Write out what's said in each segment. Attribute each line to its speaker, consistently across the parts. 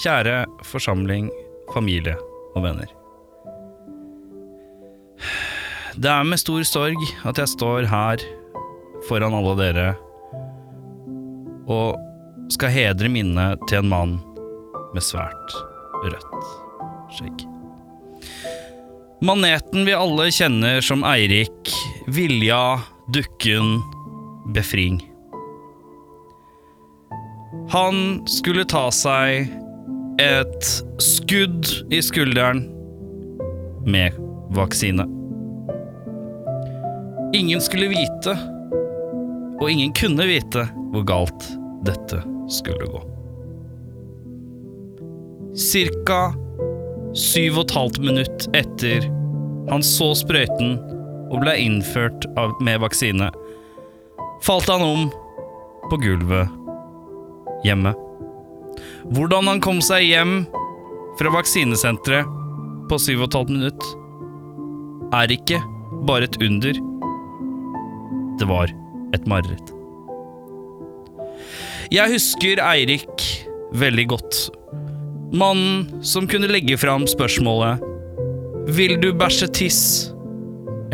Speaker 1: Kjære forsamling, familie og venner. Det er med stor sorg at jeg står her foran alle dere og skal hedre minnet til en mann med svært rødt skjegg. Maneten vi alle kjenner som Eirik, Vilja, Dukken, Befring. Han skulle ta seg et skudd i skulderen med vaksine. Ingen skulle vite, og ingen kunne vite, hvor galt dette skulle gå. Cirka syv og et halvt minutt etter han så sprøyten og ble innført av, med vaksine, falt han om på gulvet hjemme. Hvordan han kom seg hjem fra vaksinesenteret på 7,5 minutt, er ikke bare et under. Det var et mareritt. Jeg husker Eirik veldig godt. Mannen som kunne legge fram spørsmålet Vil du bæsje tiss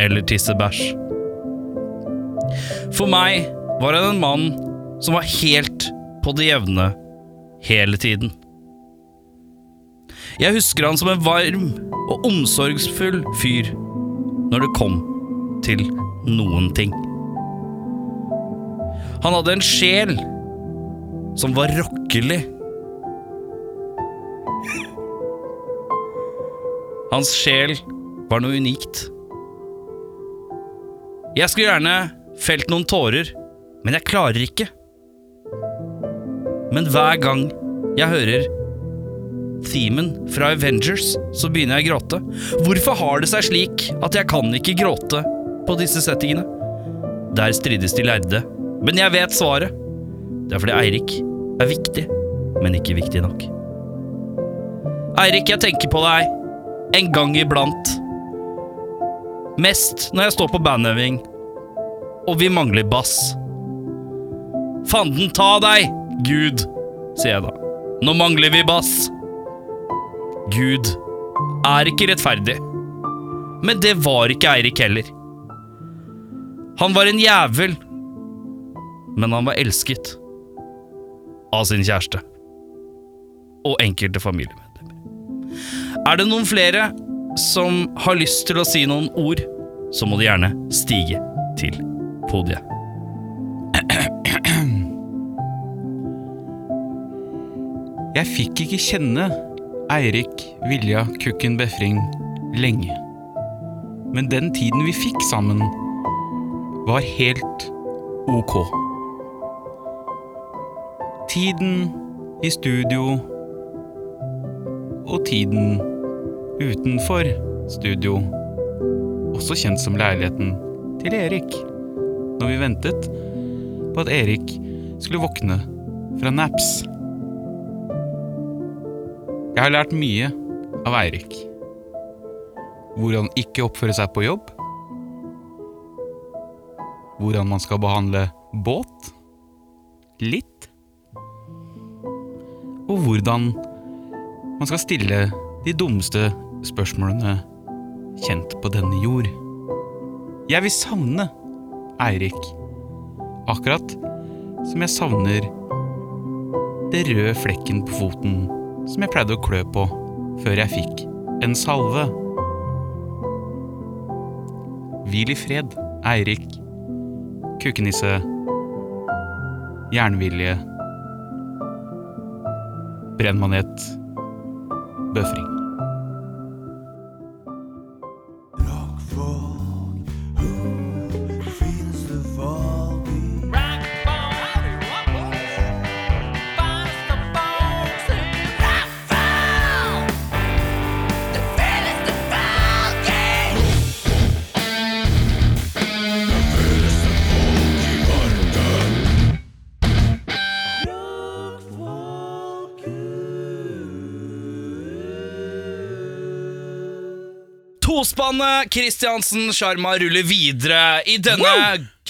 Speaker 1: eller tisse bæsj? For meg var han en mann som var helt på det jevne hele tiden. Jeg husker han som en varm og omsorgsfull fyr når det kom til noen ting. Han hadde en sjel som var rokkelig. Hans sjel var noe unikt. Jeg skulle gjerne felt noen tårer, men jeg klarer ikke. Men hver gang jeg hører themen fra Avengers, så begynner jeg å gråte. Hvorfor har det seg slik at jeg kan ikke gråte på disse settingene? Der strides de lærde, men jeg vet svaret. Det er fordi Eirik er viktig, men ikke viktig nok. Eirik, jeg tenker på deg en gang iblant. Mest når jeg står på bandøving, og vi mangler bass. Fanden ta deg! Gud, sier jeg da. Nå mangler vi bass. Gud er ikke rettferdig. Men det var ikke Eirik heller. Han var en jævel, men han var elsket av sin kjæreste og enkelte familiemedlemmer. Er det noen flere som har lyst til å si noen ord, så må de gjerne stige til podiet.
Speaker 2: Jeg fikk ikke kjenne Eirik Vilja Kukken Befring lenge. Men den tiden vi fikk sammen, var helt ok. Tiden i studio og tiden utenfor studio, også kjent som leiligheten til Erik, når vi ventet på at Erik skulle våkne fra naps. Jeg har lært mye av Eirik. Hvordan ikke oppføre seg på jobb. Hvordan man skal behandle båt. Litt. Og hvordan man skal stille de dummeste spørsmålene kjent på denne jord. Jeg vil savne Eirik. Akkurat som jeg savner det røde flekken på foten som jeg pleide å klø på før jeg fikk en salve. Hvil i fred, Eirik. Kukenisse. Jernvilje. Brennmanet. Bøfring.
Speaker 1: Tospannet Kristiansen Sjarma ruller videre i, denne,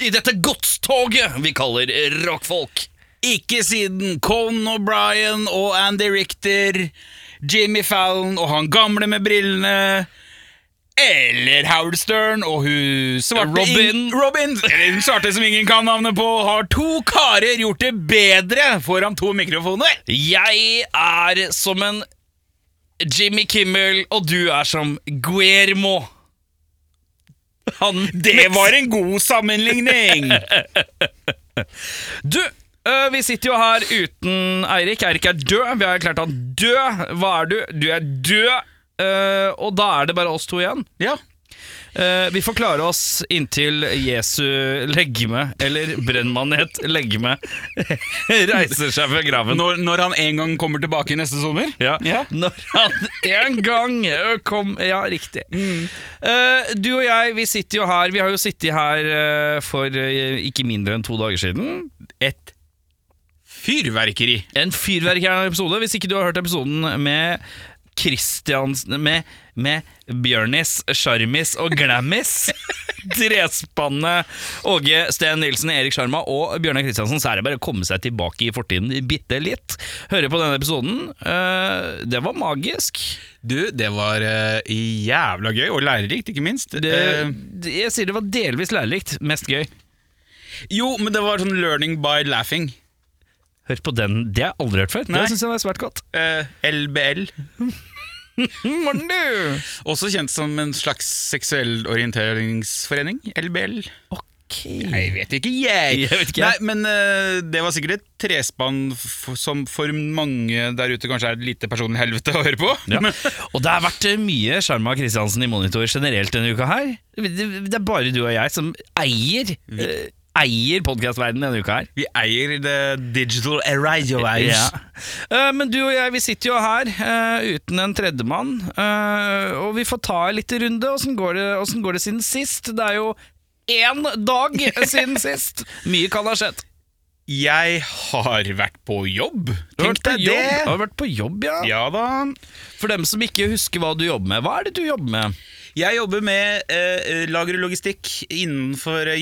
Speaker 1: i dette godstoget vi kaller rockfolk.
Speaker 2: Ikke siden Conan O'Brien og Andy Richter, Jimmy Fallon og han gamle med brillene eller Howard Stern og hun svarte
Speaker 1: Robin.
Speaker 2: Robin eller hun svarte som ingen kan navnet på, har to karer gjort det bedre foran to mikrofoner.
Speaker 1: Jeg er som en Jimmy Kimmel, og du er som Guermo. Han
Speaker 2: Det var en god sammenligning!
Speaker 1: Du, øh, vi sitter jo her uten Eirik. Eirik er død. Vi har erklært han død. Hva er du? Du er død. Øh, og da er det bare oss to igjen.
Speaker 2: ja.
Speaker 1: Eh, vi får klare oss inntil Jesu legeme, eller brennmanet legeme, reiser seg fra graven.
Speaker 2: Når, når han en gang kommer tilbake neste sommer?
Speaker 1: Ja. Når han en gang eh, kom Ja, riktig. Eh, du og jeg, vi sitter jo her Vi har jo sittet her eh, for eh, ikke mindre enn to dager siden.
Speaker 2: Et fyrverkeri.
Speaker 1: En fyrverkerisk episode, hvis ikke du har hørt episoden med Christiansen Med, med Bjørnis, Sjarmis og Glammis. Trespannet Åge Steen Nilsen, Erik Sjarma og Bjørnar Kristiansen. Så er det bare å komme seg tilbake i fortiden bitte litt. Høre på denne episoden. Eh, det var magisk.
Speaker 2: Du, det var eh, jævla gøy, og lærerikt, ikke minst.
Speaker 1: Det,
Speaker 2: Eh,
Speaker 1: det- jeg sier det var delvis lærerikt. Mest gøy.
Speaker 2: jo, men det var sånn learning by laughing.
Speaker 1: Hør på den. Det har jeg aldri hørt før.
Speaker 2: Nei.
Speaker 1: Det syns jeg er svært godt.
Speaker 2: Eh, LBL. Mm,
Speaker 1: Morten, du!
Speaker 2: Også kjent som en slags seksuell orienteringsforening. LBL.
Speaker 1: Ok.
Speaker 2: Jeg vet ikke, jeg.
Speaker 1: Jeg vet ikke,
Speaker 2: Nei,
Speaker 1: jeg.
Speaker 2: men eh, det var sikkert et trespann f som for mange der ute kanskje er et lite personlig helvete å høre på.
Speaker 1: Ja. Og det har vært eh, mye Sjarma Kristiansen i Monitor generelt denne uka her. Det, det er bare du og jeg som eier eh, Eier podkastverdenen denne uka her.
Speaker 2: Vi eier det digital radioice.
Speaker 1: Ja. Eh, Men du og jeg vi sitter jo her eh, uten en tredjemann. eh, og vi får ta en liten runde. Åssen går, det- hvordan går det siden sist? Det er jo én dag siden sist! Mye kan ha skjedd.
Speaker 2: Jeg har vært på jobb.
Speaker 1: Du har
Speaker 2: Tenk
Speaker 1: vært på
Speaker 2: deg
Speaker 1: jobb. Du
Speaker 2: det!
Speaker 1: har vært på jobb, ja.
Speaker 2: Ja da.
Speaker 1: For dem som ikke husker hva du jobber med, hva er det du jobber med?
Speaker 2: Jeg jobber med eh, lager og logistikk innenfor eh,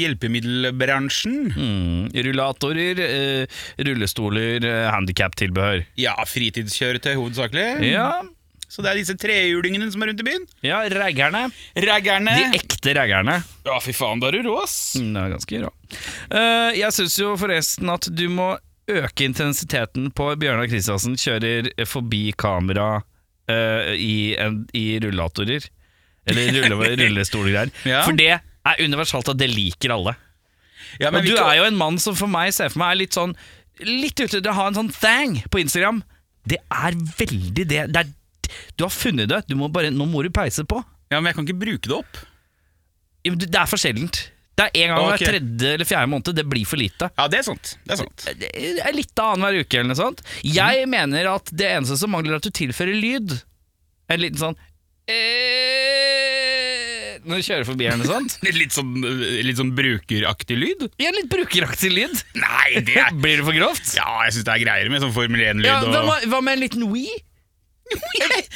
Speaker 2: hjelpemiddelbransjen.
Speaker 1: Mm, rullatorer, eh, rullestoler, eh, handicap-tilbehør.
Speaker 2: Ja, fritidskjøretøy hovedsakelig.
Speaker 1: Ja,
Speaker 2: Så det er disse trehjulingene som er rundt i byen.
Speaker 1: ja raggerne.
Speaker 2: Raggerne.
Speaker 1: De ekte raggerne.
Speaker 2: Ja, fy faen, da er du rå, ass.
Speaker 1: Mm, Det er ganske rå. Eh, jeg syns jo forresten at du må øke intensiteten på Bjørnar Kristiansen kjører forbi kamera eh, i, en, i rullatorer. Eller rulle, rullestolgreier.
Speaker 2: Ja.
Speaker 1: For det er universalt, og det liker alle.
Speaker 2: Ja,
Speaker 1: og du er jo en mann som for meg ser for meg er litt sånn Litt ute etter å ha en sånn thang på Instagram. Det er veldig det. det er, du har funnet det. Du må bare, nå må du peise på.
Speaker 2: ja, men jeg kan ikke bruke det opp.
Speaker 1: Ja, men du- Det er for sjeldent. Det er en gang hver
Speaker 2: Ok.
Speaker 1: tredje eller fjerde måned. Det blir for lite.
Speaker 2: Ja, det er sant. Det er sant.
Speaker 1: Det er litt av annenhver uke eller noe sånt. Jeg mener at det eneste som mangler, er at du tilfører lyd. En liten sånn eh, Når du kjører forbi eller noe sånt.
Speaker 2: Litt sånn, litt sånn brukeraktig lyd?
Speaker 1: Ja, litt brukeraktig lyd.
Speaker 2: Nei, det er
Speaker 1: Blir det for grovt?
Speaker 2: Ja, jeg syns det er greier med sånn Formel 1-lyd
Speaker 1: Ja, hva,
Speaker 2: og
Speaker 1: med- hva med en liten we?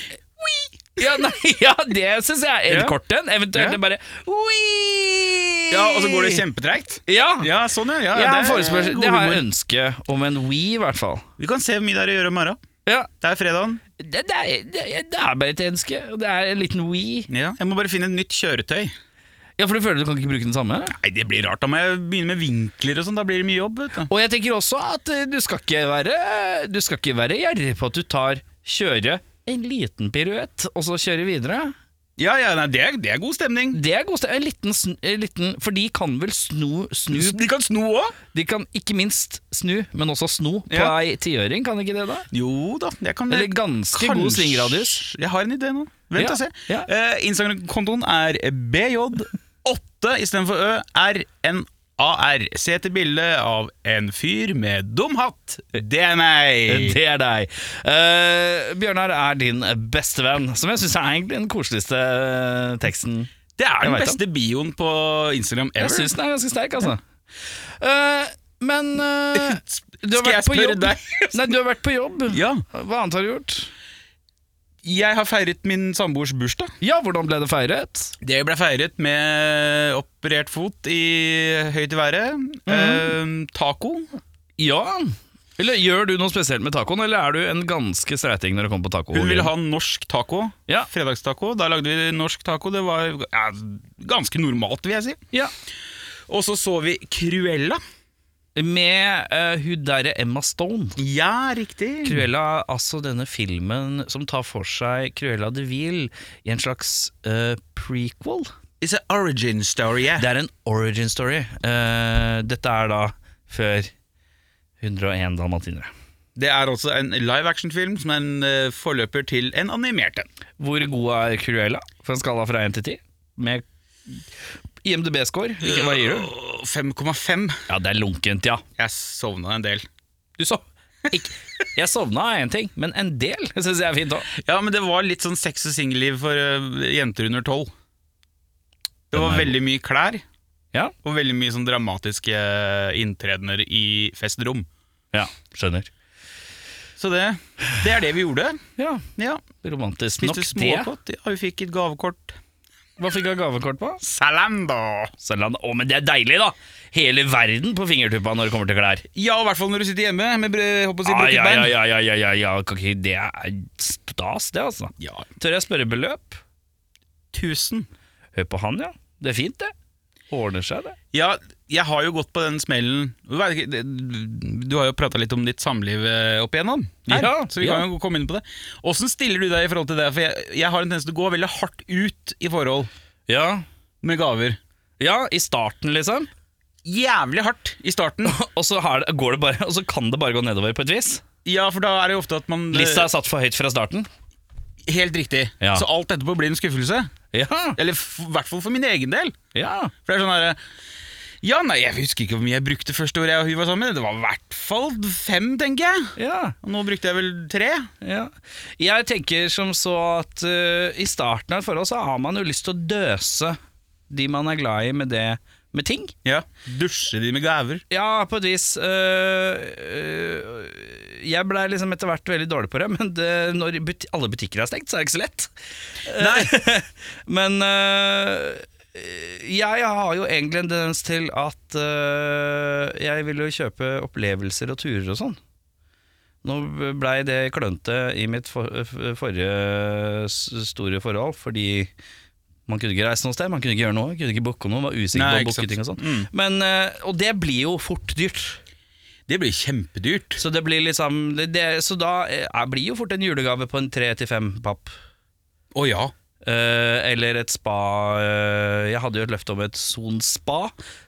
Speaker 1: Ja, nei, ja det syns jeg er en
Speaker 2: Ja.
Speaker 1: kort en. Eventuelt
Speaker 2: Ja.
Speaker 1: bare we.
Speaker 2: Ja, og så går det kjempetreigt.
Speaker 1: Ja.
Speaker 2: Ja, sånn, ja. ja
Speaker 1: Jeg har
Speaker 2: det-
Speaker 1: forespørsel.
Speaker 2: god
Speaker 1: Det har jeg
Speaker 2: humor.
Speaker 1: ønske om en we, i hvert fall.
Speaker 2: Vi kan se hvor mye det er å gjøre i morgen.
Speaker 1: Ja,
Speaker 2: Det er fredagen.
Speaker 1: det, det, er, det, det er bare et ønske. og Det er en liten we.
Speaker 2: Ja. Jeg må bare finne et nytt kjøretøy.
Speaker 1: Ja, for du føler du kan ikke bruke den samme?
Speaker 2: Nei, det blir rart. Da må jeg begynne med vinkler og sånn. Da blir det mye jobb. vet du.
Speaker 1: Og jeg tenker også at eh, du skal ikke være Du skal ikke være gjerrig på at du tar kjøre en liten piruett, og så kjøre videre.
Speaker 2: Ja, ja, nei, det, er, det er god stemning.
Speaker 1: Det er god sted. En liten, sn- en liten For de kan vel snu, snu
Speaker 2: De kan sno òg.
Speaker 1: De kan ikke minst snu, men også sno på
Speaker 2: Ja.
Speaker 1: ei tiøring, kan ikke det da?
Speaker 2: Jo da, jeg kan
Speaker 1: Eller ganske god
Speaker 2: Kanskje-
Speaker 1: svingradius.
Speaker 2: Jeg har en idé nå. Vent
Speaker 1: Ja,
Speaker 2: og se.
Speaker 1: ja.
Speaker 2: Eh, Instagram-kontoen er bj8 istedenfor ø, rnar. Se etter bilde av en fyr med dum hatt. Det er meg.
Speaker 1: Eh, Det er deg. Eh, Bjørnar er din bestevenn, som jeg syns er egentlig den koseligste eh, teksten.
Speaker 2: Det
Speaker 1: Jeg
Speaker 2: er den
Speaker 1: vet
Speaker 2: beste bioen på Instagram ever.
Speaker 1: Jeg syns den er ganske sterk, altså. Eh, men eh, du har
Speaker 2: Skal jeg
Speaker 1: vært på
Speaker 2: spørre
Speaker 1: jobb.
Speaker 2: deg?
Speaker 1: Nei, du har vært på jobb.
Speaker 2: Ja,
Speaker 1: Hva annet har du gjort?
Speaker 2: jeg har feiret min samboers bursdag.
Speaker 1: Ja, hvordan ble det feiret?
Speaker 2: Det ble feiret med
Speaker 1: Mhm.
Speaker 2: operert fot i høyt i været. eh, taco.
Speaker 1: Ja, Eller Gjør du noe spesielt med tacoen, eller er du en ganske streiting når det kommer på taco?
Speaker 2: Hun ville ha norsk taco.
Speaker 1: Ja.
Speaker 2: Fredagstaco. Da lagde vi norsk taco. Det var ja, ganske normalt, vil jeg si.
Speaker 1: Ja.
Speaker 2: Og så så vi Cruella.
Speaker 1: Med eh, hun derre Emma Stone.
Speaker 2: Ja, riktig.
Speaker 1: Cruella, altså denne filmen som tar for seg Cruella de Vil i en slags eh, prequel.
Speaker 2: It's an origin story. Yeah.
Speaker 1: Det er en origin story. Eh, dette er da før 101 dalmatinere.
Speaker 2: Det er også en live action-film som er en eh, forløper til en animert en.
Speaker 1: Hvor god er Cruella for en skala fra 1 til 10? Med IMDb-score, hvilken hva gir du?
Speaker 2: Åh, 5,5.
Speaker 1: Ja, det er lunkent, ja.
Speaker 2: Jeg sovna en del.
Speaker 1: Du sov... Ikke. Jeg sovna av én ting, men en del syns jeg er fint òg.
Speaker 2: Ja, men det var litt sånn sex og singelliv for eh, jenter under tolv. Det
Speaker 1: Den
Speaker 2: var
Speaker 1: er-
Speaker 2: veldig mye klær,
Speaker 1: Ja.
Speaker 2: og veldig mye sånn dramatiske eh, inntredener i festrom.
Speaker 1: ja, skjønner.
Speaker 2: Så det, det er det vi gjorde.
Speaker 1: Ja,
Speaker 2: Ja,
Speaker 1: Romantisk nok,
Speaker 2: Spiste
Speaker 1: det.
Speaker 2: småkott. Ja, vi fikk et gavekort.
Speaker 1: Hva fikk jeg gavekort på?
Speaker 2: Salam, da!
Speaker 1: Selv om, å, men det er deilig, da! Hele verden på fingertuppa når det kommer til klær.
Speaker 2: Ja, i hvert fall når du sitter hjemme med bre- håper å si,
Speaker 1: Ah,
Speaker 2: brukket
Speaker 1: ja,
Speaker 2: bein.
Speaker 1: ja, ja, ja, ja, ja, ja. kan ikke- Det er stas, det, altså.
Speaker 2: Ja,
Speaker 1: Tør jeg spørre beløp?
Speaker 2: tusen.
Speaker 1: Hør på han, ja. Det er fint, det. Ordner seg, det.
Speaker 2: Ja, jeg har jo gått på den smellen Du vet ikke, det- Du har jo prata litt om ditt samliv eh, opp igjennom, her,
Speaker 1: Ja,
Speaker 2: så vi
Speaker 1: ja.
Speaker 2: kan jo komme inn på det. Åssen stiller du deg i forhold til det? For jeg, jeg har en tendens til å gå veldig hardt ut i forhold
Speaker 1: Ja,
Speaker 2: med gaver.
Speaker 1: ja i starten, liksom.
Speaker 2: Jævlig hardt i starten.
Speaker 1: Og så, har det, går det bare, og så kan det bare gå nedover på et vis.
Speaker 2: Ja, for da er det jo ofte at man eh,
Speaker 1: Lista er satt for høyt fra starten.
Speaker 2: Helt riktig.
Speaker 1: Ja.
Speaker 2: Så alt etterpå blir en skuffelse.
Speaker 1: Ja,
Speaker 2: Eller f- i hvert fall for min egen del.
Speaker 1: ja.
Speaker 2: For det er sånn her, Ja, nei, jeg husker ikke hvor mye jeg brukte første året jeg og hun var sammen. Det var i hvert fall fem, tenker jeg.
Speaker 1: Ja,
Speaker 2: Og nå brukte jeg vel tre.
Speaker 1: ja. Jeg tenker som så at eh, i starten av et forhold så har man jo lyst til å døse de man er glad i med det, med ting.
Speaker 2: Ja, Dusje de med gaver.
Speaker 1: Ja, på et vis. øh, øh, jeg blei liksom etter hvert veldig dårlig på det, men det, når but alle butikker er stengt, så er det ikke så lett.
Speaker 2: Eh.
Speaker 1: Nei. men øh, jeg har jo egentlig en tendens til at øh, jeg vil jo kjøpe opplevelser og turer og sånn. Nå blei det klønete i mitt for, f- forrige s- store forhold, fordi man kunne ikke reise noe sted, man kunne ikke gjøre noe, kunne ikke booke noe, var usikker
Speaker 2: Nei,
Speaker 1: på å
Speaker 2: ikke
Speaker 1: booke
Speaker 2: sant.
Speaker 1: ting og sånn.
Speaker 2: Mm.
Speaker 1: Men, eh, og det blir jo fort dyrt.
Speaker 2: Det blir kjempedyrt.
Speaker 1: Så det blir liksom det, det, Så da eh, blir jo fort en julegave på en tre til fem papp.
Speaker 2: Å ja.
Speaker 1: Eh, eller et spa eh, Jeg hadde jo et løfte om et Son spa,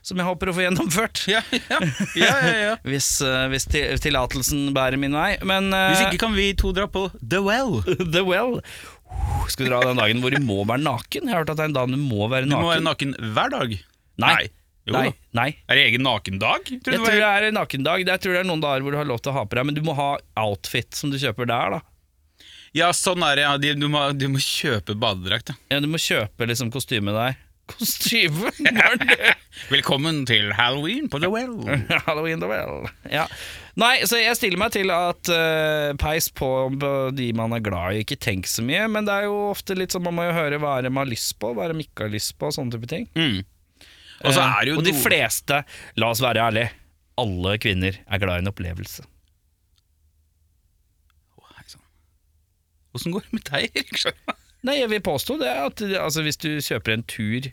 Speaker 1: som jeg håper å få gjennomført.
Speaker 2: Ja, ja, ja, ja, ja.
Speaker 1: Hvis, eh, hvis til- tillatelsen bærer min vei. Men eh,
Speaker 2: Hvis ikke kan vi to dra på The Well.
Speaker 1: The Well Uh, Skal dra den dagen hvor du må være naken. Jeg har hørt at det er en dag du må være
Speaker 2: Du
Speaker 1: naken.
Speaker 2: må være naken hver dag.
Speaker 1: Nei.
Speaker 2: Jo
Speaker 1: Nei.
Speaker 2: da.
Speaker 1: Nei.
Speaker 2: Er det egen nakendag?
Speaker 1: Jeg
Speaker 2: Tror du det
Speaker 1: tror
Speaker 2: var-
Speaker 1: det er en nakendag. Jeg tror det er noen dager hvor du har lov til å ha på deg, men du må ha outfit som du kjøper der, da.
Speaker 2: Ja, sånn er det. Ja. De, du, må, du må kjøpe badedrakt. ja.
Speaker 1: Ja, du må kjøpe liksom kostyme der. Kostyme? Går det?
Speaker 2: Velkommen til Halloween på The Well.
Speaker 1: Halloween the well. Ja. Nei, så jeg stiller meg til at eh, peis på, på de man er glad i, ikke tenk så mye. Men det er jo ofte litt sånn man må jo høre hva er det man har lyst på, hva er det man ikke har lyst på, og sånne type ting.
Speaker 2: Mm. Og så
Speaker 1: Eh,
Speaker 2: er det jo
Speaker 1: og de
Speaker 2: noe-
Speaker 1: fleste, la oss være ærlige, alle kvinner er glad i en opplevelse.
Speaker 2: Å, hei sann. Åssen går det med deg, Erik Sjarma?
Speaker 1: Nei, jeg vil påstå det at altså, hvis du kjøper en tur,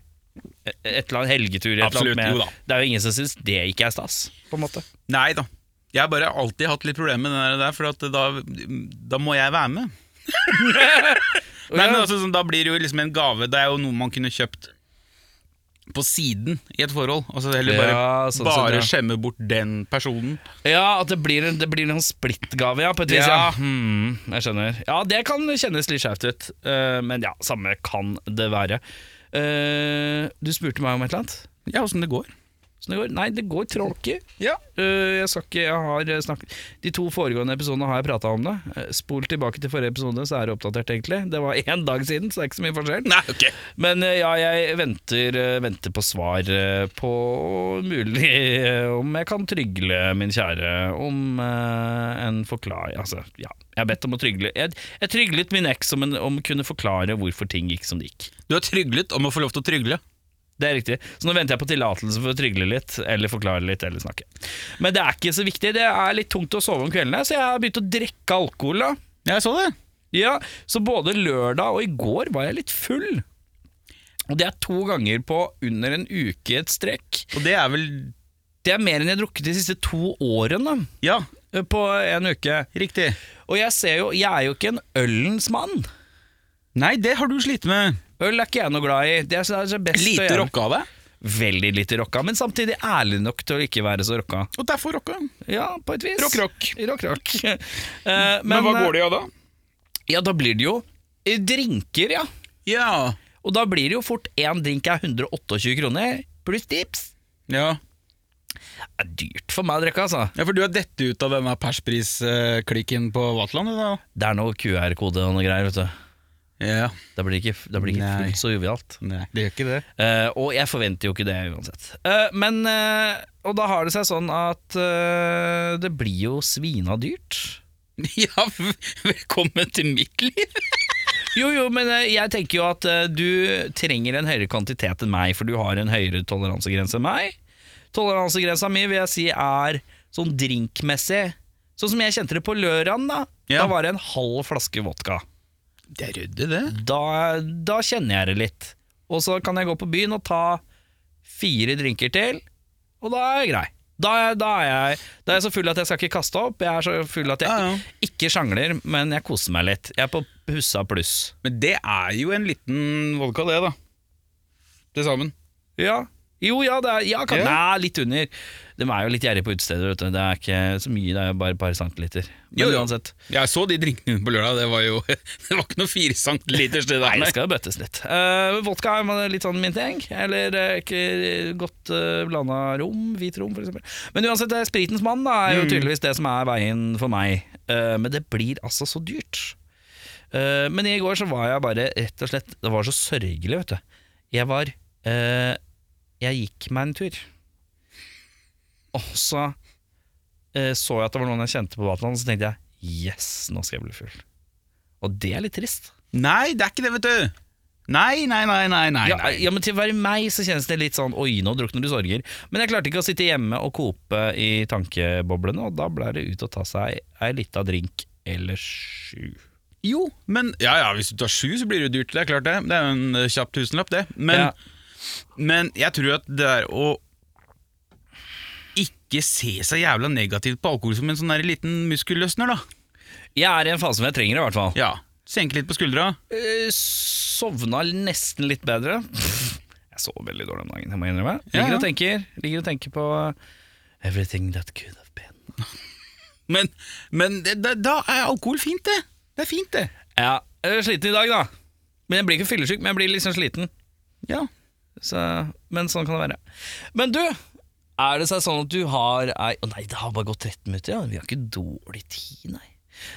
Speaker 1: et eller annet helgetur et
Speaker 2: Absolutt,
Speaker 1: eller annet med,
Speaker 2: jo da.
Speaker 1: Det er jo ingen som syns det ikke er stas, på en måte.
Speaker 2: Nei da. Jeg har bare alltid hatt litt problemer med det der, for at da, da må jeg være med. Nei, men altså, sånn, Da blir det jo liksom en gave. Det er jo noe man kunne kjøpt på siden i et forhold. Altså Heller bare,
Speaker 1: Ja, sånn sett,
Speaker 2: bare
Speaker 1: ja.
Speaker 2: skjemme bort den personen.
Speaker 1: Ja, at det blir en, det blir en splittgave, ja, på et vis. Ja.
Speaker 2: Ja.
Speaker 1: Hmm, jeg skjønner. Ja, det kan kjennes litt skjevt ut, eh, men ja, samme kan det være. Eh, du spurte meg om et eller annet.
Speaker 2: Ja, åssen det går.
Speaker 1: Så det går, nei, det går tråkig.
Speaker 2: Ja.
Speaker 1: Eh, jeg skal ikke, jeg har eh, snakket De to foregående episodene har jeg prata om det. Eh, Spol tilbake til forrige episode, så er det oppdatert, egentlig. Det var én dag siden, så det er ikke så mye forskjell.
Speaker 2: Nei, ok.
Speaker 1: Men eh, ja, jeg venter, eh, venter på svar eh, på mulig eh, om jeg kan trygle min kjære om eh, en forklaring Altså, ja. Jeg har bedt om å trygle Jeg, jeg tryglet min eks om, en- om å kunne forklare hvorfor ting gikk som det gikk.
Speaker 2: Du har tryglet om å få lov til å trygle.
Speaker 1: Det er riktig. Så nå venter jeg på tillatelse for å trygle litt, eller forklare litt, eller snakke. Men det er ikke så viktig. Det er litt tungt å sove om kveldene, så jeg har begynt å drikke alkohol. da.
Speaker 2: Jeg så det.
Speaker 1: Ja, Så både lørdag og i går var jeg litt full. Og det er to ganger på under en uke i et strekk.
Speaker 2: Og det er vel
Speaker 1: Det er mer enn jeg har drukket de siste to årene eh,
Speaker 2: Ja,
Speaker 1: på en uke.
Speaker 2: riktig.
Speaker 1: Og jeg ser jo, jeg er jo ikke en ølens mann.
Speaker 2: Nei, det har du slitt med.
Speaker 1: Øl er ikke jeg noe glad i. Det er, det er best å gjøre.
Speaker 2: rocka av deg.
Speaker 1: Veldig lite rocka, men samtidig ærlig nok til å ikke være så rocka.
Speaker 2: Og derfor rocka.
Speaker 1: Ja, på et vis.
Speaker 2: rock.
Speaker 1: Rock, rock. Eh,
Speaker 2: Men, eh, hva går det i da?
Speaker 1: Ja, da blir det jo eh, drinker, ja.
Speaker 2: Ja.
Speaker 1: Og da blir det jo fort én drink er 128 kroner, pluss tips.
Speaker 2: ja.
Speaker 1: Det er dyrt for meg å drikke, altså.
Speaker 2: for du har dette ut av denne persprisklikken på Vatland, du da?
Speaker 1: Det er noe QR-kode og noe greier, vet du.
Speaker 2: Ja.
Speaker 1: Da blir det ikke, da blir det ikke
Speaker 2: Nei.
Speaker 1: fullt så jovialt.
Speaker 2: Nei, det gjør ikke det.
Speaker 1: Eh, og jeg forventer jo ikke det uansett. Eh, men eh, Og da har det seg sånn at eh, det blir jo svina dyrt.
Speaker 2: Ja, velkommen til mitt liv.
Speaker 1: Jo, jo, men eh, jeg tenker jo at eh, du trenger en høyere kvantitet enn meg, for du har en høyere toleransegrense enn meg. Toleransegrensa mi vil jeg si er sånn drinkmessig. Sånn som jeg kjente det på lørdagen, da.
Speaker 2: Ja.
Speaker 1: Da var det en halv flaske vodka.
Speaker 2: Det er ryddig, det.
Speaker 1: Da, da kjenner jeg det litt. Og så kan jeg gå på byen og ta fire drinker til, og da er jeg grei. Da er, da, er jeg, da er jeg så full at jeg skal ikke kaste opp. Jeg er så full at jeg
Speaker 2: Ja, ja.
Speaker 1: ikke sjangler, men jeg koser meg litt. Jeg er på hussa pluss.
Speaker 2: Men det er jo en liten vodka, det, da. Til sammen.
Speaker 1: Ja. Jo, ja, det er ja, kan,
Speaker 2: Ja.
Speaker 1: Nei, litt under. De er jo litt gjerrige på utesteder, vet du. Det er ikke så mye, det er jo bare et par centiliter. Men
Speaker 2: Jo, jo.
Speaker 1: uansett.
Speaker 2: Jeg så de drinkene dine på lørdag, det var jo Det var ikke noe fire centiliters til
Speaker 1: Nei,
Speaker 2: deg.
Speaker 1: det skal jo bøttes litt. Eh, vodka er man litt sånn min ting. Eller eh, ikke godt uh, blanda rom, hvit rom f.eks. Men uansett, det er spritens mann da, er jo tydeligvis det som er veien for meg. Eh, men det blir altså så dyrt. Eh, men i går så var jeg bare rett og slett Det var så sørgelig, vet du. Jeg var eh, Jeg gikk meg en tur. Og så eh, så jeg at det var noen jeg kjente på Vatland, så tenkte jeg yes, nå skal jeg bli full. Og det er litt trist.
Speaker 2: Nei, det er ikke det, vet du. Nei, nei, nei, nei. nei,
Speaker 1: Ja,
Speaker 2: nei.
Speaker 1: ja, men til å være meg så kjennes det litt sånn Oi, nå drukner du sorger Men jeg klarte ikke å sitte hjemme og kope i tankeboblene Og da ble det ut og ta seg ei lita drink eller sju
Speaker 2: Jo, men Ja ja, hvis du tar sju, så blir det jo dyrt. Det er klart, det. Det er jo en eh, kjapp tusenlapp, det. Men,
Speaker 1: Ja.
Speaker 2: men jeg tror at det er å ikke se seg jævla negativt på alkohol som en sånn der liten muskelløsner, da.
Speaker 1: Jeg er i en fase hvor jeg trenger det i hvert fall
Speaker 2: Ja. Senke litt på skuldra.
Speaker 1: Eh, Sovna nesten litt bedre Jeg sov veldig dårlig om dagen, jeg må innrømme
Speaker 2: Ja,
Speaker 1: Ligger
Speaker 2: ja.
Speaker 1: og tenker, ligger og tenker på eh, Everything that could have been
Speaker 2: Men, men det, da, da er alkohol fint, det. Det er fint, det.
Speaker 1: Ja, jeg er sliten i dag da Men jeg blir ikke fyllesyk, men jeg blir liksom sliten
Speaker 2: Ja.
Speaker 1: Så, men sånn kan det være. Men du, er det seg sånn at du har ei Å nei, det har bare gått 13 minutter, ja. Vi har ikke dårlig tid, nei.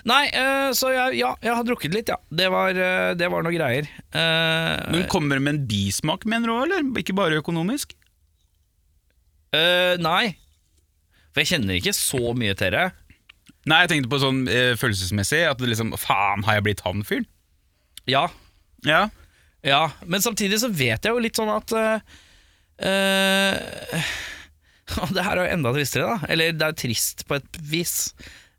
Speaker 1: Nei, eh, så jeg, ja, jeg har drukket litt, ja. Det var, uh, det var noe greier. Eh,
Speaker 2: Men kommer det med en bismak, mener du òg, eller? Ikke bare økonomisk?
Speaker 1: eh, nei. For jeg kjenner ikke så mye til det.
Speaker 2: Nei, jeg tenkte på sånn eh, følelsesmessig, at det liksom Faen, har jeg blitt han fyren?
Speaker 1: Ja,
Speaker 2: Ja.
Speaker 1: ja. Men samtidig så vet jeg jo litt sånn at eh, eh, Og det her er jo enda tristere, da. Eller det er trist på et vis.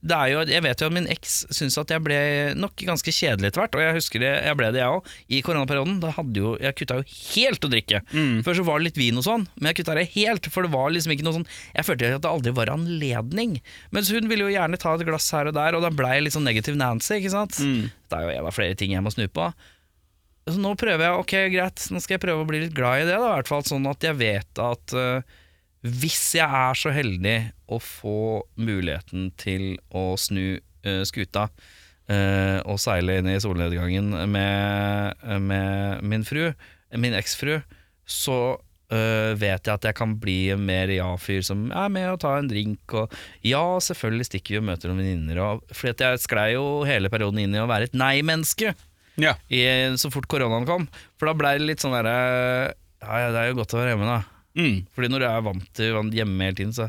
Speaker 1: Det er jo, jeg vet jo at min eks syntes at jeg ble nok ganske kjedelig etter hvert, og jeg husker det, jeg ble det jeg òg, i koronaperioden. Da hadde jo, jeg kutta jo helt å drikke. Før så var det litt vin og sånn, men jeg kutta det helt, for det var liksom ikke noe sånn Jeg følte at det aldri var anledning. Mens hun ville jo gjerne ta et glass her og der, og da blei jeg litt sånn negativ Nancy, ikke sant. Det er jo en av flere ting jeg må snu på. Så nå prøver jeg, ok greit, nå skal jeg prøve å bli litt glad i det, da, i hvert fall sånn at jeg vet at eh, hvis jeg er så heldig å få muligheten til å snu eh, skuta eh, og seile inn i solnedgangen med, med min fru, min eksfru, så eh, vet jeg at jeg kan bli en mer ja-fyr som er med og tar en drink og ja, selvfølgelig stikker vi og møter noen venninner og Fordi at jeg sklei jo hele perioden inn i å være et nei-menneske
Speaker 2: ja.
Speaker 1: i, så fort koronaen kom. For da blei det litt sånn derre ja, ja, det er jo godt å være hjemme, da.
Speaker 2: Mm.
Speaker 1: Fordi når du er vant til å være hjemme hele tiden, så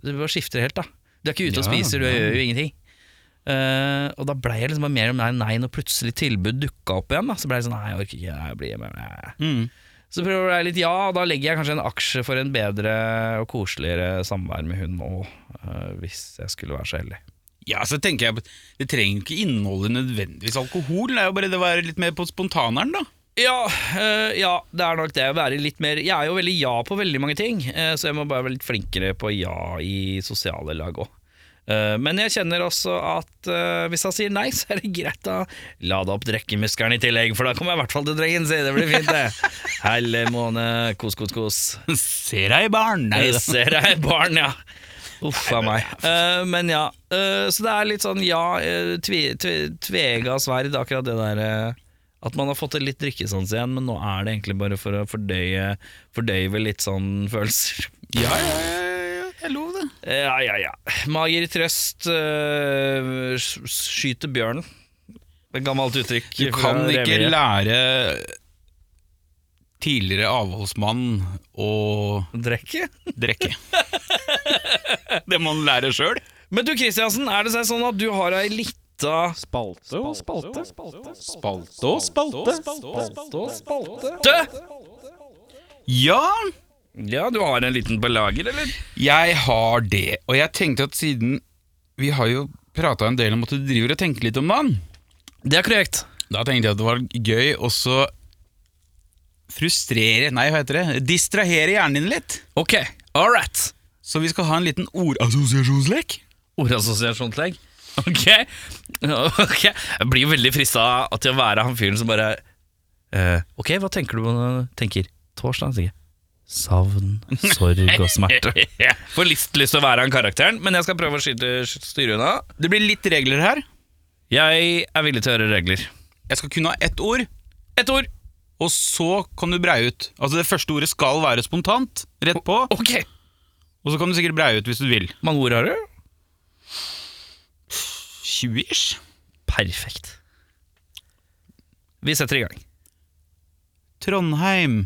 Speaker 1: Det bare skifter helt, da. Du er ikke ute og
Speaker 2: Ja,
Speaker 1: spiser, du
Speaker 2: ja.
Speaker 1: gjør jo ingenting. Eh, og da blei jeg liksom bare
Speaker 2: Mm.
Speaker 1: mer og mer nei når plutselig tilbud dukka opp igjen. Da. Så blei jeg sånn Nei, jeg orker ikke, jeg blir hjemme. Nei. Så prøver jeg litt ja, og da legger jeg kanskje en aksje for en bedre og koseligere samvær med hun òg, hvis jeg skulle være så heldig.
Speaker 2: Ja, så tenker jeg Det trenger jo ikke inneholde nødvendigvis alkohol. Det er jo bare det å være litt mer på spontaneren, da.
Speaker 1: Ja, øh, ja, det er nok det. å Være litt mer Jeg er jo veldig ja på veldig mange ting, eh, så jeg må bare være litt flinkere på ja i sosiale lag òg. Men jeg kjenner også at eh, hvis han sier nei, så er det greit å lade opp drekkemuskelen i tillegg, for da kommer jeg i hvert fall til drengen sin. Det blir fint, det. Helle måne, kos, kos, kos.
Speaker 2: Ser deg i baren! Nei
Speaker 1: Jeg
Speaker 2: da.
Speaker 1: ser deg, barn, ja. Uff a meg. Eh, men ja. eh, så det er litt sånn ja, eh, tve, tve, tvega sverd, akkurat det der eh, At man har fått det litt drikkesans igjen, men nå er det egentlig bare for å fordøye, fordøyve litt sånn følelser.
Speaker 2: Ja, ja, ja, ja, jeg lov det.
Speaker 1: Eh, ja, ja, ja. Mager trøst eh, sk- skyter bjørnen. Det er et gammelt uttrykk.
Speaker 2: Du
Speaker 1: fra
Speaker 2: kan ikke
Speaker 1: revyet.
Speaker 2: lære tidligere avholdsmann å
Speaker 1: Drikke?
Speaker 2: drikke. det må man lære sjøl.
Speaker 1: Men du Kristiansen, er det seg sånn at du har ei lita
Speaker 3: Spalte og spalte.
Speaker 2: Spalte og spalte.
Speaker 3: Spalte og spalte.
Speaker 1: Død?
Speaker 2: Ja,
Speaker 1: Ja, du har en liten på lager, eller?
Speaker 2: jeg har det. Og jeg tenkte at siden Vi har jo prata en del om at du driver og tenker litt om dagen.
Speaker 1: Det er korrekt.
Speaker 2: Da tenkte jeg at det var gøy å så frustrere Nei, hva heter det? Distrahere hjernen din litt.
Speaker 1: Ok, all right.
Speaker 2: Så vi skal ha en liten ordassosiasjonslek.
Speaker 1: Ordassosiasjonslek. Ok. ok. Jeg blir jo veldig frista til å være han fyren som bare eh, Ok, hva tenker du på når du tenker torsdag? tenker jeg. Savn, sorg og smerte. Får litt lyst til å være han karakteren, men jeg skal prøve å skyte, styre unna.
Speaker 2: Det blir litt regler her.
Speaker 1: Jeg er villig til å høre regler.
Speaker 2: Jeg skal kunne ha ett ord,
Speaker 1: Ett ord.
Speaker 2: og så kan du breie ut. Altså Det første ordet skal være spontant, rett på,
Speaker 1: Ok.
Speaker 2: og så kan du sikkert breie ut hvis du vil.
Speaker 1: Mange ord har du?
Speaker 2: 20-ish?
Speaker 1: Perfekt. Vi setter i gang.
Speaker 2: Trondheim.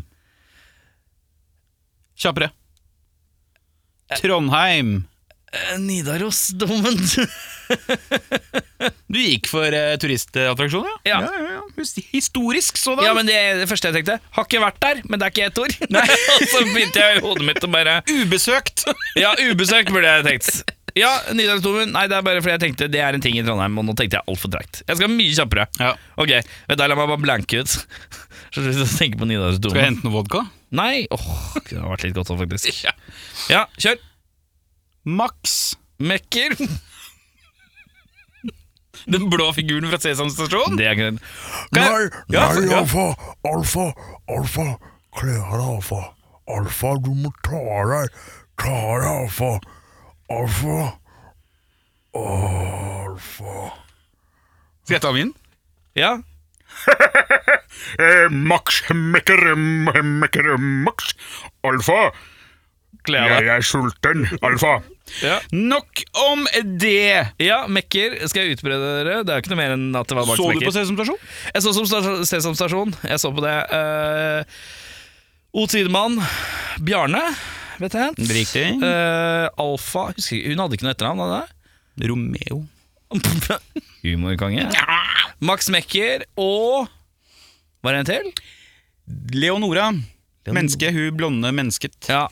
Speaker 2: Kjappere. Trondheim.
Speaker 1: Eh, Nidarosdomen.
Speaker 2: Du gikk for eh, turistattraksjon,
Speaker 1: Ja.
Speaker 2: ja, ja. Hus- Historisk sådan.
Speaker 1: Ja, men det, det første jeg tenkte Har ikke vært der, men det er ikke ett ord Og så begynte jeg i hodet mitt å bare
Speaker 2: Ubesøkt.
Speaker 1: Ja, ubesøkt burde jeg tenkt Ja, Nydalsdomen Nei, det er bare fordi jeg tenkte Det er en ting i Trondheim Og nå tenkte jeg alt for drekt Jeg skal mye kjappere
Speaker 2: ja.
Speaker 1: Ok, vet du, la meg bare blanke ut Så har jeg lyst til å tenke på
Speaker 2: Skal jeg
Speaker 1: Nydalsdomen
Speaker 2: hente noe vodka?
Speaker 1: Nei, åh, det har vært litt godt sånn faktisk Ja, kjør
Speaker 2: Max.
Speaker 1: Mekker
Speaker 2: Den blå figuren fra Sesam stasjon?
Speaker 1: Det er greit
Speaker 4: Nei,
Speaker 2: Ja,
Speaker 4: nei,
Speaker 2: ja.
Speaker 4: alfa, alfa, alfa, kle av deg, alfa. Alfa, du må ta av deg, ta av deg, alfa. Alfa,
Speaker 2: Skal jeg ta min?
Speaker 1: Ja
Speaker 5: Eh, Max, mekker, mekker, Max. Alfa,
Speaker 1: Kle av
Speaker 5: jeg
Speaker 1: deg
Speaker 5: er sulten. Alfa.
Speaker 1: Ja,
Speaker 2: Nok om det!
Speaker 1: ja mekker Skal jeg utbrede dere? Det er jo ikke noe mer enn at det var Max
Speaker 2: Så
Speaker 1: Mekker
Speaker 2: du på Sesam stasjon?
Speaker 1: Jeg så som stas- Sesam Stasjon. Jeg så på det. Uh, o Tidemann. Bjarne, vet jeg hent.
Speaker 2: Riktig.
Speaker 1: Eh, Alfa husker, ikke- Hun hadde ikke noe etternavn, hadde
Speaker 2: Romeo.
Speaker 1: det? Humorkonge. Max Mekker og Var det en til?
Speaker 2: Leonora. Menneske, hun blonde mennesket.
Speaker 1: Ja.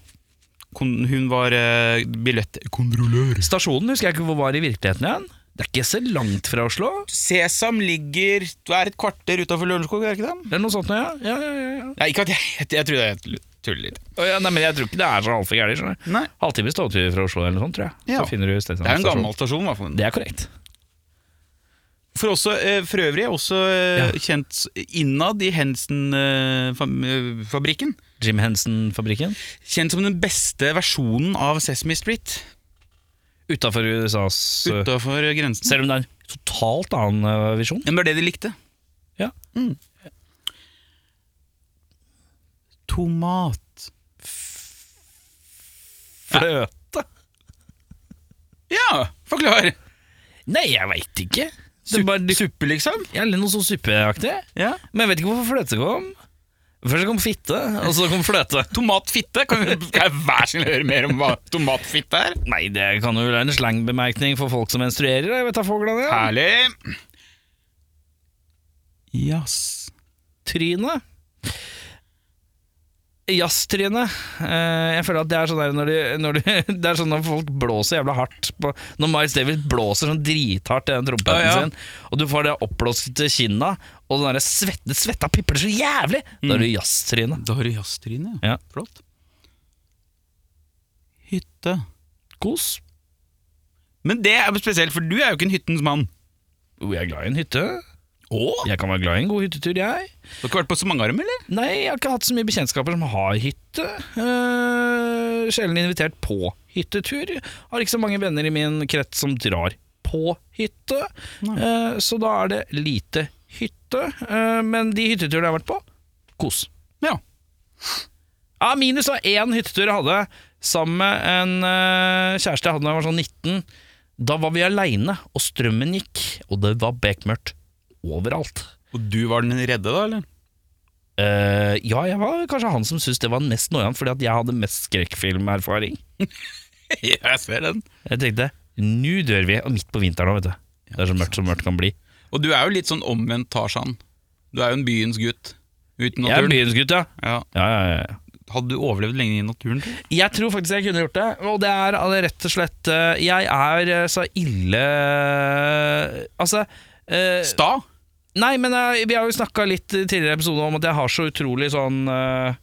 Speaker 2: Kon, hun var uh, billettkontrollør.
Speaker 1: Stasjonen husker jeg ikke hvor var i virkeligheten igjen. Det er ikke så langt fra Oslo.
Speaker 2: Sesam ligger Du er et kvarter utafor Lørenskog, er det ikke det?
Speaker 1: Det er noe sånt nå, ja. ja, ja, ja, ja.
Speaker 2: Nei, ikke at jeg Jeg, jeg tror jeg tuller litt.
Speaker 1: Å, ja nei, men jeg tror ikke det er så altfor gærent. skjønner du.
Speaker 2: Nei.
Speaker 1: Halvtimes togtur fra Oslo eller noe sånt, tror jeg.
Speaker 2: Ja.
Speaker 1: Så finner du Sesam
Speaker 2: Det er en
Speaker 1: Stasjon.
Speaker 2: gammel stasjon, i hvert fall.
Speaker 1: Det er korrekt.
Speaker 2: For, også, eh, for øvrig også eh, kjent innad i eh, Hensen-fabrikken.
Speaker 1: Jim Henson-fabrikken.
Speaker 2: Kjent som den beste versjonen av Sesame Street.
Speaker 1: Utafor USAs eh,
Speaker 2: Utafor grensen.
Speaker 1: Selv om det er en totalt annen eh, visjon.
Speaker 2: Men det var det de likte.
Speaker 1: Ja.
Speaker 2: Mm. Tomat.
Speaker 1: Fløte?
Speaker 2: Ja, forklar!
Speaker 1: Nei, jeg veit ikke. Det
Speaker 2: Sup-
Speaker 1: bare duk-
Speaker 2: Suppe, liksom?
Speaker 1: ja, eller noe sånn suppeaktig.
Speaker 2: Ja.
Speaker 1: Men jeg vet ikke hvorfor fløte kom. Først kom fitte, og så kom fløte.
Speaker 2: Tomatfitte? Kan vi kan jeg hver sin høre mer om hva tomatfitte er?
Speaker 1: Nei, det kan jo være en slangbemerkning for folk som menstruerer. Jeg vet da foglene ja.
Speaker 2: Herlig! Jazz.
Speaker 1: Trynet. jazztryne. Eh, Jeg føler at det er sånn der når de, når de, Det er sånn når folk blåser jævla hardt på, Når Miles Davis blåser sånn drithardt i den trompeten
Speaker 2: Ja, ja.
Speaker 1: sin, og du får det oppblåste kinna, og den der svett, det svetta pipler så jævlig, da
Speaker 2: Mm.
Speaker 1: er du jazztryne.
Speaker 2: Da har du jazztryne,
Speaker 1: Ja.
Speaker 2: Flott. Hytte.
Speaker 1: Kos.
Speaker 2: Men det er jo spesielt, for du er jo ikke en hyttens mann.
Speaker 1: Jo, jeg er glad i en hytte.
Speaker 2: Åh?
Speaker 1: Jeg kan være glad i en god hyttetur, jeg.
Speaker 2: Du har ikke vært på så mange arm, eller?
Speaker 1: Nei, jeg har ikke hatt så mye bekjentskaper som har hytte. Eh, sjelden invitert på hyttetur. Har ikke så mange venner i min krets som drar på hytte. Eh, så da er det lite hytte. Eh, men de hytteturene jeg har vært på, kos.
Speaker 2: Ja.
Speaker 1: Ja, minus var én hyttetur jeg hadde sammen med en eh, kjæreste jeg hadde da jeg var sånn 19. Da var vi aleine, og strømmen gikk, og det var bekmørkt overalt.
Speaker 2: Og du var den redde, da? eller?
Speaker 1: Eh, ja, jeg var kanskje han som syntes det var mest noian, fordi at jeg hadde mest skrekkfilmerfaring.
Speaker 2: jeg ser den.
Speaker 1: Jeg tenkte nå dør vi, og midt på vinteren òg, vet du. Det er så mørkt som mørkt kan bli.
Speaker 2: Og du er jo litt sånn omvendt Tarzan. Du er jo en byens gutt. Uten
Speaker 1: Jeg er
Speaker 2: naturen.
Speaker 1: byens gutt, ja.
Speaker 2: Ja. Eh.
Speaker 1: Ja, ja, ja.
Speaker 2: Hadde du overlevd lenge i naturen? tror du?
Speaker 1: Jeg tror faktisk jeg kunne gjort det, og det er alle rett og slett eh, Jeg er eh, så ille Altså eh,
Speaker 2: Sta?
Speaker 1: Nei, men eh, vi har jo snakka litt i tidligere episoder om at jeg har så utrolig sånn eh,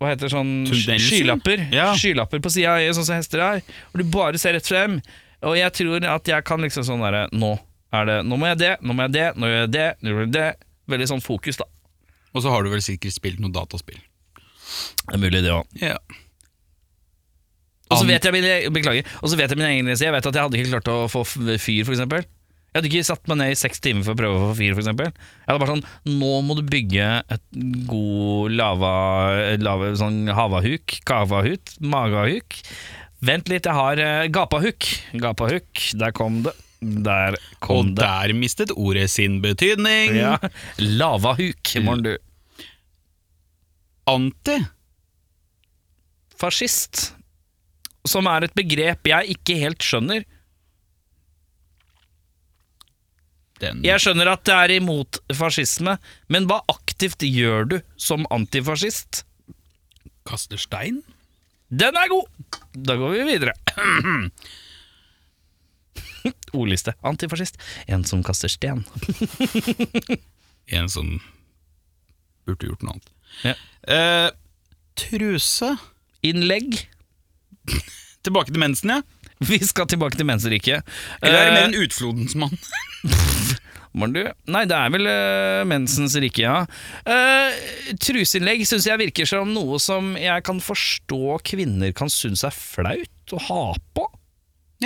Speaker 1: Hva heter det, sånn
Speaker 2: Tendenser?
Speaker 1: Skylapper.
Speaker 2: Ja.
Speaker 1: Skylapper på sida av øyet, sånn som hester har. Hvor du bare ser rett frem. Og jeg tror at jeg kan liksom sånn derre Nå er det Nå må jeg det, nå må jeg det, nå gjør jeg det, nå gjør jeg det. Veldig sånn fokus, da.
Speaker 2: Og så har du vel sikkert spilt noe dataspill.
Speaker 1: Det er mulig, det òg.
Speaker 2: Ja.
Speaker 1: Og så vet jeg min, beklager, og så vet jeg min egen grense. Jeg vet at jeg hadde ikke klart å få f- fyr, for eksempel. Jeg hadde ikke satt meg ned i seks timer for å prøve å få fyr, for eksempel. Jeg hadde bare sånn Nå må du bygge et god lava, lava sånn havahuk, kavahut, magahuk. Vent litt, jeg har eh, gapahuk. Gapahuk, der kom det. Der
Speaker 2: Og
Speaker 1: kom det.
Speaker 2: der mistet ordet sin betydning.
Speaker 1: Ja. Lavahuk, morn du.
Speaker 2: Anti.
Speaker 1: Fascist. Som er et begrep jeg ikke helt skjønner.
Speaker 2: Den.
Speaker 1: Jeg skjønner at det er imot fascisme, men hva aktivt gjør du som antifascist?
Speaker 2: Kaster stein?
Speaker 1: Den er god! Da går vi videre. Ordliste. Antifascist. En som kaster sten.
Speaker 2: En som burde gjort noe annet.
Speaker 1: Ja.
Speaker 2: Eh, truse.
Speaker 1: Innlegg.
Speaker 2: Tilbake til mensen, ja.
Speaker 1: Vi skal tilbake til menseriket.
Speaker 2: Eller er det mer en utflodens mann?
Speaker 1: Var det du? Nei, det er vel eh, mensens rike, ja. Eh, truseinnlegg syns jeg virker som noe som jeg kan forstå kvinner kan synes er flaut å ha på.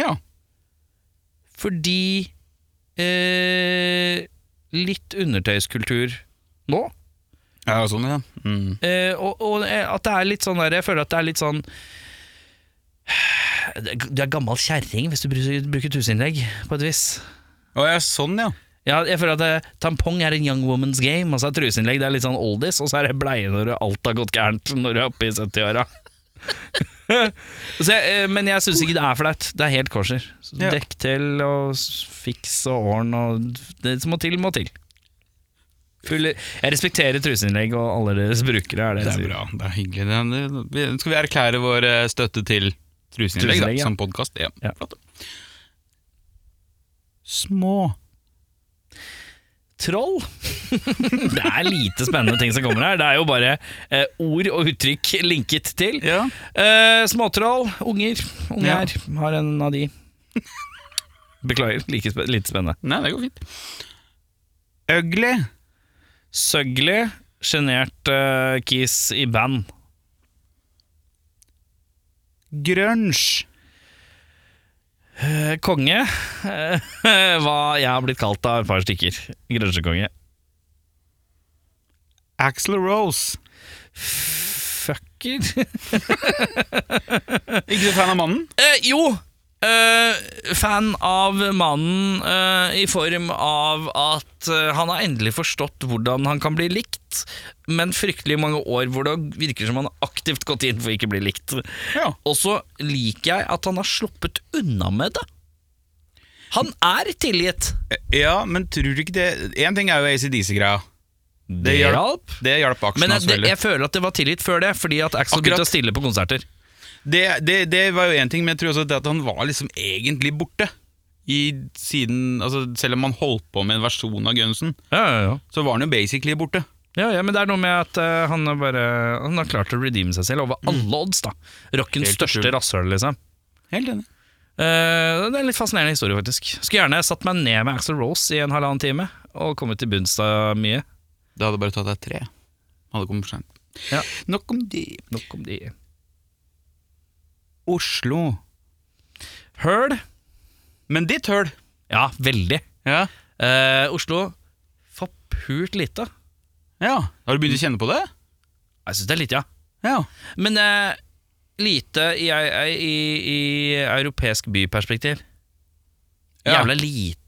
Speaker 2: ja.
Speaker 1: Fordi eh, Litt undertøyskultur nå.
Speaker 2: Ja, sånn, ja. Mm.
Speaker 1: Eh, og, og eh, at det er litt sånn der, Jeg føler at det er litt sånn Du er gammel kjerring hvis du bruker bruker truseinnlegg, på et vis.
Speaker 2: Å, ja, sånn, ja.
Speaker 1: Ja, jeg føler at eh, tampong er en young woman's game, og så er truseinnlegg det er litt sånn oldies, og så er det bleie når alt har gått gærent når du er oppe i 70-åra. Så jeg, eh, men jeg syns ikke det er flaut. Det er helt korser. Så
Speaker 2: Ja.
Speaker 1: Dekk til og s- fiks og ordn og Det som må til, må til. Full, jeg respekterer truseinnlegg og alle deres brukere, er det jeg
Speaker 2: Det er
Speaker 1: sier.
Speaker 2: bra. Det er hyggelig. Det er, det, vi- skal vi erklære vår eh, støtte til Truseinnlegg da,
Speaker 1: Truseinnlegg, ja.
Speaker 2: som podkast? Ja.
Speaker 1: Ja.
Speaker 2: Flott. Små.
Speaker 1: Troll? det er lite spennende ting som kommer her. Det er jo bare eh, ord og uttrykk linket til.
Speaker 2: Ja.
Speaker 1: Eh, småtroll, unger. Unge
Speaker 2: Ja.
Speaker 1: her har en av de. Beklager, like spe lite spennende.
Speaker 2: Nei, det går fint. Ugly.
Speaker 1: Søgli, sjenert eh, kis i band.
Speaker 2: Grunge.
Speaker 1: Eh, konge, eh, hva jeg har blitt kalt av et par stykker. Grønsjekonge.
Speaker 2: Axel Rose.
Speaker 1: Fucker.
Speaker 2: Ikke så fan av mannen?
Speaker 1: Eh, jo, eh, fan av mannen eh, i form av at eh, han har endelig forstått hvordan han kan bli likt, men fryktelig mange år hvor det virker som han har aktivt gått inn for ikke å bli likt.
Speaker 2: Ja.
Speaker 1: Og så liker jeg at han har sluppet unna med det. Han er tilgitt.
Speaker 2: Ja, men tror du ikke det Én ting er jo ACDC-greia.
Speaker 1: Det hjalp.
Speaker 2: Det hjalp Aksel
Speaker 1: Men
Speaker 2: hans
Speaker 1: jeg,
Speaker 2: veldig.
Speaker 1: jeg føler at det var tilgitt før det, fordi at Axel begynte
Speaker 2: Akkurat.
Speaker 1: å stille på konserter.
Speaker 2: Det, det, det var jo én ting, men jeg tror også det at han var liksom egentlig borte. I siden, altså Selv om han holdt på med en versjon av Gunsen,
Speaker 1: Ja, ja, ja.
Speaker 2: så var han jo basically borte.
Speaker 1: Ja, ja, men det er noe med at eh, han, har bare, han har klart å redeeme seg selv over alle odds, da. Rockens
Speaker 2: Helt
Speaker 1: største
Speaker 2: utrolig.
Speaker 1: rasshøl, liksom.
Speaker 2: Helt enig.
Speaker 1: Eh, det er en litt fascinerende historie, faktisk. Skulle gjerne satt meg ned med Axel Rose i en halvannen time, og kommet til bunns av mye.
Speaker 2: Det hadde bare tatt deg tre. Hadde kommet for sent.
Speaker 1: Ja.
Speaker 2: Nok om det.
Speaker 1: Nok om de
Speaker 2: Oslo.
Speaker 1: Høl?
Speaker 2: Men ditt høl
Speaker 1: Ja, veldig.
Speaker 2: ja.
Speaker 1: Eh, Oslo forpult lite.
Speaker 2: ja. Har du begynt å kjenne på det?
Speaker 1: Jeg syns det er lite, ja.
Speaker 2: Ja.
Speaker 1: Men eh, lite i, i, i, i europeisk byperspektiv.
Speaker 2: Ja.
Speaker 1: Jævla lite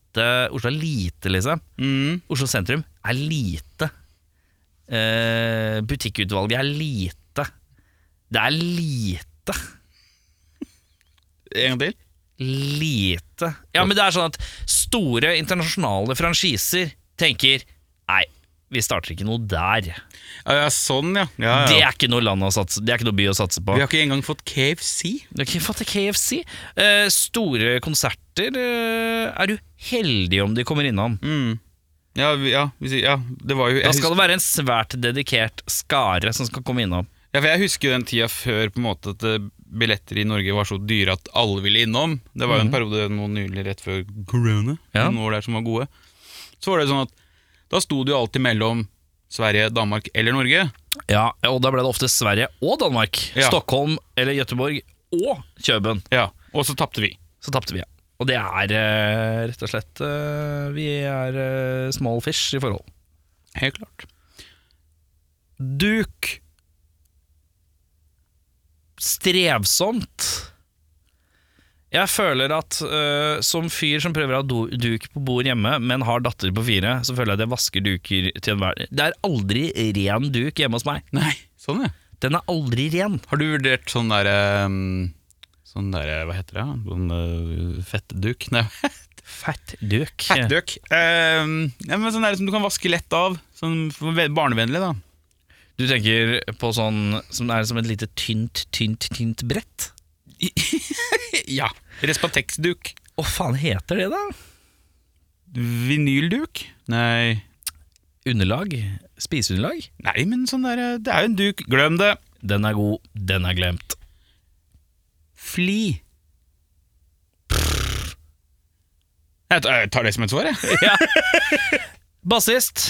Speaker 1: Oslo er lite, liksom.
Speaker 2: Mm.
Speaker 1: Oslo sentrum er lite. Eh, butikkutvalget er lite. Det er lite.
Speaker 2: En gang til?
Speaker 1: Lite. Ja, men det er sånn at store internasjonale franchiser tenker Nei, vi starter ikke noe der.
Speaker 2: Ja, ja, sånn, ja. ja, ja.
Speaker 1: Det er ikke noe land å satse Det er ikke noe by å satse på.
Speaker 2: Vi har ikke engang fått KFC.
Speaker 1: Du har ikke fått til KFC. Eh, store konserter eh, er du heldig om de kommer innom.
Speaker 2: Mm. Ja, vi, ja, vi, sier- ja, det var jo jeg
Speaker 1: Da skal det være en svært dedikert skare som skal komme innom.
Speaker 2: Ja, for Jeg husker jo den tida før på en måte at eh, billetter i Norge var så dyre at alle ville innom. Det var jo en periode nå nylig rett før corona,
Speaker 1: Ja.
Speaker 2: noen år der som var gode. Så var det sånn at da sto det jo alltid mellom Sverige, Danmark eller Norge.
Speaker 1: Ja, Og da ble det ofte Sverige og Danmark.
Speaker 2: Ja.
Speaker 1: Stockholm eller Gøteborg og Kjøben.
Speaker 2: Ja, Og så tapte vi.
Speaker 1: Så tapte vi. ja. Og det er eh, rett og slett eh, Vi er eh, small fish i forhold.
Speaker 2: Helt klart.
Speaker 1: Duk. Strevsomt. Jeg føler at eh, som fyr som prøver å ha do- duk på bord hjemme, men har datter på fire, så føler jeg at jeg vasker duker til enhver Det er aldri ren duk hjemme hos meg.
Speaker 2: Nei, sånn ja.
Speaker 1: Den er aldri ren.
Speaker 2: Har du vurdert sånn derre Sånn derre, hva heter det? Sånn eh, fettduk? Nei,
Speaker 1: Fett duk.
Speaker 2: fettduk. ja, men sånn der som du kan vaske lett av. Sånn barnevennlig, da.
Speaker 1: Du tenker på sånn som er som et lite tynt, tynt, tynt brett?
Speaker 2: Ja. Respatex-duk.
Speaker 1: Hva faen heter det, da?
Speaker 2: Vinylduk? Nei.
Speaker 1: Underlag? Spiseunderlag?
Speaker 2: Nei, men sånn der, det er jo en duk. Glem det.
Speaker 1: Den er god, den er glemt.
Speaker 2: Fli. Jeg tar- jeg tar det som et svar, jeg.
Speaker 1: Bassist.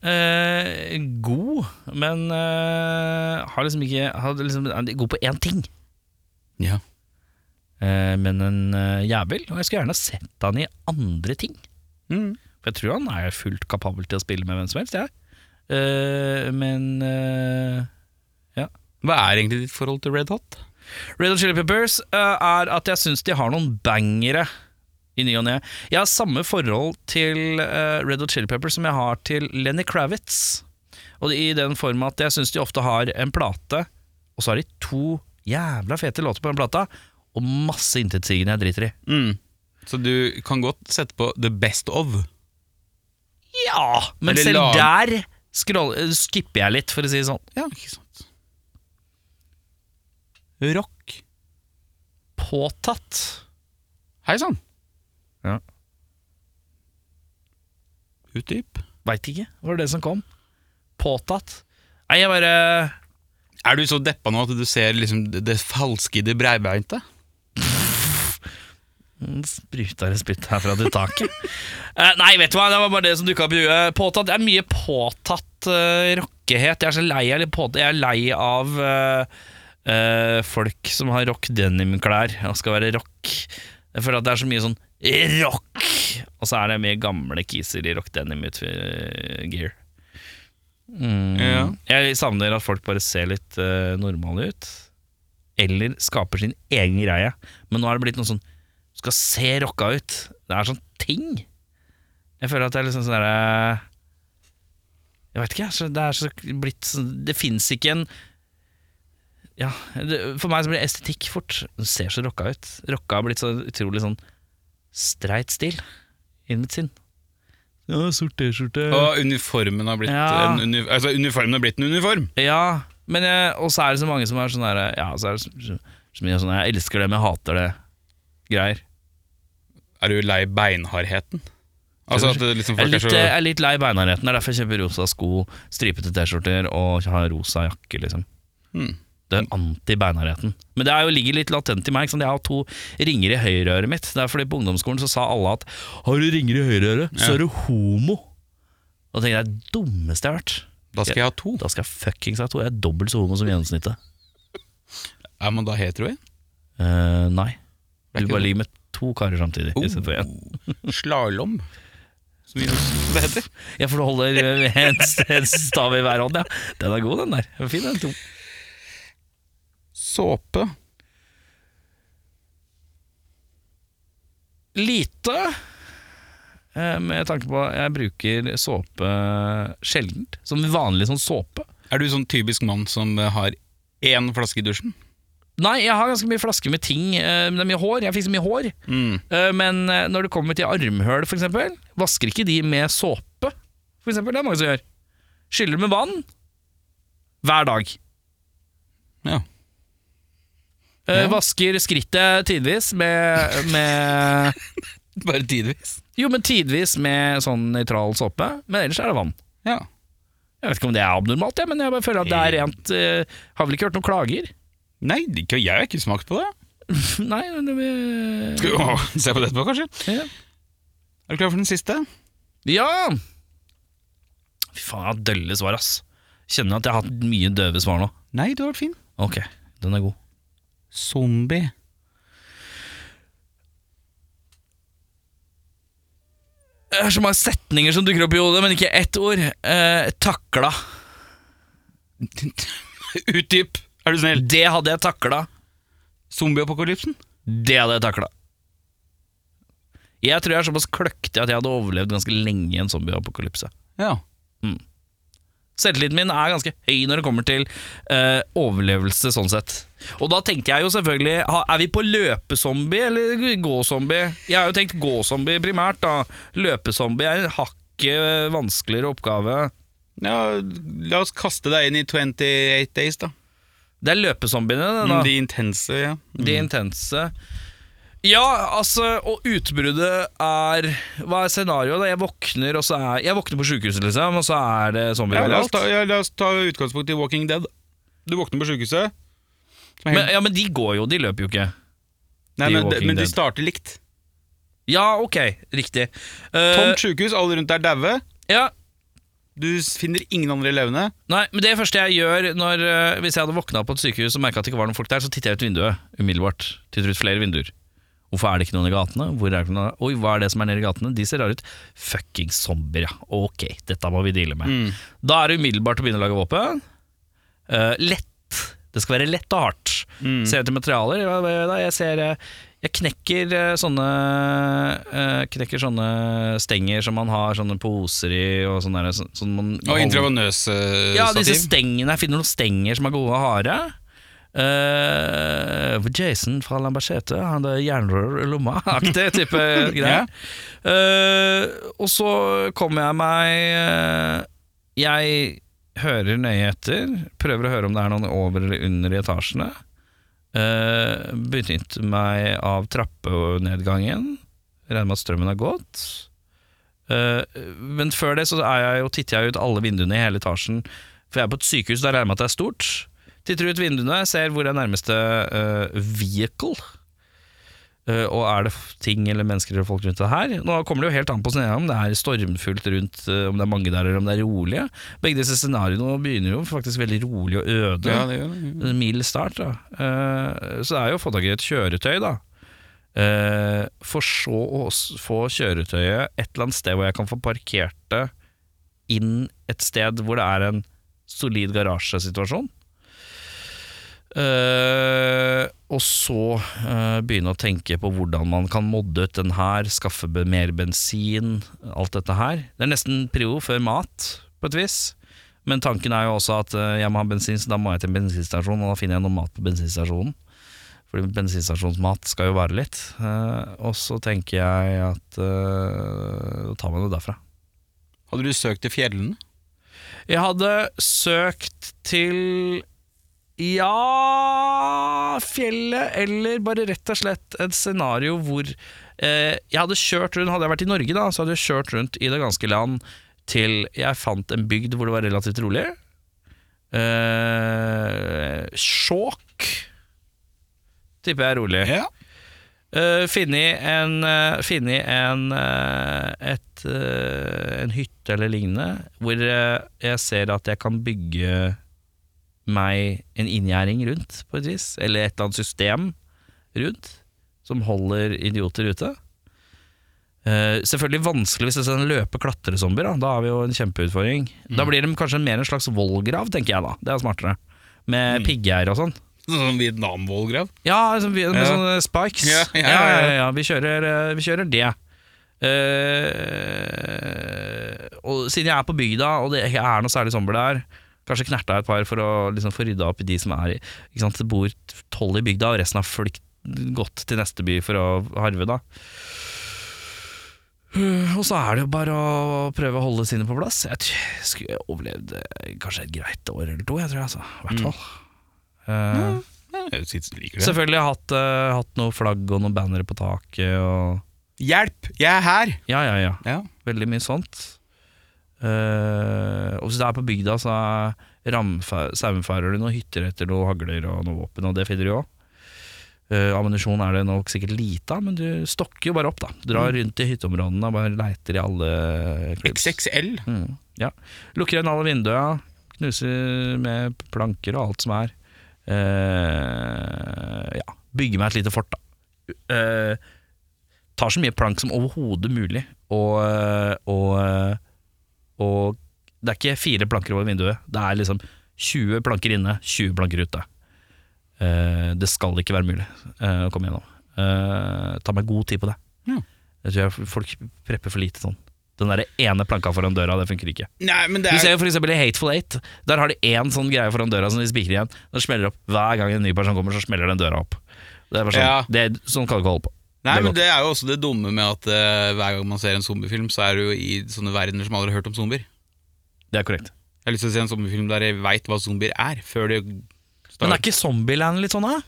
Speaker 1: Eh, god, men eh, har liksom ikke har liksom, er God på én ting.
Speaker 2: Ja.
Speaker 1: Eh, men en eh, jævel. Og jeg skulle gjerne sett han i andre ting.
Speaker 2: Mm.
Speaker 1: For jeg tror han er fullt kapabel til å spille med hvem som helst. jeg. Eh, men eh,
Speaker 2: Hva er egentlig ditt forhold til Red Hot?
Speaker 1: Red Hot Chili Peppers eh, er at jeg syns de har noen bangere i ny og ne. Jeg har samme forhold til eh, Red Hot Chili Peppers som jeg har til Lenny Kravitz. Og I den form at jeg syns de ofte har en plate, og så har de to jævla fete låter på den plata, og masse intetsigende jeg driter i.
Speaker 2: Mm. Så du kan godt sette på The Best Of.
Speaker 1: Ja, men
Speaker 2: Eller
Speaker 1: selv
Speaker 2: lag-
Speaker 1: der scroll, eh, skipper jeg litt, for å si det sånn.
Speaker 2: Ja, ikke sant. Rock.
Speaker 1: Påtatt.
Speaker 2: Hei sann.
Speaker 1: Ja.
Speaker 2: Utdyp.
Speaker 1: Veit ikke, var det det som kom? Påtatt. Nei, jeg bare
Speaker 2: Er du så deppa nå at du ser liksom det, det falske i det breibeinte?
Speaker 1: Mm, Spruta det spytt her fra det taket. Eh, nei, vet du hva, det var bare det som dukka opp i huet. Påtatt, det er mye påtatt eh, rockehet. Jeg er så lei av, litt påtatt. Jeg er lei av eh, eh, folk som har rock denim-klær og skal være rock. Jeg føler at det er så mye sånn rock, og så er det mye gamle kiser i rock denim-gear. Mm.
Speaker 2: Ja.
Speaker 1: Jeg savner at folk bare ser litt eh, normale ut. Eller skaper sin egen greie. Men nå er det blitt noe sånn skal se rocka ut. Det er sånn ting. Jeg føler at det er liksom sånn derre Jeg veit ikke, jeg. så Det er så blitt sånn Det fins ikke en Ja, det, for meg så blir det estetikk fort. Det ser så rocka ut. Rocka har blitt så utrolig sånn streit stil i mitt sinn. Ja, sort T-skjorte.
Speaker 2: Og uniformen har blitt,
Speaker 1: Mm. Ja.
Speaker 2: en, uni altså, uniformen har blitt en uniform.
Speaker 1: Ja, men jeg, og så er det så mange som er sånn her Ja, så er det så, så, så mye sånn Jeg elsker det, men jeg hater det. Greier.
Speaker 2: Er du lei beinhardheten? Altså at det liksom
Speaker 1: Jeg er
Speaker 2: folk
Speaker 1: litt,
Speaker 2: er
Speaker 1: eh,
Speaker 2: så
Speaker 1: jeg er litt lei beinhardheten. Det er derfor jeg kjøper rosa sko, stripete T-skjorter og har rosa jakke, liksom.
Speaker 2: Hmm.
Speaker 1: Det er anti-beinhardheten. Men det er jo, ligger litt latent i meg. Ikke sant? Jeg har to ringer i høyreøret mitt. Det er fordi på ungdomsskolen så sa alle at har du ringer i høyreøret, så
Speaker 2: Ja.
Speaker 1: er du homo. Og da tenkte jeg det dummeste jeg har hørt.
Speaker 2: Da skal jeg ha to.
Speaker 1: Da skal jeg fuckings ha to. Jeg er dobbelt så homo som gjennomsnittet.
Speaker 2: Er man da hetero? igjen?
Speaker 1: Eh, nei.
Speaker 2: er
Speaker 1: Du
Speaker 2: ikke
Speaker 1: bare
Speaker 2: det.
Speaker 1: ligger med to karer samtidig.
Speaker 2: Oh.
Speaker 1: istedenfor én.
Speaker 2: Slalåm, som vi- som det heter.
Speaker 1: Ja, for du holder eh, en, st- en stav i hver hånd, ja. Den er god, den der. Den er Fin, den.
Speaker 2: Såpe.
Speaker 1: Lite, eh, med tanke på at jeg bruker såpe sjeldent. Som vanlig sånn såpe.
Speaker 2: Er du sånn typisk mann som eh, har én flaske i dusjen?
Speaker 1: Nei, jeg har ganske mye flasker med ting. eh, men Det er mye hår. Jeg fikk så mye hår.
Speaker 2: Mm.
Speaker 1: Eh, Men eh, når det kommer til armhøl, f.eks., vasker ikke de med såpe. For eksempel, det er mange som gjør. Skyller med vann hver dag.
Speaker 2: Ja.
Speaker 1: Eh,
Speaker 2: Ja.
Speaker 1: Vasker skrittet tidvis med, med
Speaker 2: Bare tidvis.
Speaker 1: Jo, men tidvis med sånn nøytral såpe, men ellers er det vann.
Speaker 2: Ja.
Speaker 1: Jeg vet ikke om det er abnormalt, jeg, men jeg bare føler at det er rent eh, Har vel ikke hørt noen klager?
Speaker 2: Nei, det- jeg har ikke smakt på det.
Speaker 1: Nei, men det
Speaker 2: Skal vi å, se på det etterpå, kanskje?
Speaker 1: Ja.
Speaker 2: Er du klar for den siste?
Speaker 1: Ja! Fy faen, jeg har hatt dølle svar, ass. Kjenner at jeg har hatt mye døve svar nå.
Speaker 2: Nei, du har vært fin.
Speaker 1: Ok, den er god.
Speaker 2: Zombie.
Speaker 1: Det er så mange setninger som dukker opp i hodet, men ikke ett ord. Eh, takla.
Speaker 2: Utdyp, er du snill.
Speaker 1: Det hadde jeg takla.
Speaker 2: Zombieapokalypsen.
Speaker 1: Det hadde jeg takla. Jeg tror jeg er såpass kløktig at jeg hadde overlevd ganske lenge i en zombieapokalypse.
Speaker 2: Ja.
Speaker 1: Selvtilliten min er ganske høy når det kommer til eh, overlevelse, sånn sett. Og da tenkte jeg jo selvfølgelig ha- Er vi på løpezombie eller gåzombie? Jeg har jo tenkt gåzombie primært, da. Løpezombie er en hakket eh, vanskeligere oppgave.
Speaker 2: ja. La oss kaste deg inn i 28 Days, da.
Speaker 1: Det er løpezombiene, det, da.
Speaker 2: Mm, De intense, ja.
Speaker 1: De intense. Ja, altså, og utbruddet er Hva er scenarioet? da? Jeg våkner og så er Jeg våkner på sjukehuset, liksom, og så er det zombier
Speaker 2: Ja, altså, la, oss
Speaker 1: overalt.
Speaker 2: ta, ja, la oss ta utgangspunkt i Walking Dead. Du våkner på sjukehuset. Som er
Speaker 1: Men,
Speaker 2: helt-
Speaker 1: ja, men de går jo, de løper jo ikke.
Speaker 2: Nei,
Speaker 1: de
Speaker 2: men,
Speaker 1: Walking
Speaker 2: men de
Speaker 1: Dead.
Speaker 2: starter likt.
Speaker 1: Ja, ok, riktig. Eh,
Speaker 2: Tomt sjukehus, alle rundt er daue.
Speaker 1: ja,
Speaker 2: Du s- finner ingen andre levende.
Speaker 1: nei, men Det første jeg gjør når, eh, hvis jeg hadde våkna på et sykehus og merka at det ikke var noen folk der, så titter jeg ut vinduet umiddelbart. Titter ut flere vinduer. Hvorfor er det ikke noen i gatene? Hvor er det ikke noen? Oi, hva er det som er nede i gatene? De ser rare ut. Fucking zombier, ja. Ok, dette må vi deale med. Da er det umiddelbart å begynne å lage våpen. Eh, lett. Det skal være lett og hardt. Ser jeg til materialer? hva- hva gjør Jeg, da? jeg ser eh, Jeg knekker eh, sånne eh, Knekker sånne stenger som man har sånne poser i, og sånne der, så, sånn man
Speaker 2: Og
Speaker 1: holder-
Speaker 2: intravenøs-stativ.
Speaker 1: Ja, disse stengene. Jeg finner noen stenger som er gode og harde. Eh, Jason fra Lambertsete, han der jernrør i lomma, aktig type greier. Eh, og så kommer jeg meg eh, Jeg hører nøye etter, prøver å høre om det er noen over eller under i etasjene. Uh, Benytter meg av trappenedgangen. Regner med at strømmen har gått. Eh, men før det så er jeg jo, titter jeg ut alle vinduene i hele etasjen. For jeg er på et sykehus, der regner jeg med at det er stort. Titter ut vinduene, ser hvor er nærmeste eh, vehicle. Eh, og er det f- ting eller mennesker eller folk rundt det her? Nå kommer det jo helt an på scenarioet, om det er stormfullt rundt, eh, om det er mange der eller om det er rolige. Begge disse scenarioene begynner jo faktisk veldig rolig og øde.
Speaker 2: Ja, det gjør det.
Speaker 1: En mild start, da. Eh, så det er jo å få tak i et kjøretøy, da. Eh, for så å s- få kjøretøyet et eller annet sted hvor jeg kan få parkert det inn et sted hvor det er en solid garasjesituasjon. Eh, og så eh, begynne å tenke på hvordan man kan modde ut den her, skaffe be- mer bensin, alt dette her. Det er nesten prio før mat, på et vis. Men tanken er jo også at eh, jeg må ha bensin, så da må jeg til en bensinstasjon, og da finner jeg noe mat på bensinstasjonen. Fordi bensinstasjonsmat skal jo vare litt. Eh, og så tenker jeg at eh, Da tar man det derfra.
Speaker 2: Hadde du søkt til fjellene?
Speaker 1: Jeg hadde søkt til ja fjellet, eller bare rett og slett et scenario hvor eh, jeg hadde kjørt rundt, hadde jeg vært i Norge da, så hadde jeg kjørt rundt i det ganske land til jeg fant en bygd hvor det var relativt rolig. Eh, Skjåk tipper jeg er rolig.
Speaker 2: Ja.
Speaker 1: Uh, Funnet en, eh, funnet en, eh, et, eh, en hytte eller lignende, hvor eh, jeg ser at jeg kan bygge meg en inngjerding rundt, på et vis. Eller et eller annet system rundt, som holder idioter ute. Eh, selvfølgelig vanskelig hvis det er en løpe-klatre-zombier. Da. da har vi jo en kjempeutfordring. Da blir de kanskje mer en slags vollgrav, tenker jeg da. Det er smartere. Med pigggjerd og sånn.
Speaker 2: Sånn Vietnam-vollgrav?
Speaker 1: Ja, altså, vi- med
Speaker 2: Ja.
Speaker 1: sånne spikes.
Speaker 2: Ja, ja, ja,
Speaker 1: ja,
Speaker 2: ja.
Speaker 1: ja, ja, Vi, kjører, eh, vi kjører det. Eh, og siden jeg er på bygda, og det ikke er noe særlig sommer der Kanskje knerta et par for å liksom, få rydda opp i de som er i ikke sant? Det bor tolv i bygda, og resten har flykt gått til neste by for å harve, da. Eh, Og så er det jo bare å prøve å holde sine på plass. Jeg t- skulle jeg overlevd eh, kanskje et greit år eller to, jeg tror jeg. Altså. I
Speaker 2: Mm.
Speaker 1: hvert fall. Eh,
Speaker 2: Jeg synes du liker det.
Speaker 1: Selvfølgelig har jeg hatt, eh, hatt noe flagg og noen bannere på taket og
Speaker 2: Hjelp! Jeg er her!
Speaker 1: Ja, ja, ja.
Speaker 2: Ja.
Speaker 1: Veldig mye sånt. Eh, og hvis det er på bygda, så er ramfa- saumfarer det noen hytter etter noen hagler og noe våpen, og det finner du jo òg. ammunisjon er det nok sikkert lite av, men du stokker jo bare opp, da. Drar rundt i hytteområdene og bare leiter i alle klubbs.
Speaker 2: XXL.
Speaker 1: Mm, ja. Lukker igjen alle vinduer, knuser med planker og alt som er. Eh, ja. Bygger meg et lite fort, da. Eh, tar så mye plank som overhodet mulig, og, eh, og, eh, og det er ikke fire planker over vinduet. Det er liksom 20 planker inne, 20 planker ute. Eh, det skal ikke være mulig eh, å komme gjennom. Eh, ta meg god tid på det.
Speaker 2: Ja.
Speaker 1: Jeg tror jeg folk prepper for lite sånn. Den der ene planka foran døra, det funker ikke.
Speaker 2: Nei, men det
Speaker 1: Du ser
Speaker 2: er
Speaker 1: jo for eksempel i Hateful Eight. Der har de én sånn greie foran døra som de spikrer igjen. Den smeller opp Hver gang en ny person kommer, så smeller den døra opp. Det er bare sånn,
Speaker 2: Ja.
Speaker 1: det, sånn kan du ikke holde på.
Speaker 2: Nei,
Speaker 1: det er
Speaker 2: men
Speaker 1: godt.
Speaker 2: det er jo også det dumme med at eh, hver gang man ser en zombiefilm, så er du jo i sånne verdener som aldri har hørt om zombier.
Speaker 1: Det er korrekt.
Speaker 2: Jeg har lyst til å se en zombiefilm der jeg veit hva zombier er, før det
Speaker 1: Men er
Speaker 2: starter.
Speaker 1: ikke Zombieland litt sånn, da?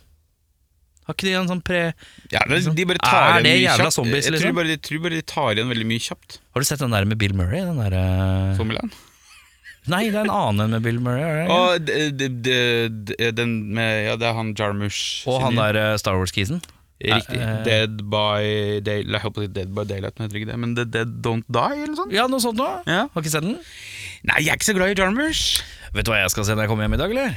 Speaker 1: Har ikke de en sånn pre...
Speaker 2: Ja, det, liksom, de bare
Speaker 1: Er
Speaker 2: tar
Speaker 1: det
Speaker 2: igjen mye
Speaker 1: jævla
Speaker 2: kjapt.
Speaker 1: zombies,
Speaker 2: jeg tror
Speaker 1: liksom?
Speaker 2: bare, de, tror bare de tar igjen veldig mye kjapt.
Speaker 1: Har du sett den der med Bill Murray? Den der, eh,
Speaker 2: Zombieland.
Speaker 1: Nei, det er en annen enn med Bill Murray. er det ikke?
Speaker 2: Og d- d- d- d- den med Ja, det er han Jarmusch.
Speaker 1: Og
Speaker 2: sin
Speaker 1: han
Speaker 2: nye-
Speaker 1: der eh, Star Wars-kisen.
Speaker 2: Riktig.
Speaker 1: Eh, eh.
Speaker 2: Dead by Daylight. Jeg holdt på å si Dead by Daylight, men jeg heter ikke det. Men The Dead Don't Die, eller noe sånt?
Speaker 1: Ja, noe sånt nå.
Speaker 2: Ja.
Speaker 1: Har ikke sett den?
Speaker 2: Nei, jeg er ikke så glad i Jarmusch.
Speaker 1: Vet du hva jeg skal se når jeg kommer hjem i dag, eller?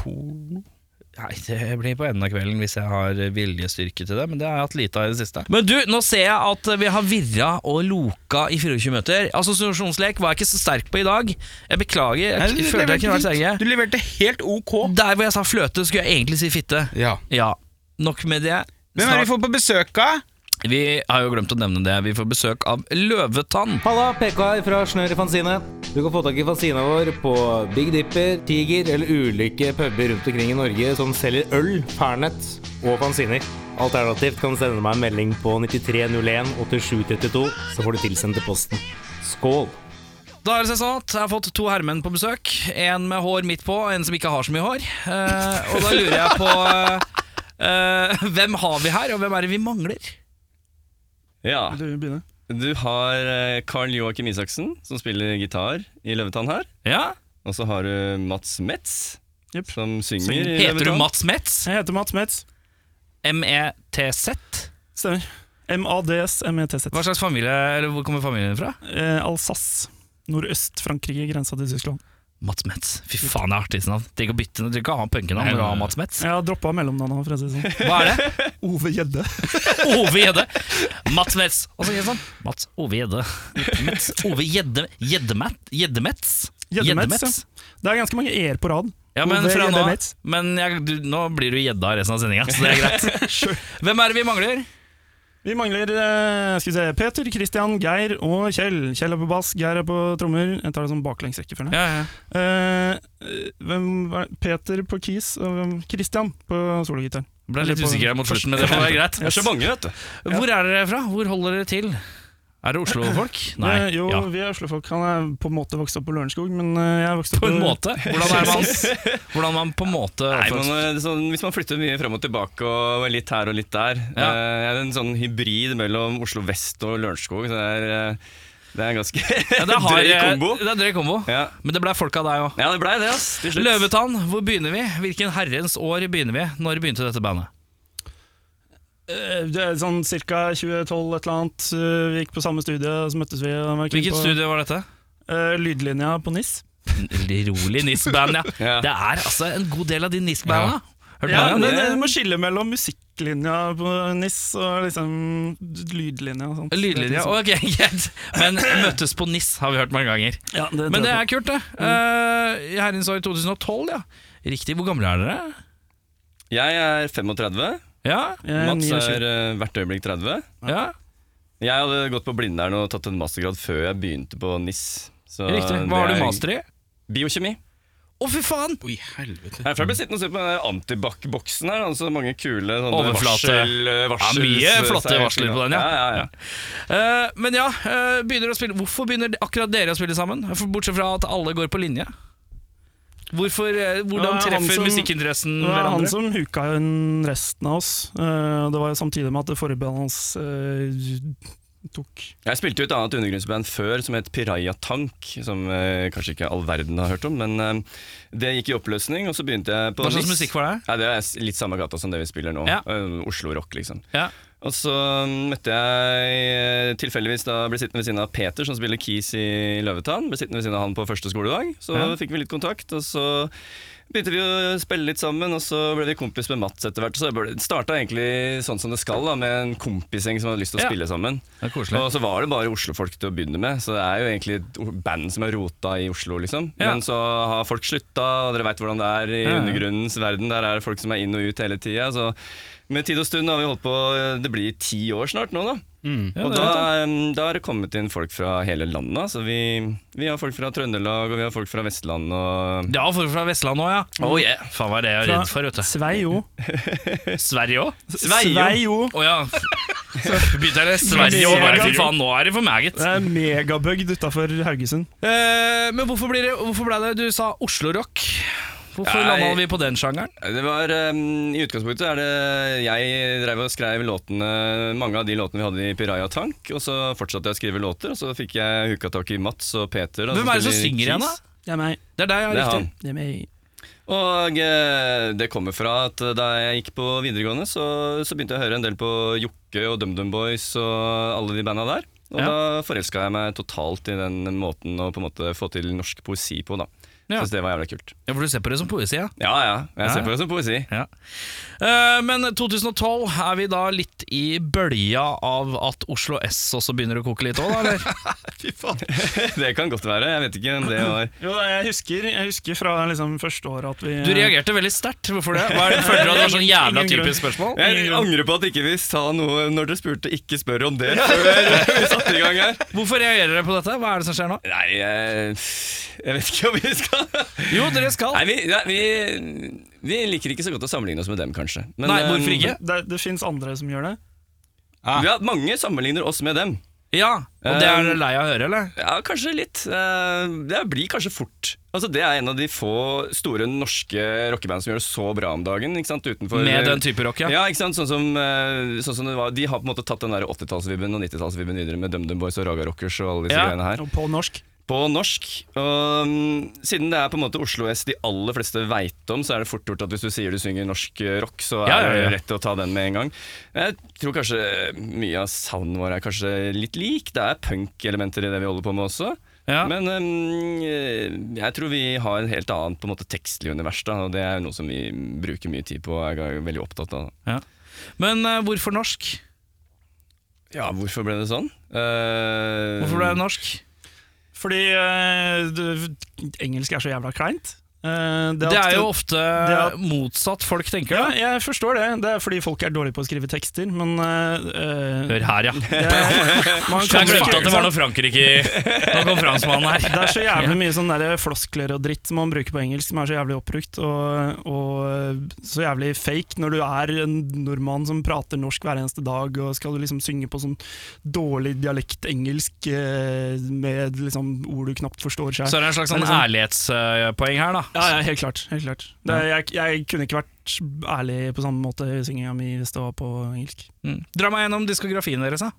Speaker 2: Porno.
Speaker 1: Nei, det blir på enden av kvelden hvis jeg har viljestyrke til det, men det har jeg hatt lite av i det siste. Men du, nå ser jeg at vi har virra og loka i 24 møter. Assosiasjonslek var jeg ikke så sterk på i dag. Jeg beklager, jeg,
Speaker 2: Nei, du
Speaker 1: følte jeg kunne vært
Speaker 2: leverte helt-
Speaker 1: sterkere.
Speaker 2: Du leverte helt ok.
Speaker 1: Der hvor jeg sa fløte, skulle jeg egentlig si fitte.
Speaker 2: Ja.
Speaker 1: Ja, nok med det.
Speaker 2: Hvem er det vi får på besøk av?
Speaker 1: Snart- vi har jo glemt å nevne det. Vi får besøk av Løvetann.
Speaker 6: Halla, PK her fra Snør i Fanzine. Du kan få tak i fanzina vår på Big Dipper, Tiger eller ulike puber rundt omkring i Norge som selger øl, pernett og fanziner. Alternativt kan du sende meg en melding på 9301 8732, så får du tilsendt til posten. Skål!
Speaker 1: Da er det seg sånn at jeg har fått to herremenn på besøk. En med hår midt på, en som ikke har så mye hår. Eh, og da lurer jeg på eh, Hvem har vi her, og hvem er det vi mangler?
Speaker 7: Ja. Du har eh, Karl Joakim Isaksen, som spiller gitar i Løvetann her.
Speaker 1: Ja,
Speaker 7: Og så har du Mats Metz, som synger
Speaker 3: Synger.
Speaker 7: i
Speaker 1: Heter du
Speaker 7: Løvetann.
Speaker 1: Mats Metz? E
Speaker 3: Jeg heter Mats Metz.
Speaker 1: M-E-T-Z?
Speaker 3: Stemmer. M-A-D-S-M-E-T-Z.
Speaker 1: Hva slags familie, eller hvor kommer familien din fra?
Speaker 3: Eh, Alsace. Nordøst-Frankrike, grensa til Tyskland.
Speaker 1: Mats Metz. Fy faen, det er artig navn. Tenk å bytte navn. Du ikke ha punkenavn når du har Mats Metz.
Speaker 3: Jeg har droppa mellomnavnet, for å si det sånn.
Speaker 1: Hva er det?
Speaker 3: Ove Gjedde.
Speaker 1: Ove Gjedde. Mats Metz. Hva sier jeg sånn? Mats Ove Gjedde. Metz. Ove Gjedde Gjeddemet- Gjeddemetz?
Speaker 3: Gjeddemetz, ja. Det er ganske mange e-er på rad.
Speaker 1: Ja, men
Speaker 3: Ove
Speaker 1: fra nå,
Speaker 3: Gjeddemetz.
Speaker 1: men jeg, du, nå blir du gjedda resten av sendinga, så det er greit. Hvem er det vi mangler?
Speaker 3: Vi mangler eh, skal vi se, Peter, Christian, Geir og Kjell. Kjell er på bass, Geir er på trommer. Jeg tar det som baklengs rekkefølge.
Speaker 1: Ja, ja.
Speaker 3: Eh, hvem var Peter på keys og hvem? Christian på sologitar.
Speaker 1: Ble litt usikker mot slutten, men det får være greit.
Speaker 7: Det er så mange, vet du.
Speaker 1: Hvor er dere fra? Hvor holder dere til? Er det Oslo-folk? Nei.
Speaker 3: Eh, jo,
Speaker 1: Ja.
Speaker 3: vi er Oslo-folk. Han er på en måte vokst opp på Lørenskog, men eh, jeg vokste opp
Speaker 1: På en måte. Hvordan er man, hvordan man på en måte
Speaker 7: Nei, man, eh, sånn, Hvis man flytter mye frem og tilbake og er litt her og litt der
Speaker 1: Ja.
Speaker 7: eh, Jeg er en sånn hybrid mellom Oslo vest og Lørenskog. så Det er, eh, det er en ganske
Speaker 1: ja, det, har, eh,
Speaker 7: drøy kombo.
Speaker 1: det er drøy kombo.
Speaker 7: Ja.
Speaker 1: Men det ble folk av deg òg.
Speaker 7: ja, det blei det, ass. Til slutt.
Speaker 1: Løvetann, hvor begynner vi? Hvilken herrens år begynner vi? Når begynte dette bandet?
Speaker 3: Eh, Det er sånn ca. 2012 et eller annet. Eh, Vi gikk på samme studie, og så møttes vi. og var keen
Speaker 1: Hvilket
Speaker 3: på-
Speaker 1: studio var dette?
Speaker 3: Eh, Lydlinja på NIS.
Speaker 1: Rolig NIS-band, ja.
Speaker 7: Ja.
Speaker 1: Det er altså en god del av de NIS-banda. Hørt
Speaker 3: Ja,
Speaker 1: mange
Speaker 3: men
Speaker 1: av dem?
Speaker 3: eh, Du må skille mellom musikklinja på NIS og liksom lydlinja og sånt.
Speaker 1: Lydlinja. Ok,
Speaker 3: og
Speaker 1: greit. Men møttes på NIS har vi hørt mange ganger.
Speaker 3: ja, det tror
Speaker 1: Men det
Speaker 3: jeg
Speaker 1: er kult, det. Eh, herrens år 2012, ja. Riktig. Hvor gamle er dere?
Speaker 7: Jeg er 35.
Speaker 1: Ja?
Speaker 3: på. Jeg er
Speaker 7: Mats
Speaker 3: 29.
Speaker 7: er eh, hvert øyeblikk 30.
Speaker 1: ja.
Speaker 7: Jeg hadde gått på Blindern og tatt en mastergrad før jeg begynte på NIS. Så
Speaker 1: Riktig.
Speaker 7: det
Speaker 1: Hva har
Speaker 7: er
Speaker 1: du master i?
Speaker 7: Biokjemi.
Speaker 1: Å, fy faen!
Speaker 2: Oi, helvete.
Speaker 7: Herfra ble sittende og se på den der antibac-boksen her. Altså mange kule sånne
Speaker 1: Overflate.
Speaker 7: varsel, eh, varsels- eh,
Speaker 1: Ja, mye flotte
Speaker 7: seier-
Speaker 1: varsler på den, ja.
Speaker 7: ja, ja, ja.
Speaker 1: Eh, men ja, eh, begynner å spille Hvorfor begynner akkurat dere å spille sammen? For- Bortsett fra at alle går på linje. Hvorfor, eh,
Speaker 3: Ja,
Speaker 1: hvordan
Speaker 3: han
Speaker 1: treffer
Speaker 3: som-
Speaker 1: musikkinteressen
Speaker 3: Det var han
Speaker 1: hverandre?
Speaker 3: som huka inn resten av oss. Eh, og Det var jo samtidig med at det forbandet hans eh, tok
Speaker 7: Jeg spilte jo et annet undergrunnsband før som het Piraya Tank, som eh, kanskje ikke all verden har hørt om, men eh, det gikk i oppløsning, og så begynte jeg på
Speaker 1: Hva slags
Speaker 7: NIS.
Speaker 1: musikk var det?
Speaker 7: Nei, det er s- litt samme gata som det vi spiller nå.
Speaker 1: Ja.
Speaker 7: Eh, Oslo Rock, liksom.
Speaker 1: Ja.
Speaker 7: Og så mm, møtte jeg eh, tilfeldigvis da ble sittende ved siden av Peter, som spiller keys i Løvetann. Ble sittende ved siden av han på første skoledag. Så fikk vi litt kontakt, og så begynte vi å spille litt sammen. Og så ble vi kompis med Mats etter hvert. Så det starta egentlig sånn som det skal, da, med en kompisgjeng som hadde lyst til å
Speaker 1: Ja.
Speaker 7: spille sammen.
Speaker 1: Det er koselig.
Speaker 7: Og så var det bare Oslo-folk til å begynne med, så det er jo egentlig et o- band som er rota i Oslo, liksom.
Speaker 1: Ja.
Speaker 7: Men så har folk slutta, og dere veit hvordan det er i
Speaker 1: ja.
Speaker 7: undergrunnens verden. Der er det folk som er inn og ut hele tida. Så med tid og stund har vi holdt på Det blir ti år snart nå, da.
Speaker 1: Ja,
Speaker 7: og
Speaker 1: det er sant,
Speaker 7: da,
Speaker 1: da.
Speaker 7: em, da er det kommet inn folk fra hele landet. Så vi, vi har folk fra Trøndelag, og vi har folk fra Vestland og
Speaker 1: Ja, folk fra Vestlandet òg, ja. Oh, yeah. Faen, hva er det jeg er redd for, vet du.
Speaker 3: Sveio.
Speaker 1: Sverige òg?
Speaker 3: Sveio.
Speaker 1: Å ja. Begynte jeg å Sverige òg, bare fy faen, nå er det for meget.
Speaker 3: Det er megabygd utafor Haugesund.
Speaker 1: Eh, men hvorfor, blir det, hvorfor ble det Du sa Oslo-rock. Hvorfor
Speaker 7: Nei.
Speaker 1: landa vi på den sjangeren?
Speaker 7: Det var, em, I utgangspunktet er det Jeg drev og skrev låtene mange av de låtene vi hadde i Piraya Tank. Og så fortsatte jeg å skrive låter, og så fikk jeg huka tak i Mats og Peter. da,
Speaker 1: Hvem er Altså, det som
Speaker 7: spiller
Speaker 1: synger igjen, da?
Speaker 7: Keys.
Speaker 3: Det er meg.
Speaker 1: Det er deg, ja.
Speaker 7: Det er
Speaker 1: Riktig.
Speaker 7: han.
Speaker 3: Det er meg.
Speaker 7: Og eh, det kommer fra at da jeg gikk på videregående, så, så begynte jeg å høre en del på Jokke og DumDum Boys og alle de banda der. Og
Speaker 1: Ja.
Speaker 7: da forelska jeg meg totalt i den måten å på en måte få til norsk poesi på, da.
Speaker 1: Ja.
Speaker 7: Syns det var jævla kult.
Speaker 1: Ja, for du ser på det som poesi, ja.
Speaker 7: Ja ja, jeg
Speaker 1: Ja.
Speaker 7: ser på det som poesi.
Speaker 1: Ja. Eh, Men 2012 er vi da litt i bølja av at Oslo S også begynner å koke litt òg, da? Eller?
Speaker 7: Fy faen. det kan godt være. Jeg vet ikke om det var
Speaker 3: Jo, da, jeg husker, jeg husker fra liksom første året at vi
Speaker 1: Du reagerte veldig sterkt. Hvorfor det? Hva er det Føler du at det var sånn jævla
Speaker 3: Ingen grunn.
Speaker 1: typisk spørsmål?
Speaker 7: Jeg angrer på at ikke vi sa noe når dere spurte 'ikke spør om det' før vi satte i gang her.
Speaker 1: Hvorfor reagerer dere på dette? Hva er det som skjer nå?
Speaker 7: Nei, jeg, jeg vet ikke om vi skal
Speaker 1: Jo, dere skal.
Speaker 7: Nei, vi, nei, vi, vi liker ikke så godt å sammenligne oss med dem, kanskje. Men,
Speaker 1: Nei, hvorfor
Speaker 7: eh,
Speaker 1: ikke?
Speaker 3: Det, det fins andre som gjør det.
Speaker 7: Vi har, mange sammenligner oss med dem.
Speaker 1: Ja, Og det er dere lei av å høre, eller?
Speaker 7: Ja, kanskje litt. Eh, Det blir kanskje fort. Altså, det er en av de få store norske rockeband som gjør det så bra om dagen. Ikke sant? Utenfor,
Speaker 3: eh,
Speaker 1: Med den type rock, ja.
Speaker 7: Ja, ikke sant? Sånn som, eh, sånn som det var. De har på en måte tatt den der 80-tallsvibben og 90-tallsvibben videre med DumDum Boys og Raga Rockers og alle disse
Speaker 1: Ja.
Speaker 7: greiene her.
Speaker 3: Og på norsk.
Speaker 7: På norsk. Og mm, siden det er på en måte Oslo S de aller fleste veit om, så er det fort gjort at hvis du sier du synger norsk eh, rock, så er
Speaker 1: Ja, ja, ja.
Speaker 7: det rett å ta den med en gang. Jeg tror kanskje mye av soundene våre er kanskje litt lik. Det er punk-elementer i det vi holder på med også.
Speaker 1: Ja.
Speaker 7: Men mm, eh, jeg tror vi har en helt annet på en måte tekstlig univers, da, og det er jo noe som vi bruker mye tid på og er veldig opptatt av. Da.
Speaker 1: Men eh, hvorfor norsk?
Speaker 7: Ja, hvorfor ble det sånn? Eh,
Speaker 3: Um,
Speaker 1: Hvorfor ble det norsk?
Speaker 3: Fordi eh, du, engelsk er så jævla kleint. Eh,
Speaker 1: Det
Speaker 3: at-
Speaker 1: er jo ofte
Speaker 3: at-
Speaker 1: motsatt folk tenker.
Speaker 3: ja,
Speaker 1: da.
Speaker 3: jeg forstår det. Det er fordi folk er dårlige på å skrive tekster, men eh, eh,
Speaker 1: Hør her, ja.
Speaker 3: det er- man
Speaker 1: Jeg
Speaker 3: kommer
Speaker 1: glemte
Speaker 3: ikke-
Speaker 1: at det var noe Frankrike i- Nå kom franskmannen her.
Speaker 3: Det er så jævlig mye sånn der floskler og dritt som man bruker på engelsk, som er så jævlig oppbrukt, og, og så jævlig fake når du er en nordmann som prater norsk hver eneste dag, og skal du liksom synge på sånn dårlig dialektengelsk eh, med liksom ord du knapt forstår
Speaker 1: Så
Speaker 3: sjøl.
Speaker 1: er det en slags
Speaker 3: Det
Speaker 1: sånn
Speaker 3: er liksom-
Speaker 1: ærlighetspoeng her, da.
Speaker 3: Ja, ja, helt klart. Helt klart. Det, er- jeg, jeg kunne ikke vært ærlig på samme måte i synginga mi hvis det var på engelsk.
Speaker 1: Mm. Dra meg gjennom diskografien deres, da.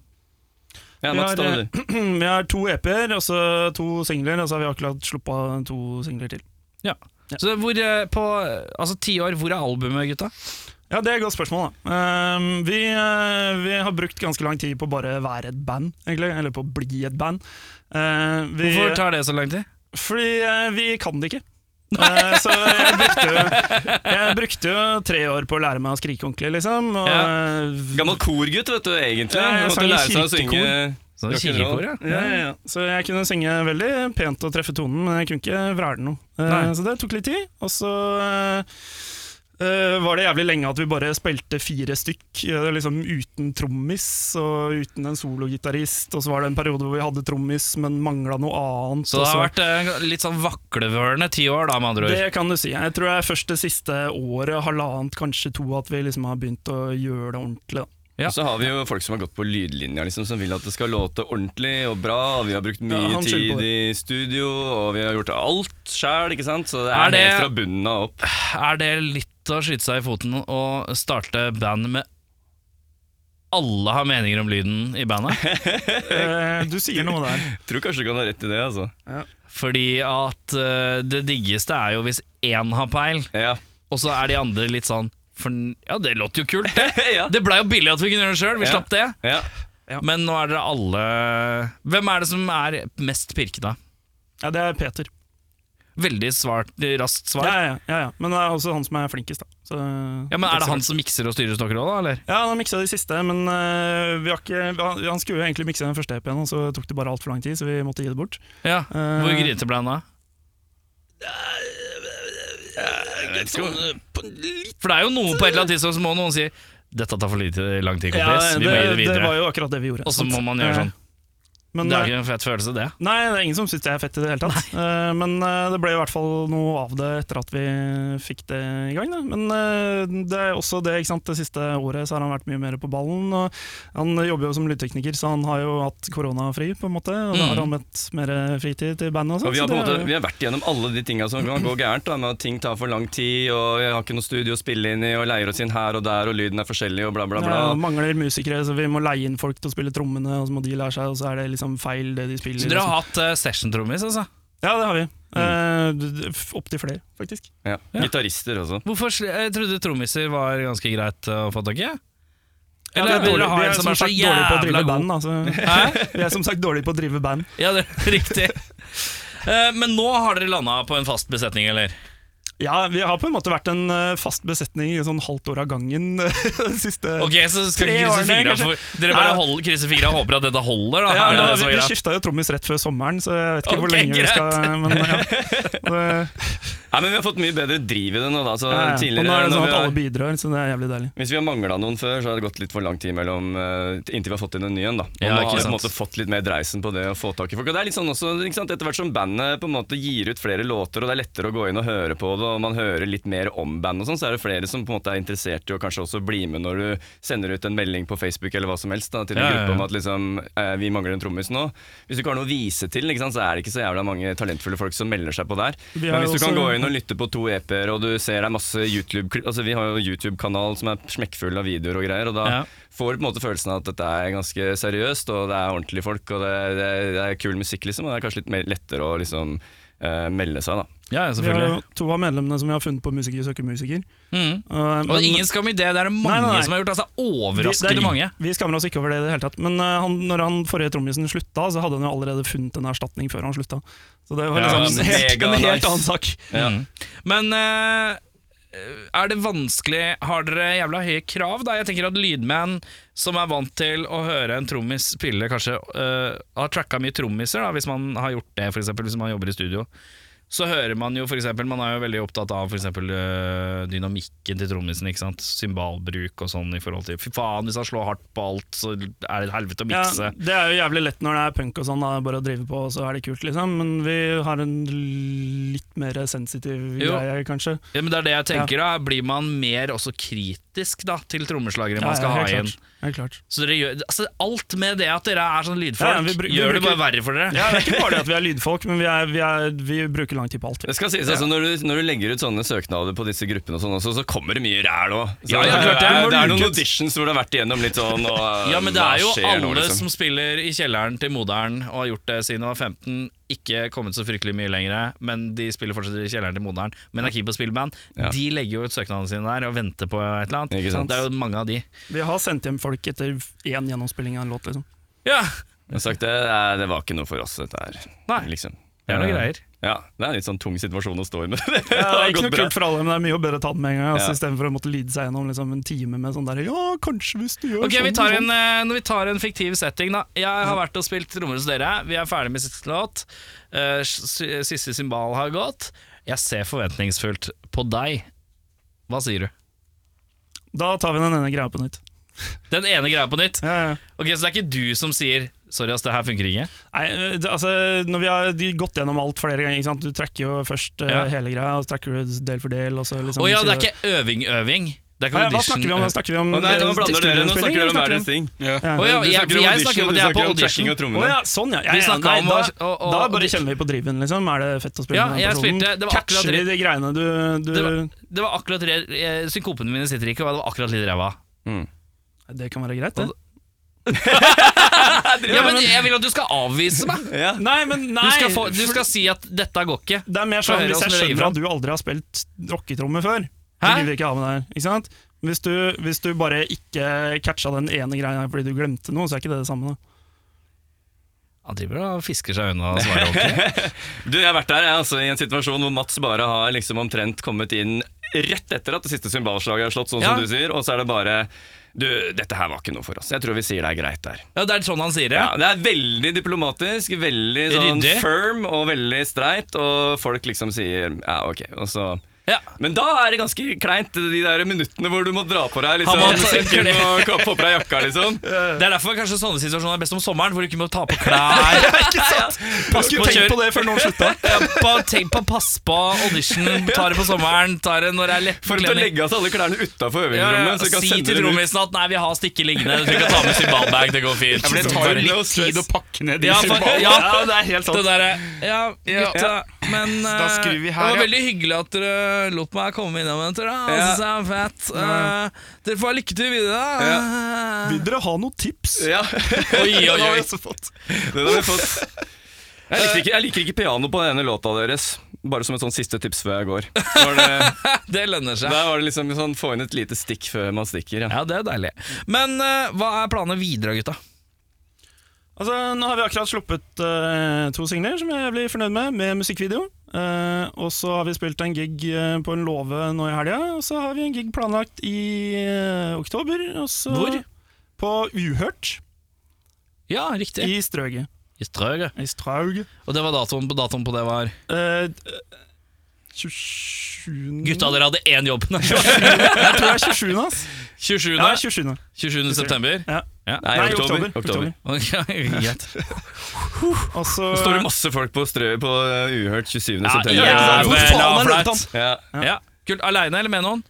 Speaker 7: Ja,
Speaker 3: Vi
Speaker 7: Mats,
Speaker 3: har,
Speaker 7: da var
Speaker 3: eh,
Speaker 7: det du.
Speaker 3: Vi har to EP-er, og så to singler, og så har vi akkurat sluppet to singler til.
Speaker 1: Så hvor, eh, på altså, ti år, hvor er albumet, gutta?
Speaker 3: Ja, Det er et godt spørsmål. da. Ehm, vi, eh, vi har brukt ganske lang tid på bare å være et band, egentlig. Eller på å bli et band. Eh, vi,
Speaker 1: Hvorfor tar det så lang tid?
Speaker 3: Fordi eh, vi kan det ikke. Eh, så jeg brukte, jo, jeg brukte jo tre år på å lære meg å skrike ordentlig, liksom. Og, eh,
Speaker 7: Gammel korgutt, vet du, egentlig.
Speaker 3: Ja, jeg
Speaker 7: Han Måtte
Speaker 3: sang i
Speaker 7: lære seg å synge
Speaker 3: kirkekor.
Speaker 1: Sånn
Speaker 7: rock and
Speaker 1: kirkekor,
Speaker 7: roll.
Speaker 1: ja.
Speaker 7: Ja, ja, ja.
Speaker 3: Så jeg kunne synge veldig pent og treffe tonen, men jeg kunne ikke vræle noe. Eh,
Speaker 1: Nei.
Speaker 3: så det tok litt tid. Og så eh, eh, var det jævlig lenge at vi bare spilte fire stykk, eh, liksom uten trommis og uten en sologitarist. Og så var det en periode hvor vi hadde trommis, men mangla noe annet.
Speaker 1: Så det
Speaker 3: og
Speaker 1: har vært eh, litt sånn vaklevørende ti år, da, med andre ord.
Speaker 3: det kan du si. Jeg tror det er først det siste året, halvannet, kanskje to, at vi liksom har begynt å gjøre det ordentlig. Da.
Speaker 1: Ja.
Speaker 7: Så har vi jo folk som har gått på lydlinja, liksom, som vil at det skal låte ordentlig og bra. og Vi har brukt
Speaker 3: Ja,
Speaker 7: mye
Speaker 3: han skylder på
Speaker 7: tid i studio, og vi har gjort alt sjæl, ikke sant. Så det er,
Speaker 1: Er det-
Speaker 7: helt fra bunnen av opp.
Speaker 1: Er det litt å skyte seg i foten å starte band med alle har meninger om lyden i bandet?
Speaker 3: Eh, du sier noe der.
Speaker 7: Tror kanskje du kan ha rett i det, altså.
Speaker 1: Fordi at eh, det diggeste er jo hvis én har peil,
Speaker 7: Ja.
Speaker 1: og så er de andre litt sånn for, Ja, det låter jo kult.
Speaker 7: ja.
Speaker 1: Det blei jo billig at vi kunne gjøre det sjøl, vi
Speaker 7: Ja.
Speaker 1: slapp det.
Speaker 7: ja.
Speaker 1: Men nå er dere alle Hvem er det som er mest pirkete?
Speaker 3: Ja, det er Peter.
Speaker 1: Veldig svart, eh, raskt
Speaker 3: Ja,
Speaker 1: svar.
Speaker 3: ja, ja, ja. Men det er også han som er flinkest, da. Så,
Speaker 1: Ja, men Er det han som mikser og styrer stokker òg, da? eller?
Speaker 3: Ja, han har miksa de siste, men eh, vi har ikke, vi har- han skulle jo egentlig mikse den første EP-en, og så tok det bare altfor lang tid, så vi måtte gi det bort.
Speaker 1: Ja,
Speaker 3: Eh,
Speaker 1: Hvor grinete ble han da? For det er jo noe på et eller annet tidspunkt så må noen si 'Dette tar for lite lang tid, kompis. Vi må gi det
Speaker 3: det, det
Speaker 1: videre'.
Speaker 3: var jo akkurat det vi gjorde.
Speaker 1: Og så
Speaker 3: sant?
Speaker 1: må man gjøre
Speaker 3: Eh,
Speaker 1: sånn.
Speaker 3: Men,
Speaker 1: Det er
Speaker 3: eh,
Speaker 1: ikke en fet følelse, det.
Speaker 3: Nei, det er ingen som syns det er fett i det hele tatt. Eh, men eh, det ble i hvert fall noe av det etter at vi fikk det i gang. Da. Men eh, det er også det, ikke sant. Det siste året så har han vært mye mer på ballen. Og han jobber jo som lydtekniker, så han har jo hatt koronafri, på en måte. Og da
Speaker 1: Mm.
Speaker 3: har han mett mer fritid til bandet
Speaker 7: Og
Speaker 3: og sånt.
Speaker 7: vi har,
Speaker 3: så
Speaker 7: på en
Speaker 3: det er
Speaker 7: måte,
Speaker 3: jo-
Speaker 7: vi har vært gjennom alle de tinga som kan gå gærent. Da, med at Ting tar for lang tid, og jeg har ikke noe studio å spille inn i, og leier oss inn her og der, og lyden er forskjellig, og bla, bla, bla.
Speaker 3: Ja, mangler musikere, så vi må leie inn folk til å spille trommene, og så må de lære seg, og så er det liksom feil det de spiller.
Speaker 1: Så dere
Speaker 3: og
Speaker 1: har hatt uh, session-trommis, altså?
Speaker 3: sånn. Ja, det har vi. Mm. Opptil flere, faktisk.
Speaker 7: Ja. Gitarister også.
Speaker 1: Hvorfor, sli- jeg trodde trommiser var ganske greit eh, å få tak i.
Speaker 3: Ja,
Speaker 1: Eller
Speaker 3: det er
Speaker 1: vil dere
Speaker 3: dårlig-
Speaker 1: ha
Speaker 3: vi
Speaker 1: en
Speaker 3: er
Speaker 1: som
Speaker 3: som
Speaker 1: er så
Speaker 3: sagt dårlige på å
Speaker 1: jævla
Speaker 3: drive
Speaker 1: god?
Speaker 3: band. da, så-
Speaker 1: Hæ?
Speaker 3: Vi er som sagt dårlige på å drive band.
Speaker 1: Ja, det er riktig. Eh, Men nå har dere landa på en fast besetning, eller?
Speaker 3: Ja, vi har på en måte vært en eh, fast besetning i sånn halvt år av gangen det siste
Speaker 1: Ok, så skal
Speaker 3: Tre
Speaker 1: ikke
Speaker 3: år
Speaker 1: krysse
Speaker 3: ned,
Speaker 1: fingra
Speaker 3: kanskje?
Speaker 1: for Dere bare
Speaker 3: Nei.
Speaker 1: holder, krysser fingra og håper at dette holder, da?
Speaker 3: ja,
Speaker 1: Er det
Speaker 3: da,
Speaker 1: så
Speaker 3: Vi, vi
Speaker 1: greit?
Speaker 3: skifta jo trommis rett før sommeren, så jeg vet ikke hvor
Speaker 1: Ok,
Speaker 3: lenge vi
Speaker 1: greit.
Speaker 3: skal Men ja, det,
Speaker 7: Nei, men vi har fått mye bedre driv i det nå, da. Så
Speaker 3: ja, ja. Og
Speaker 7: tidligere
Speaker 3: nå er det
Speaker 7: når
Speaker 3: sånn
Speaker 7: vi
Speaker 3: at
Speaker 7: har-
Speaker 3: alle bidrar, så det er jævlig deilig.
Speaker 7: Hvis vi har mangla noen før, så har det gått litt for lang tid mellom, eh, inntil vi har fått inn en ny en. da. Og
Speaker 1: Ja,
Speaker 7: nå har
Speaker 1: ikke
Speaker 7: vi på en
Speaker 1: sant.
Speaker 7: måte fått litt mer dreisen på det å få tak i folk. Og det er litt sånn også, ikke sant, Etter hvert som bandet på en måte gir ut flere låter, og det er lettere å gå inn og høre på det, og man hører litt mer om bandet, og sånn, så er det flere som på en måte er interessert i å kanskje også bli med når du sender ut en melding på Facebook eller hva som helst da, til
Speaker 1: Ja,
Speaker 7: en
Speaker 1: ja, ja.
Speaker 7: gruppe om at liksom, eh, vi mangler en trommis nå. Hvis du ikke har noe å vise til, ikke sant, så er det ikke så jævla mange talentfulle folk som melder seg på der.
Speaker 3: Vi har
Speaker 7: Men hvis
Speaker 3: jo
Speaker 7: du kan gå
Speaker 3: også-
Speaker 7: inn og lytte på to EP-er, og du ser det er masse YouTube-klipp Altså Vi har jo YouTube-kanal som er smekkfull av videoer og greier, og da
Speaker 1: Ja.
Speaker 7: får du på en måte følelsen av at dette er ganske seriøst, og det er ordentlige folk, og det, det, det er kul musikk, liksom, og det er kanskje litt mer lettere å liksom eh, melde seg, da.
Speaker 1: Ja, ja,
Speaker 3: Vi har jo
Speaker 1: selvfølgelig.
Speaker 3: to av medlemmene som vi har funnet på Musiker søker musiker.
Speaker 1: Mm.
Speaker 3: Uh,
Speaker 1: Og ingen skam i det, det er det mange
Speaker 3: Nei, nei, nei.
Speaker 1: som har gjort. Altså
Speaker 3: Vi- det
Speaker 1: Overraskende
Speaker 3: er-
Speaker 1: mange.
Speaker 3: Vi skammer oss ikke over det i det hele tatt. Men eh, han, når han forrige trommisen slutta, så hadde han jo allerede funnet en erstatning før han slutta. Så det var
Speaker 1: Ja,
Speaker 3: liksom
Speaker 7: men
Speaker 3: helt,
Speaker 7: mega
Speaker 3: en helt
Speaker 7: nice.
Speaker 3: annen sak.
Speaker 7: Ja.
Speaker 1: Mm. Men eh, er det vanskelig Har dere jævla høye krav, da? Jeg tenker at lydmenn som er vant til å høre en trommis spille, kanskje eh, har tracka mye trommiser, da, hvis man har gjort det, f.eks. hvis man jobber i studio. så hører man jo for eksempel, man er jo veldig opptatt av for eksempel øh, dynamikken til trommisen, ikke sant? Symbalbruk og sånn i forhold til, fy faen, hvis han slår hardt på alt, så er det et helvete å
Speaker 3: Ja,
Speaker 1: mikse.
Speaker 3: det er jo jævlig lett når det er punk og sånn, da. bare å drive på, og så er det kult, liksom. Men vi har en litt mer sensitiv
Speaker 1: Jo.
Speaker 3: greie, kanskje.
Speaker 1: Ja, men det er det jeg tenker da, blir man mer også kritisk da, til trommeslagere man skal
Speaker 3: helt
Speaker 1: ha igjen.
Speaker 3: klart. Helt klart.
Speaker 1: Så dere gjør, altså alt med det at dere er sånn lydfolk,
Speaker 3: Ja, ja, vi bru- vi
Speaker 1: gjør det
Speaker 3: bruker-
Speaker 1: bare verre for dere.
Speaker 3: Ja, det er ikke bare det at vi er lydfolk, men vi, er, vi, er, vi bruker lang tid på alt.
Speaker 7: Det skal sies, altså, når, du, når du legger ut sånne søknader på disse gruppene, og sånn også, så kommer det mye ræl òg.
Speaker 1: Ja, ja, klart det.
Speaker 7: er,
Speaker 1: Må
Speaker 7: det er
Speaker 1: luke
Speaker 7: noen
Speaker 1: ut.
Speaker 7: auditions hvor det har vært igjennom litt sånn og,
Speaker 1: Ja, men det
Speaker 7: hva
Speaker 1: er jo
Speaker 7: skjer
Speaker 1: alle
Speaker 7: nå, liksom?
Speaker 1: som spiller i kjelleren til moderen og har gjort det siden de var 15, ikke kommet så fryktelig mye lenger, men de spiller fortsatt i kjelleren til moderen, men er keen på spillband.
Speaker 7: Ja.
Speaker 1: De legger jo ut søknadene sine der og venter på et eller annet.
Speaker 7: Ikke sant?
Speaker 1: Det er jo mange av de.
Speaker 3: Vi har sendt hjem folk etter én gjennomspilling av en låt, liksom.
Speaker 1: Ja,
Speaker 7: Jeg har sagt det, eh, det var ikke noe for oss, dette her.
Speaker 1: Nei.
Speaker 7: Liksom.
Speaker 1: det er noen
Speaker 7: Eh,
Speaker 1: greier.
Speaker 7: Ja, det er en litt sånn tung situasjon å stå i, men det,
Speaker 3: Ja, det er
Speaker 7: har
Speaker 3: ikke
Speaker 7: gått
Speaker 3: noe
Speaker 7: bra.
Speaker 3: kult for alle, men det er mye bedre å ta den med en gang. Altså,
Speaker 7: Ja.
Speaker 3: Istedenfor å måtte lide seg gjennom liksom, en time med sånn der Ja, kanskje hvis du gjør
Speaker 1: Ok,
Speaker 3: sånn
Speaker 1: vi tar
Speaker 3: og
Speaker 1: en,
Speaker 3: sånn.
Speaker 1: eh, Når vi tar en fiktiv setting, da. Jeg har vært og spilt trommer hos dere. Vi er ferdig med siste låt. Eh, s- Siste symbal har gått. Jeg ser forventningsfullt på deg. Hva sier du?
Speaker 3: Da tar vi den ene greia på nytt.
Speaker 1: Den ene greia på nytt.
Speaker 3: Ja, ja.
Speaker 1: Ok, Så det er ikke du som sier 'sorry, ass, det her funker ikke'?
Speaker 3: Nei, det, altså, når vi har de gått gjennom alt flere ganger ikke sant? Du trekker jo først eh,
Speaker 1: Ja.
Speaker 3: hele greia, og så trekker du del for del. Og så
Speaker 1: Å
Speaker 3: liksom,
Speaker 1: ja, det
Speaker 3: sier
Speaker 1: er
Speaker 3: du-
Speaker 1: ikke øving-øving? Det er ikke
Speaker 3: Nei, Hva
Speaker 1: audition?
Speaker 3: snakker vi om? Hva snakker vi om
Speaker 7: Å, nei, nå blander dere, nå
Speaker 3: studioinnspilling,
Speaker 7: snakker dere om
Speaker 3: eller
Speaker 7: hver deres ting.
Speaker 3: Ja.
Speaker 1: Å ja,
Speaker 7: Du
Speaker 1: jeg,
Speaker 7: snakker om
Speaker 1: jeg
Speaker 7: audition,
Speaker 1: snakker om at
Speaker 7: du
Speaker 1: jeg er på
Speaker 7: snakker om trekking
Speaker 1: audition.
Speaker 7: og trommene.
Speaker 3: Å ja, sånn ja. ja,
Speaker 1: Vi
Speaker 3: ja
Speaker 1: snakket
Speaker 3: nei,
Speaker 1: om
Speaker 3: da,
Speaker 1: å- å- å-
Speaker 3: da
Speaker 1: å-
Speaker 3: bare
Speaker 1: de-
Speaker 3: kjenner vi på driven, liksom. Er det fett å spille
Speaker 1: Ja,
Speaker 3: med
Speaker 1: jeg
Speaker 3: den personen?
Speaker 1: spilte- det var akkurat
Speaker 3: Catcher de
Speaker 1: det-
Speaker 3: de greiene du, du
Speaker 1: Det
Speaker 3: det,
Speaker 1: var, det var akkurat re- eh, Synkopene mine sitter ikke, og det var akkurat litt ræva.
Speaker 3: kan være greit, det.
Speaker 1: Ja, men jeg vil at du skal avvise meg!
Speaker 3: Nei, men nei!
Speaker 1: Du skal, få, du skal si at 'dette går ikke'.
Speaker 3: Det er mer
Speaker 1: Få
Speaker 3: sånn
Speaker 1: høre
Speaker 3: hvis jeg
Speaker 1: hvordan det gir
Speaker 3: skjønner
Speaker 1: fram.
Speaker 3: at du aldri har spilt rocketromme før, så
Speaker 1: Hæ?
Speaker 3: gidder vi ikke ha med deg. Ikke sant? Hvis du, hvis du bare ikke catcha den ene greia fordi du glemte noe, så er ikke det det samme. Da.
Speaker 1: Han driver og fisker seg unna og svarer ordentlig.
Speaker 7: Du, jeg har vært der jeg, altså, i en situasjon hvor Mats bare har liksom omtrent kommet inn rett etter at det siste symbalslaget er slått, sånn
Speaker 1: Ja.
Speaker 7: som du sier, og så er det bare du, dette her var ikke noe for oss. Jeg tror vi sier det er greit der.
Speaker 1: Ja, det er sånn han sier det.
Speaker 7: Ja, det er veldig diplomatisk, veldig sånn
Speaker 1: Ryddig.
Speaker 7: firm og veldig streit, og folk liksom sier ja, ok. Og så
Speaker 1: Ja.
Speaker 7: Men da er det ganske kleint, de der minuttene hvor du må dra på deg
Speaker 1: Han
Speaker 7: liksom,
Speaker 1: må ta-
Speaker 7: sekken og ka- få på deg jakka, liksom.
Speaker 1: Det er derfor kanskje sånne situasjoner er best om sommeren, hvor du ikke må ta på klær.
Speaker 7: Ikke sant?
Speaker 1: Pass på,
Speaker 3: tenkt
Speaker 1: på det før noen slutta. Ja, bare tenk på pass på audition, ta det på sommeren, ta det når det er lett
Speaker 7: For å
Speaker 1: bekledning.
Speaker 7: legge av seg alle klærne utafor
Speaker 1: Ja,
Speaker 7: øvingsrommet.
Speaker 1: ja,
Speaker 7: så vi kan
Speaker 1: si
Speaker 7: sende
Speaker 1: til
Speaker 7: dem ut.
Speaker 1: trommisen at 'nei, vi har stikke liggende', du trenger ikke å ta med symbalbag, det går fint.
Speaker 2: For det tar jo litt tid å pakke ned de
Speaker 1: Ja, for,
Speaker 2: symbalene.
Speaker 1: ja,
Speaker 3: det er helt
Speaker 1: det derre Ja, gutta, men
Speaker 2: Da skrur vi
Speaker 1: eh,
Speaker 2: her,
Speaker 1: Det var
Speaker 2: ja.
Speaker 1: veldig hyggelig at dere lot meg komme innom en tur. da. Jeg
Speaker 7: Ja.
Speaker 1: synes det er fett. Eh, dere får ha lykke til videre.
Speaker 7: Ja.
Speaker 3: Vil dere ha noen tips?
Speaker 7: Ja.
Speaker 1: Oi, oi,
Speaker 7: Den har
Speaker 1: oi.
Speaker 7: vi også fått. Jeg liker, ikke, jeg liker ikke piano på den ene låta deres. Bare som et sånn siste tips før jeg går. Var det,
Speaker 1: Det lønner seg.
Speaker 7: der var det liksom sånn få inn et lite stikk før man stikker. Ja.
Speaker 1: Ja, det er deilig. Men eh, hva er planene videre, gutta?
Speaker 3: Altså, nå har vi akkurat sluppet eh, to singler som jeg blir fornøyd med, med musikkvideo. Eh, og så har vi spilt en gig eh, på en låve nå i helga, og så har vi en gig planlagt i eh, oktober. Og så
Speaker 1: Hvor?
Speaker 3: På Uhørt
Speaker 1: Ja, riktig.
Speaker 3: i Strøget.
Speaker 1: I Strøget.
Speaker 3: I Straug.
Speaker 1: Og det var datoen på datoen på det var
Speaker 3: Eh, d- 27
Speaker 1: Gutta, dere hadde én jobb! Nei,
Speaker 3: Jeg tror det er 27, ass.
Speaker 1: 27.
Speaker 3: Ja, 27.
Speaker 1: 27. september.
Speaker 7: Nei,
Speaker 3: Nei,
Speaker 7: oktober. oktober.
Speaker 1: Ok, Greit.
Speaker 3: Og så
Speaker 7: Det står det masse folk på strøet på eh, Uhørt
Speaker 1: Ja,
Speaker 7: 27. september.
Speaker 1: jævla
Speaker 3: Hvor faen er
Speaker 1: flaut.
Speaker 3: Løvetann?
Speaker 7: Ja.
Speaker 1: Ja. Kult. Aleine eller med noen?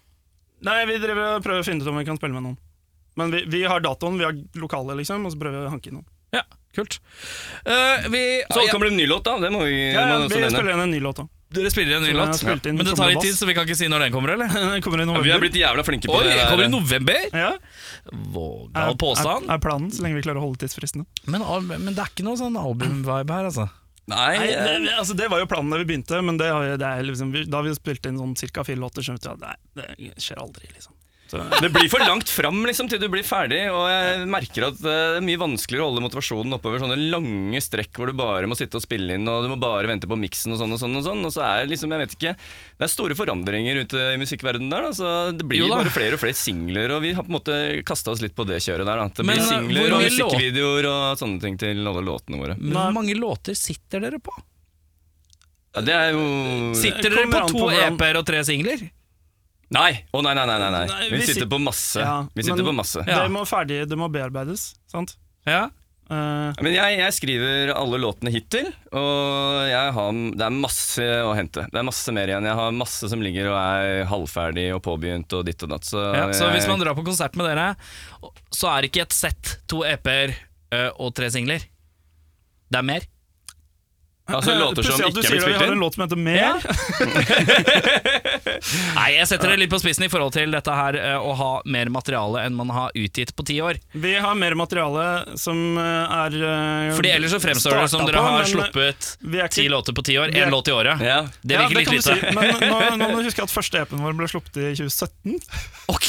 Speaker 3: Nei, vi driver og prøver å finne ut om vi kan spille med noen. Men vi, vi har datoen, vi har lokalet, liksom, og så prøver vi å hanke inn noen.
Speaker 1: Ja, kult. Eh, vi,
Speaker 7: Så
Speaker 1: ja,
Speaker 7: kommer det en ny låt, da. Det må vi
Speaker 3: Ja, ja,
Speaker 7: må
Speaker 3: vi
Speaker 7: også nevne.
Speaker 3: spiller inn en ny låt òg.
Speaker 1: dere spiller en ny
Speaker 3: Så jeg har
Speaker 1: låt.
Speaker 3: spilt inn
Speaker 1: Men det tar litt tid,
Speaker 3: trommebass.
Speaker 1: så vi kan ikke si når den kommer, eller?
Speaker 3: Den kommer i november.
Speaker 7: Vi har blitt jævla flinke på
Speaker 1: Oi,
Speaker 7: det. der.
Speaker 1: kommer i november?
Speaker 3: ja.
Speaker 1: Vågal påstand.
Speaker 3: Er, er planen, så lenge vi klarer å holde tidsfristene.
Speaker 1: Men, al- men det er ikke noe sånn albumvibe her, altså.
Speaker 7: Nei,
Speaker 3: Nei, det,
Speaker 7: eh,
Speaker 3: det- altså, det var jo planen da vi begynte, men det, har vi- det er liksom, vi, da har vi spilt inn sånn ca. fire låter, skjønte jeg at nei, det skjer aldri, liksom.
Speaker 7: Det blir for langt fram liksom, til du blir ferdig, og jeg merker at eh, det er mye vanskeligere å holde motivasjonen oppover sånne lange strekk hvor du bare må sitte og spille inn, og du må bare vente på miksen og sånn og sånn. Og sånn, og så er det liksom, jeg vet ikke, det er store forandringer ute i musikkverdenen der, da, så det blir
Speaker 1: Jo da.
Speaker 7: bare flere og flere singler, og vi har på en måte kasta oss litt på det kjøret der. Da. Det
Speaker 1: Men,
Speaker 7: blir
Speaker 1: eh, hvor
Speaker 7: singler og
Speaker 1: mye låt-
Speaker 7: musikkvideoer og sånne ting til alle låtene våre.
Speaker 1: Men Hvor mange låter sitter dere på?
Speaker 7: Ja, det er jo
Speaker 1: Sitter dere på
Speaker 8: Kommer an på
Speaker 1: to
Speaker 8: hvordan-
Speaker 1: EP-er og tre singler?
Speaker 7: Nei! Å nei, nei, nei, nei, nei.
Speaker 8: Nei,
Speaker 7: Vi
Speaker 8: vi
Speaker 7: sitter
Speaker 8: sit-
Speaker 7: på masse.
Speaker 8: Ja,
Speaker 7: Vi sitter
Speaker 8: men-
Speaker 7: på masse.
Speaker 1: Ja.
Speaker 8: Det må, ferdig, det må bearbeides, sant?
Speaker 1: Ja.
Speaker 8: Eh,
Speaker 7: Men jeg, jeg skriver alle låtene hittil, og jeg har, det er masse å hente. Det er masse mer igjen. Jeg har masse som ligger og er halvferdig og påbegynt og ditt og datt. Så,
Speaker 1: Ja, så
Speaker 7: jeg,
Speaker 1: hvis man drar på konsert med dere, så er det ikke et sett, to EP-er ø, og tre singler. Det er mer.
Speaker 7: altså, låter som
Speaker 8: pussig at du
Speaker 7: ikke
Speaker 8: sier at Vi
Speaker 7: er blitt spilt
Speaker 8: har en
Speaker 7: inn.
Speaker 8: låt som heter Mer.
Speaker 1: Ja. Nei, jeg setter det litt på spissen i forhold til dette her ø, å ha mer materiale enn man har utgitt på ti år.
Speaker 8: Vi har mer materiale som eh, er eh,
Speaker 1: Fordi ellers så fremstår det som
Speaker 8: starta
Speaker 1: dere
Speaker 8: på,
Speaker 1: har
Speaker 8: men eh,
Speaker 1: sluppet
Speaker 8: vi er ikke-
Speaker 1: ti låter på ti år.
Speaker 8: vi er-
Speaker 1: Én låt i året.
Speaker 7: Ja.
Speaker 1: Det
Speaker 8: Ja,
Speaker 1: virker
Speaker 8: kan
Speaker 1: litt
Speaker 8: du
Speaker 1: lite.
Speaker 8: Si. Men nå, nå må du huske at første EP-en vår ble sluppet i 2017.
Speaker 1: Ok,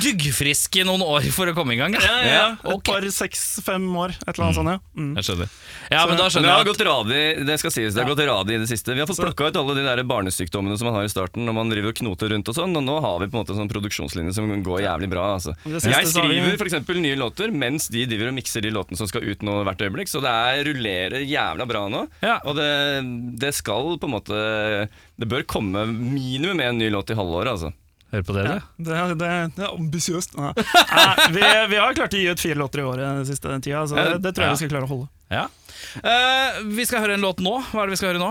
Speaker 1: Duggfrisk i noen år for å komme i gang. Ja,
Speaker 8: Et par seks-fem år, et eller annet sånt. Ja. Mm.
Speaker 1: Jeg skjønner. Ja, men da
Speaker 7: Men det
Speaker 1: skjønner
Speaker 7: har
Speaker 1: jeg at
Speaker 7: gått radig, det skal sies. Det har gått radig i det siste. Vi har fått
Speaker 8: Så-
Speaker 7: plukka ut alle de der barnesykdommene som man har i starten når man driver og knoter rundt og sånn, og nå har vi på en måte en sånn produksjonslinje som går jævlig bra. Altså.
Speaker 8: Det siste
Speaker 7: Jeg
Speaker 8: så har vi-
Speaker 7: skriver f.eks. nye låter mens de driver og mikser de låtene som skal ut nå hvert øyeblikk, så det er, rullerer jævla bra nå.
Speaker 1: Ja.
Speaker 7: Og det, det skal på en måte Det bør komme minimum en ny låt i halvåret, altså.
Speaker 1: Hør på det,
Speaker 8: Ja,
Speaker 1: du.
Speaker 8: det, er- det, er- det er ambisiøst. Nei. Nei, Vi, vi har klart å gi ut fire låter i året den siste tida, så det, det tror jeg vi skal klare å holde.
Speaker 1: Ja. Eh, vi skal høre en låt nå. Hva er det vi skal høre nå?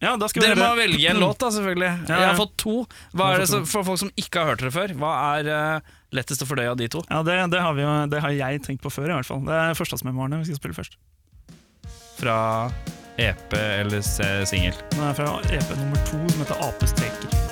Speaker 8: Ja, da skal vi
Speaker 1: Dere må
Speaker 8: høre-
Speaker 1: velge en låt, da, selvfølgelig.
Speaker 8: Ja, ja.
Speaker 1: Jeg har fått to. Hva
Speaker 8: har
Speaker 1: er det
Speaker 8: fått
Speaker 1: som,
Speaker 8: to.
Speaker 1: for folk som ikke har hørt dere før, hva er eh, lettest å fordøye av de to?
Speaker 8: Ja, det, det, har vi jo, det har jeg tenkt på før, i hvert fall. Det er førstehandsmemoarene vi skal spille først.
Speaker 1: Fra EP eller singel?
Speaker 8: Den er fra EP nummer to, som heter Apestreker.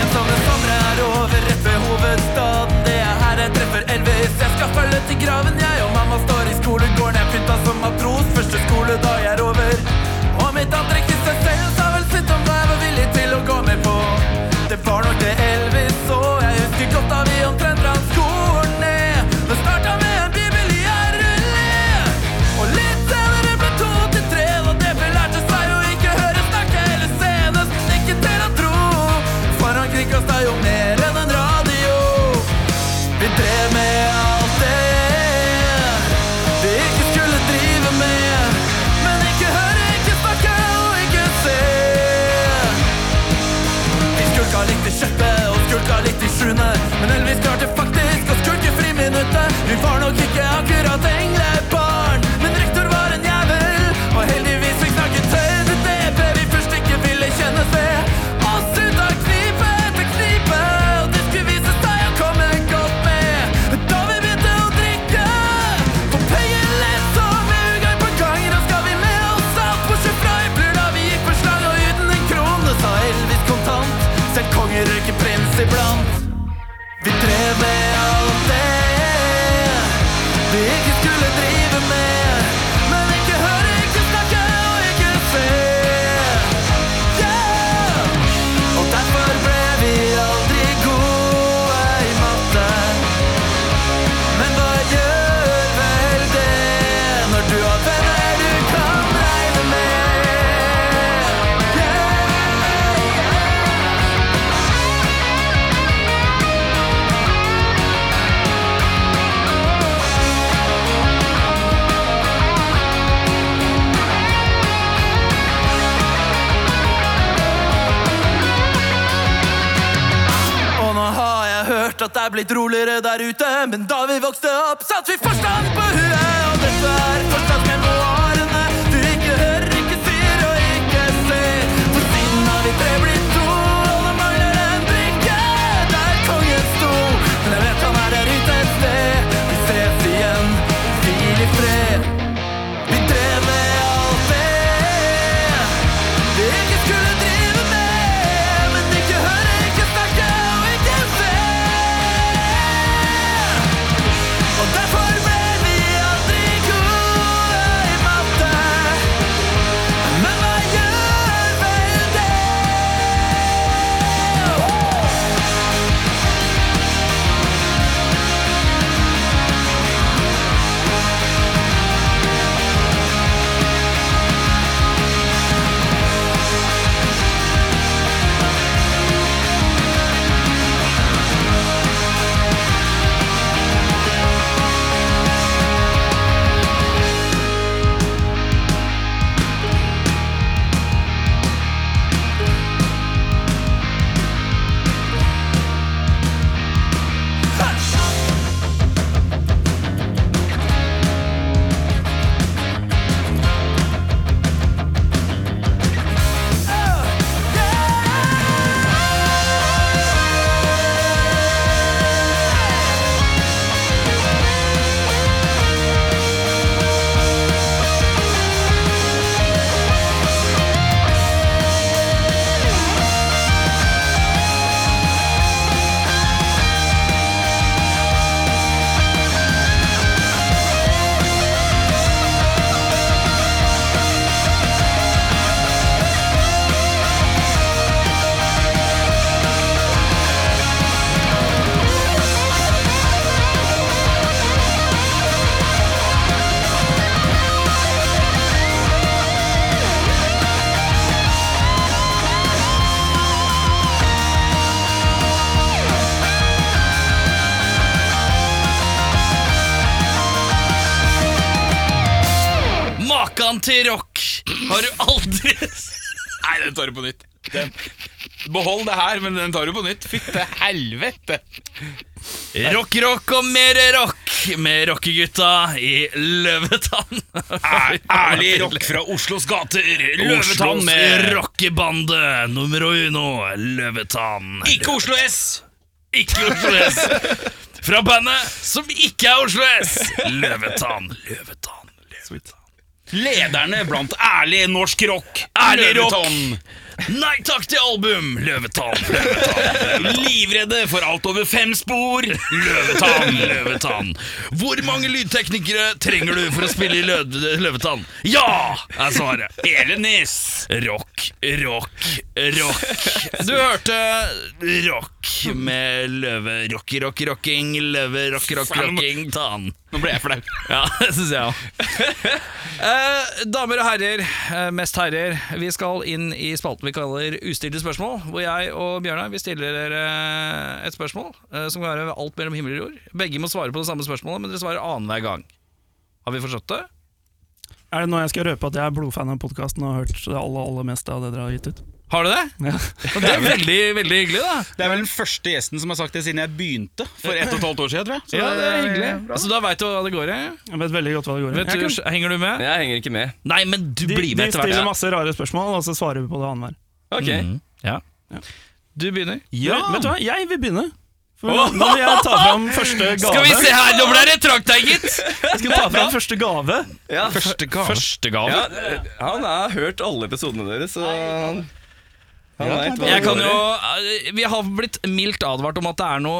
Speaker 3: Ensomme somre er over rett ved hovedstaden Det er her jeg treffer Elvis Jeg skal følge til graven jeg Og mamma står i skolegården Jeg pynta som matros Første skoledag er over Og mitt andre kyss er selv Sa vel sitt om hva jeg var villig til å gå med på Det var nok det Elvis så Jeg husker godt da vi omtrent rant skolen ned Men starta med en bibel i en rulle Og litt senere ble to til tre Og det belærte seg å ikke høre snakke eller se Nesten ikke til å tro for han kringkast er jo mer enn en radio Vi drev med alt det Vi ikke skulle drive med Men ikke høre, ikke snakke og ikke se Vi skulka litt i sjette og skulka litt i sjuende Men Elvis klarte faktisk å skulke friminuttet Vi var nok ikke akkurat englebarn Men rektor var en jævel Og heldigvis fikk snakke til det DB vi først ikke ville kjenne seg Oss ut av knipe etter knipe Og det skulle vise seg å komme godt med Da vi begynte å drikke For penger lett og med ugang på gang Da skal vi med oss alt bortsett fra i blur Da vi gikk på slag og uten en krone Sa Elvis kontant Selv konger røyker prins iblant Vi drev med alt det vi ikke skulle drive med Men ikke høre, ikke snakke og ikke se Yeah! Og derfor ble vi aldri gode i matte Men hva gjør vel det Når du har venner du kan regne med Yeah! Og nå har jeg hørt at det er blitt roligere der ute Men da vi vokste opp satt vi forstand på huet Og dette er fortsatt memoarene Du ikke hører, ikke sier og ikke ser For siden har vi tre blitt to Og det mangler en brikke der kongen sto Men jeg vet han er der ute et sted Vi ses igjen, hvil i fred Vi drev med alt det vi ikke skulle drive med Men ikke høre, ikke snakke og ikke se Og
Speaker 1: antirock! Har du aldri
Speaker 2: Nei, den tar du på nytt. Den. Behold det her, men den tar du på nytt. Fytte helvete!
Speaker 1: Rock, rock og mer rock med rockegutta i Løvetann.
Speaker 2: Ærlig rock fra Oslos gater.
Speaker 1: Løvetann med rockebande nummer uno, Løvetann.
Speaker 2: Ikke Oslo S!
Speaker 1: Ikke Oslo S. Fra bandet som ikke er Oslo S. Løvetann, Løvetann, Løvetann.
Speaker 2: Lederne blant ærlig norsk rock.
Speaker 1: Ærlig rock.
Speaker 2: Løvetann.
Speaker 1: Nei takk til album, Løvetann, Løvetann.
Speaker 2: Livredde for alt over fem spor.
Speaker 1: Løvetann, Løvetann. Hvor mange lydteknikere trenger du for å spille i lø Løvetann? Ja, er svaret.
Speaker 2: Elenis.
Speaker 1: Rock, rock, rock. Du hørte rock med løve. Rocky, rocky, rocking. Løve, rock, rock, rocking. Tann.
Speaker 2: Nå ble jeg flau.
Speaker 1: Ja, det syns jeg òg. Eh, damer og herrer, eh, mest herrer, vi skal inn i spalten vi kaller Ustilte spørsmål. Hvor jeg og Bjørnar vi stiller dere et spørsmål eh, som kan være alt mellom himmel og jord. Begge må svare på det samme spørsmålet, men dere svarer annenhver gang. Har vi forstått det?
Speaker 3: Er det nå jeg skal røpe at jeg er blodfan av podkasten og har hørt det aller, aller meste av det dere har gitt ut?
Speaker 1: Har du det?
Speaker 3: Ja.
Speaker 1: Og det er veldig, veldig hyggelig, da.
Speaker 2: Det er vel den første gjesten som har sagt det siden jeg begynte for ett og et halvt år siden. tror jeg. Så
Speaker 1: Ja, det er hyggelig. Altså, da veit du hva det går i.
Speaker 3: Jeg vet veldig godt hva det går i.
Speaker 1: Vet du, henger du med?
Speaker 7: Jeg henger ikke med.
Speaker 1: Nei, men du
Speaker 3: De,
Speaker 1: blir
Speaker 3: de
Speaker 1: med etter hvert.
Speaker 3: stiller masse rare spørsmål, og så svarer vi på det annenhver.
Speaker 7: Ok,
Speaker 1: Mm, ja. Du begynner.
Speaker 3: Vet- Vet du hva, jeg vil begynne. For nå nå vil jeg ta fram første gave.
Speaker 1: Skal vi se her, nå ble det trangt her, gitt!
Speaker 3: Jeg skal ta fram første gave.
Speaker 7: ja,
Speaker 2: Første gang.
Speaker 1: Første gave.
Speaker 7: ja, det- Han har hørt alle episodene deres, så han, han vet hva
Speaker 1: Jeg
Speaker 7: det
Speaker 1: kan
Speaker 7: går i.
Speaker 1: jo eh, Vi har blitt mildt advart om at det er noe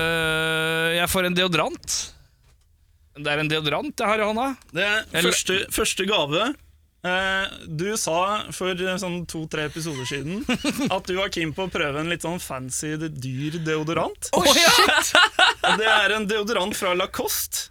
Speaker 1: eh, Jeg får en deodorant. Det er en deodorant jeg har i hånda.
Speaker 3: Det er
Speaker 1: Eller-
Speaker 3: første, første gave. Eh, du sa for eh, sånn to-tre episoder siden at du var keen på å prøve en litt sånn fancy, dyr deodorant.
Speaker 1: Oh, shit!
Speaker 3: Og Det er en deodorant fra Lacoste.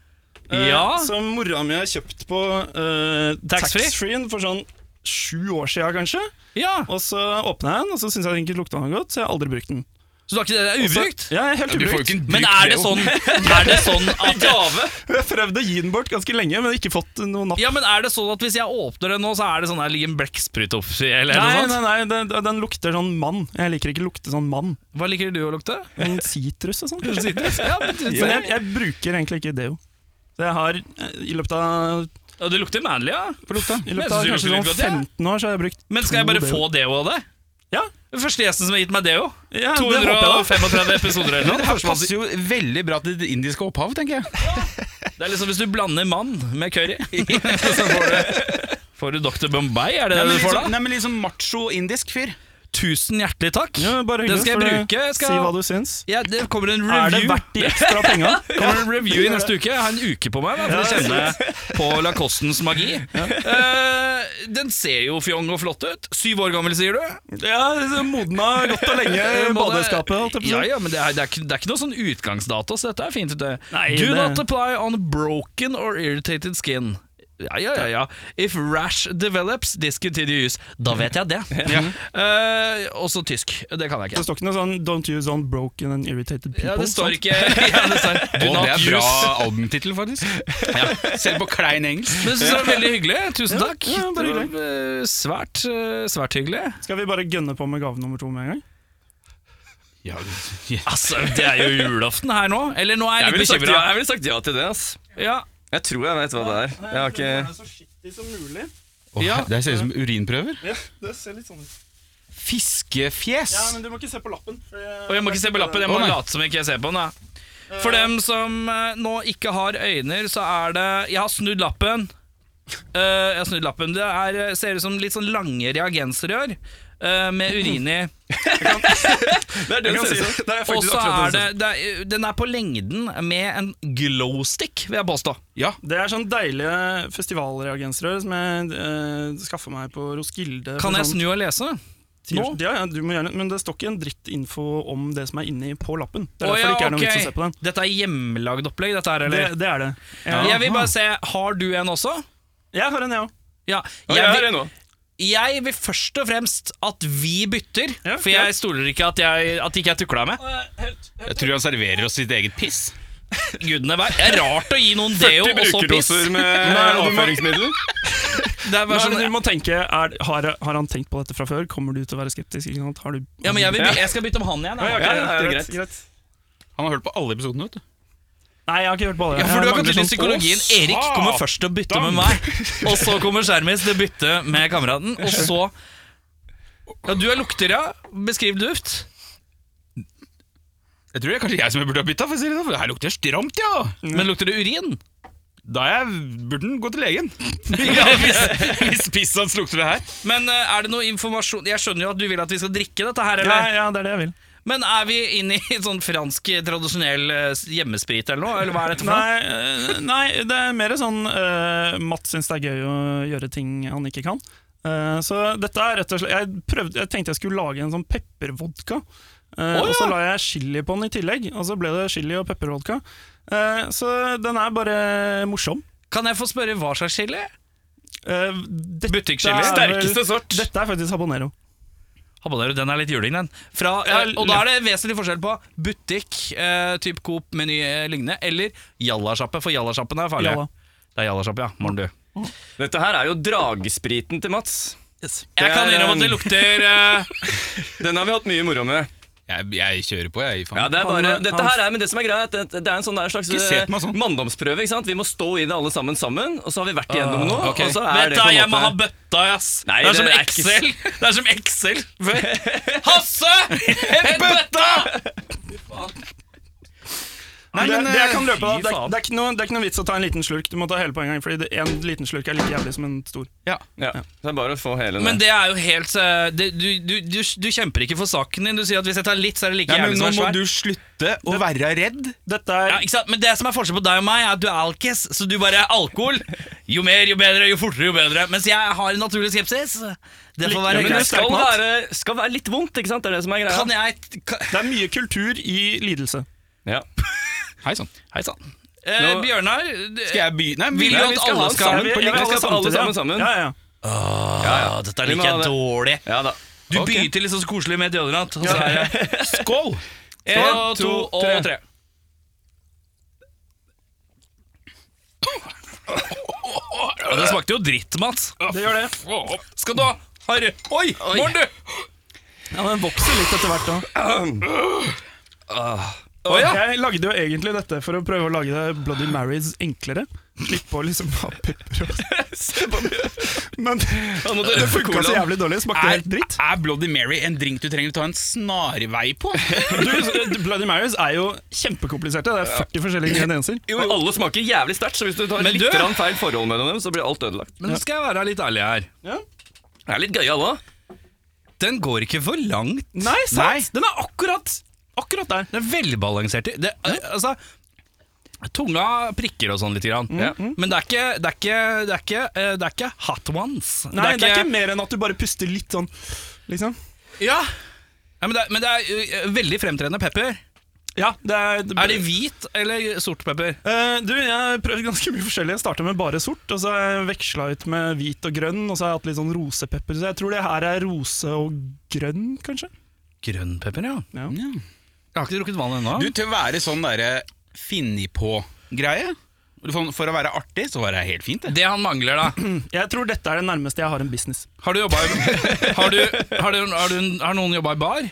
Speaker 3: eh,
Speaker 1: Ja.
Speaker 3: Som mora mi har kjøpt på uh,
Speaker 1: Taxfree?
Speaker 3: taxfree-en for sånn sju år sia, kanskje.
Speaker 1: Ja,
Speaker 3: Og så åpna jeg den, og så syntes jeg den ikke lukta noe godt, så jeg har aldri brukt den.
Speaker 1: Så du har ikke det? Det er ubrukt?
Speaker 3: Ja, jeg er helt
Speaker 2: Du får jo
Speaker 3: ubrukt.
Speaker 2: ikke en
Speaker 1: Altså, Men er det
Speaker 2: bruk Leo.
Speaker 1: sånn Er det sånn at gave?
Speaker 3: Jeg prøvde å gi den bort ganske lenge, men ikke fått noe napp.
Speaker 1: Ja, men er det sånn at hvis jeg åpner den nå, så er det sånn at det ligger en blekksprut oppi? Eller
Speaker 3: Nei,
Speaker 1: noe
Speaker 3: nei,
Speaker 1: sånt?
Speaker 3: nei, den, den lukter sånn mann. Jeg liker ikke lukte sånn mann.
Speaker 1: Hva liker du å lukte?
Speaker 3: En sitrus og sånn. kanskje.
Speaker 1: Ja, men-
Speaker 3: Men jeg, jeg bruker egentlig ikke deo. Så jeg har eh, i løpet av,
Speaker 1: Ja, det lukter manly, ja.
Speaker 3: i
Speaker 1: Jeg synes
Speaker 3: løpet av
Speaker 1: det lukter
Speaker 3: kanskje sånn
Speaker 1: litt godt, ja.
Speaker 3: 15 år så har jeg brukt
Speaker 1: Men skal jeg bare
Speaker 3: to
Speaker 1: få deo av det?
Speaker 3: Ja.
Speaker 1: Den første gjesten som har gitt meg deo.
Speaker 3: ja, det håper jeg da.
Speaker 1: 235 episoder eller noe.
Speaker 2: Det her passer jo veldig bra til det indiske opphav, tenker jeg.
Speaker 1: Det er liksom hvis du blander mann med curry, så får du, får du Dr. Bombay. Er det det
Speaker 2: Nei, men
Speaker 1: du får
Speaker 2: liksom,
Speaker 1: da?
Speaker 2: nei, men liksom macho-indisk fyr.
Speaker 1: Tusen hjertelig takk.
Speaker 3: Ja, bare
Speaker 1: det
Speaker 3: hyggelig,
Speaker 1: skal jeg
Speaker 3: for
Speaker 1: bruke. Jeg skal,
Speaker 3: Si hva du syns.
Speaker 1: ja, det kommer en
Speaker 3: Er det
Speaker 1: review.
Speaker 3: verdt de ekstra penga?
Speaker 1: kommer en review i neste uke. Jeg har en uke på meg da, for å kjenne på lacostens magi. Eh, den ser jo fjong og flott ut. Syv år gammel, sier du?
Speaker 3: Ja, modna godt og lenge i
Speaker 1: Både-
Speaker 3: badeskapet. holdt jeg på å si.
Speaker 1: Ja, ja, men det er, det, er ikke, det er ikke noe sånn utgangsdato, så dette er fint. Ute.
Speaker 3: Nei,
Speaker 1: Do
Speaker 3: det-
Speaker 1: not apply on broken or irritated skin. Ja, ja, ja, ja. If rash develops, discontinue use. Da vet jeg det. Eh, også tysk. Det kan jeg
Speaker 3: Det
Speaker 1: ikke.
Speaker 3: står ikke noe sånn 'don't use on broken and irritated
Speaker 1: Ja,
Speaker 3: people'. Sånn.
Speaker 1: det står
Speaker 3: sant?
Speaker 1: ikke ja, det står, Do
Speaker 2: Og
Speaker 1: not
Speaker 2: det er bra
Speaker 1: use.
Speaker 2: albumtittel, faktisk. Selv på klein engelsk.
Speaker 1: Men jeg synes det var veldig hyggelig. Tusen takk.
Speaker 3: ja, bare
Speaker 1: Det var, eh, svært, eh, svært hyggelig.
Speaker 3: Skal vi bare gønne på med gave nummer to med en gang?
Speaker 1: Altså, det er jo julaften her nå. Eller nå er
Speaker 7: Jeg
Speaker 1: jeg
Speaker 7: ville
Speaker 1: litt
Speaker 7: sagt, ja,
Speaker 1: bekymra.
Speaker 7: jeg ville sagt ja til det, ass.
Speaker 1: Ja,
Speaker 7: Jeg tror jeg vet hva det er. Jeg har ikke...
Speaker 3: så skittig som mulig.
Speaker 1: Ja.
Speaker 2: Det ser ut som urinprøver.
Speaker 3: Ja, det ser litt sånn ut.
Speaker 2: Fiskefjes!
Speaker 3: Ja, men du må ikke se på lappen. for jeg-
Speaker 1: Og jeg må ikke se på lappen, jeg må
Speaker 2: Å, nei.
Speaker 1: late som ikke jeg ser på den. Da. For dem som eh, nå ikke har øyne, så er det Jeg har snudd lappen. Eh, jeg har snudd lappen. Det er, eh, ser ut som litt sånn lange reagensrør eh, med urin i.
Speaker 7: Det er det du
Speaker 3: Jeg kan si
Speaker 7: sier.
Speaker 3: det. Det er
Speaker 1: Og
Speaker 3: faktisk
Speaker 1: så
Speaker 3: akkurat
Speaker 1: er
Speaker 3: det
Speaker 1: det,
Speaker 3: jeg
Speaker 1: det er, Den er på lengden med en glowstick, vil jeg påstå.
Speaker 3: synes. Det er sånn deilige festivalreagensrør som jeg eh, skaffa meg på Roskilde. for
Speaker 1: Kan jeg
Speaker 3: sånn
Speaker 1: snu og lese?
Speaker 3: ti år- Ja, ja, du må gjerne, men det står ikke en drittinfo om det som er inni på lappen. Det er
Speaker 1: Å,
Speaker 3: derfor
Speaker 1: ja,
Speaker 3: det ikke er noe
Speaker 1: ok.
Speaker 3: vits å se på den.
Speaker 1: Dette er hjemmelagd opplegg, dette her,
Speaker 3: Det,
Speaker 1: eller?
Speaker 3: det er det. Ja.
Speaker 1: Jeg vil bare se, har du en også?
Speaker 3: Jeg har en, jeg òg.
Speaker 1: Ja,
Speaker 7: Ja,
Speaker 1: jeg
Speaker 7: jeg
Speaker 1: vil-
Speaker 7: har en nå.
Speaker 1: Jeg vil først og fremst at vi bytter,
Speaker 3: Ja,
Speaker 1: for
Speaker 3: ja.
Speaker 1: jeg stoler ikke at, jeg, at ikke jeg tukla med.
Speaker 2: Jeg tror han serverer oss sitt eget piss.
Speaker 1: Gudene vær. Det er rart å gi noen deo og så piss.
Speaker 7: med avføringsmiddel.
Speaker 1: det er
Speaker 3: Hva
Speaker 1: bare
Speaker 3: er
Speaker 1: sånn
Speaker 3: det du må tenke? Er, har, har han tenkt på dette fra før? Kommer du til å være skeptisk? Ikke sant? Har du
Speaker 1: Ja, men jeg, vil, jeg skal bytte om han igjen. da.
Speaker 7: Ja, ja, det er greit.
Speaker 2: Han har hørt på alle episodene, vet du.
Speaker 3: Nei, jeg har ikke hørt på alle.
Speaker 1: Ja, for
Speaker 3: Jeg
Speaker 1: du har
Speaker 3: mangler
Speaker 1: gått inn i
Speaker 3: sånn-
Speaker 1: psykologien. Erik kommer først til å bytte med meg, og så kommer Skjermis til å bytte med kameraten, og så Ja, du er lukter, ja. Beskriv duft.
Speaker 2: Jeg tror det er kanskje jeg som burde ha bytta, for å si det sånn. for Det her lukter stramt, ja.
Speaker 1: Men lukter det urin?
Speaker 2: Da er jeg, burde den gå til legen.
Speaker 1: Ja, hvis-
Speaker 2: Hvis pisset hans lukter det her.
Speaker 1: Men eh, er det noe informasjon Jeg skjønner jo at du vil at vi skal drikke dette her,
Speaker 3: Ja,
Speaker 1: eller?
Speaker 3: ja, det er det jeg vil.
Speaker 1: Men er vi inne i en sånn fransk eh, tradisjonell eh, hjemmesprit eller noe? Eller hva er dette for noe?
Speaker 3: Nei, øh, nei, det er mer sånn øh, Mats syns det er gøy å gjøre ting han ikke kan. Eh, så dette er rett og slett jeg, prøvde, jeg tenkte jeg skulle lage en sånn peppervodka. Eh,
Speaker 1: Å,
Speaker 3: Og så
Speaker 1: ja.
Speaker 3: la jeg chili på den i tillegg, og så ble det chili og peppervodka. Eh, så den er bare morsom.
Speaker 1: Kan jeg få spørre hva slags chili?
Speaker 3: Uh,
Speaker 1: Butikkchili?
Speaker 3: Sterkeste
Speaker 1: sort.
Speaker 3: Dette er faktisk habanero.
Speaker 1: Habanero, den er litt juling, den. Fra,
Speaker 3: Ja,
Speaker 1: eh, og da er det vesentlig forskjell på butikk, eh, typ Coop, Meny, eh, lignende, eller jallasjappe, for jallasjappen er farlig.
Speaker 3: Jalla.
Speaker 1: Det er jallasjappe, ja. Morn, du.
Speaker 7: Dette her er jo dragspriten til Mats.
Speaker 1: Jeg kan
Speaker 7: Det er,
Speaker 1: innrømme at det
Speaker 7: um,
Speaker 1: lukter eh,
Speaker 7: Den har vi hatt mye moro med.
Speaker 2: Jeg, jeg kjører på, jeg. Faen.
Speaker 7: Ja, det er
Speaker 3: Han-
Speaker 7: bare,
Speaker 3: han-
Speaker 7: dette her er, men det som er greia, er at det, det er en sånn det er en slags
Speaker 2: Ikke se på meg
Speaker 7: eh,
Speaker 2: sånn.
Speaker 7: manndomsprøve. ikke sant? Vi må stå i det alle sammen sammen, og så har vi vært
Speaker 1: Ah,
Speaker 7: igjennom noe.
Speaker 2: ok.
Speaker 7: og så er
Speaker 1: Vent,
Speaker 7: det
Speaker 1: da,
Speaker 7: på
Speaker 1: jeg
Speaker 7: en
Speaker 1: må ha
Speaker 7: måte...
Speaker 1: bøtta, ass.
Speaker 7: Nei,
Speaker 1: det er som
Speaker 7: det er ikke-
Speaker 1: Excel. Det er som Excel. før. Hasse! En bøtta!
Speaker 3: Nei, det,
Speaker 2: men,
Speaker 3: det jeg
Speaker 2: eh,
Speaker 3: kan løpe av,
Speaker 2: fy
Speaker 3: det, er-
Speaker 2: faen.
Speaker 3: det, er ikke noe- det er ikke noe vits å ta en liten slurk. Du må ta hele på en gang, Fordi det- en liten slurk er like jævlig som en stor.
Speaker 7: Ja, så det er bare å få hele
Speaker 1: Men
Speaker 7: ned.
Speaker 1: det er jo helt eh, det, du, du, du, du kjemper ikke for saken din. Du sier at hvis jeg tar litt, så er det like
Speaker 2: Nei, men
Speaker 1: jævlig
Speaker 2: nå
Speaker 1: som en
Speaker 2: må
Speaker 1: svær.
Speaker 2: du slutte å være redd.
Speaker 3: Dette er
Speaker 1: Ja, ikke sant? Men det som er forskjellen på deg og meg, er at du er alkis, så du bare er alkohol. Jo mer, jo bedre, jo fortere, jo bedre. Mens jeg har en naturlig skepsis. Det får være
Speaker 3: men
Speaker 7: det
Speaker 1: greit.
Speaker 7: skal
Speaker 3: sterk mat.
Speaker 7: være, skal være litt vondt, ikke sant? Det er det som er greia.
Speaker 1: Kan jeg kan,
Speaker 3: Det er mye kultur i lidelse.
Speaker 7: Ja.
Speaker 2: Hei sann.
Speaker 1: Hei sann. Eh,
Speaker 7: Nå-
Speaker 1: Bjørnar, du-
Speaker 2: Skal jeg begynne? Nei,
Speaker 1: Vil du
Speaker 2: nei,
Speaker 1: at
Speaker 2: vi skal
Speaker 1: alle
Speaker 2: ha den
Speaker 1: skal-
Speaker 2: sammen.
Speaker 7: Sammen på
Speaker 3: Vi-
Speaker 7: linje.
Speaker 3: vi
Speaker 7: Vi skal alle sammen sammen.
Speaker 3: Ja, ja, ja.
Speaker 1: Åh, Dette
Speaker 7: Vi må
Speaker 1: liker
Speaker 7: ha
Speaker 1: jeg
Speaker 7: det.
Speaker 1: dårlig.
Speaker 7: Ja da.
Speaker 1: Du
Speaker 2: Ok.
Speaker 1: begynner til litt sånn koselig med deodorant. Og så er det
Speaker 2: Skål!
Speaker 1: en, to og
Speaker 7: tre.
Speaker 1: tre. Ja, det smakte jo dritt, Mats.
Speaker 3: Det gjør det.
Speaker 1: Skal du ha Harry? Oi, morn, du!
Speaker 3: Ja, Den vokser litt etter hvert òg.
Speaker 1: Å, ja.
Speaker 3: Jeg lagde jo egentlig dette for å prøve å lage det Bloody Marys enklere. Slipp på liksom ha pepper og Men
Speaker 7: Ja, nå dør
Speaker 3: det
Speaker 7: jeg for
Speaker 3: funka så
Speaker 7: colaen.
Speaker 3: jævlig dårlig. Smakte
Speaker 2: Er,
Speaker 3: helt dritt.
Speaker 2: er Bloody Mary en drink du trenger å ta en snarvei på?
Speaker 3: Du, Bloody Marys er jo kjempekompliserte. Det er 40 forskjellige ingredienser.
Speaker 7: Jo, jo. Alle smaker jævlig sterkt, så hvis du tar
Speaker 1: Men
Speaker 7: litt
Speaker 1: du-
Speaker 7: grann feil forhold mellom dem, så blir alt ødelagt.
Speaker 1: Men nå skal jeg være litt ærlig her.
Speaker 7: Det er litt gøy, alle. da.
Speaker 1: Den går ikke for langt.
Speaker 3: Nei, sant? Den er akkurat Akkurat der.
Speaker 1: Det er velbalansert. Det, altså, tunga prikker og sånn litt, grann.
Speaker 2: Mm,
Speaker 1: men det er ikke, det er ikke, det er ikke, eh, det er ikke hot ones.
Speaker 3: Nei, det er ikke mer enn at du bare puster litt sånn, liksom.
Speaker 1: Ja, ja men, det er, men det er eh, veldig fremtredende pepper.
Speaker 3: Ja, det er,
Speaker 1: Er det hvit eller sort pepper?
Speaker 3: Eh, du, jeg har prøvd ganske mye forskjellig. Jeg starta med bare sort, og så har jeg veksla ut med hvit og grønn, og så har jeg hatt litt sånn rosepepper. Så jeg tror det her er rose og grønn, kanskje.
Speaker 1: Grønn pepper, ja.
Speaker 3: Ja.
Speaker 1: Jeg har ikke drukket vann ennå.
Speaker 2: Du, til å være sånn derre finni-på-greie for, for å være artig, så var det helt fint, det.
Speaker 1: Det han mangler, da.
Speaker 3: Jeg tror dette er det nærmeste jeg har en business.
Speaker 1: Har du jobba i Har, du, har, du, har, du, har noen jobba i bar?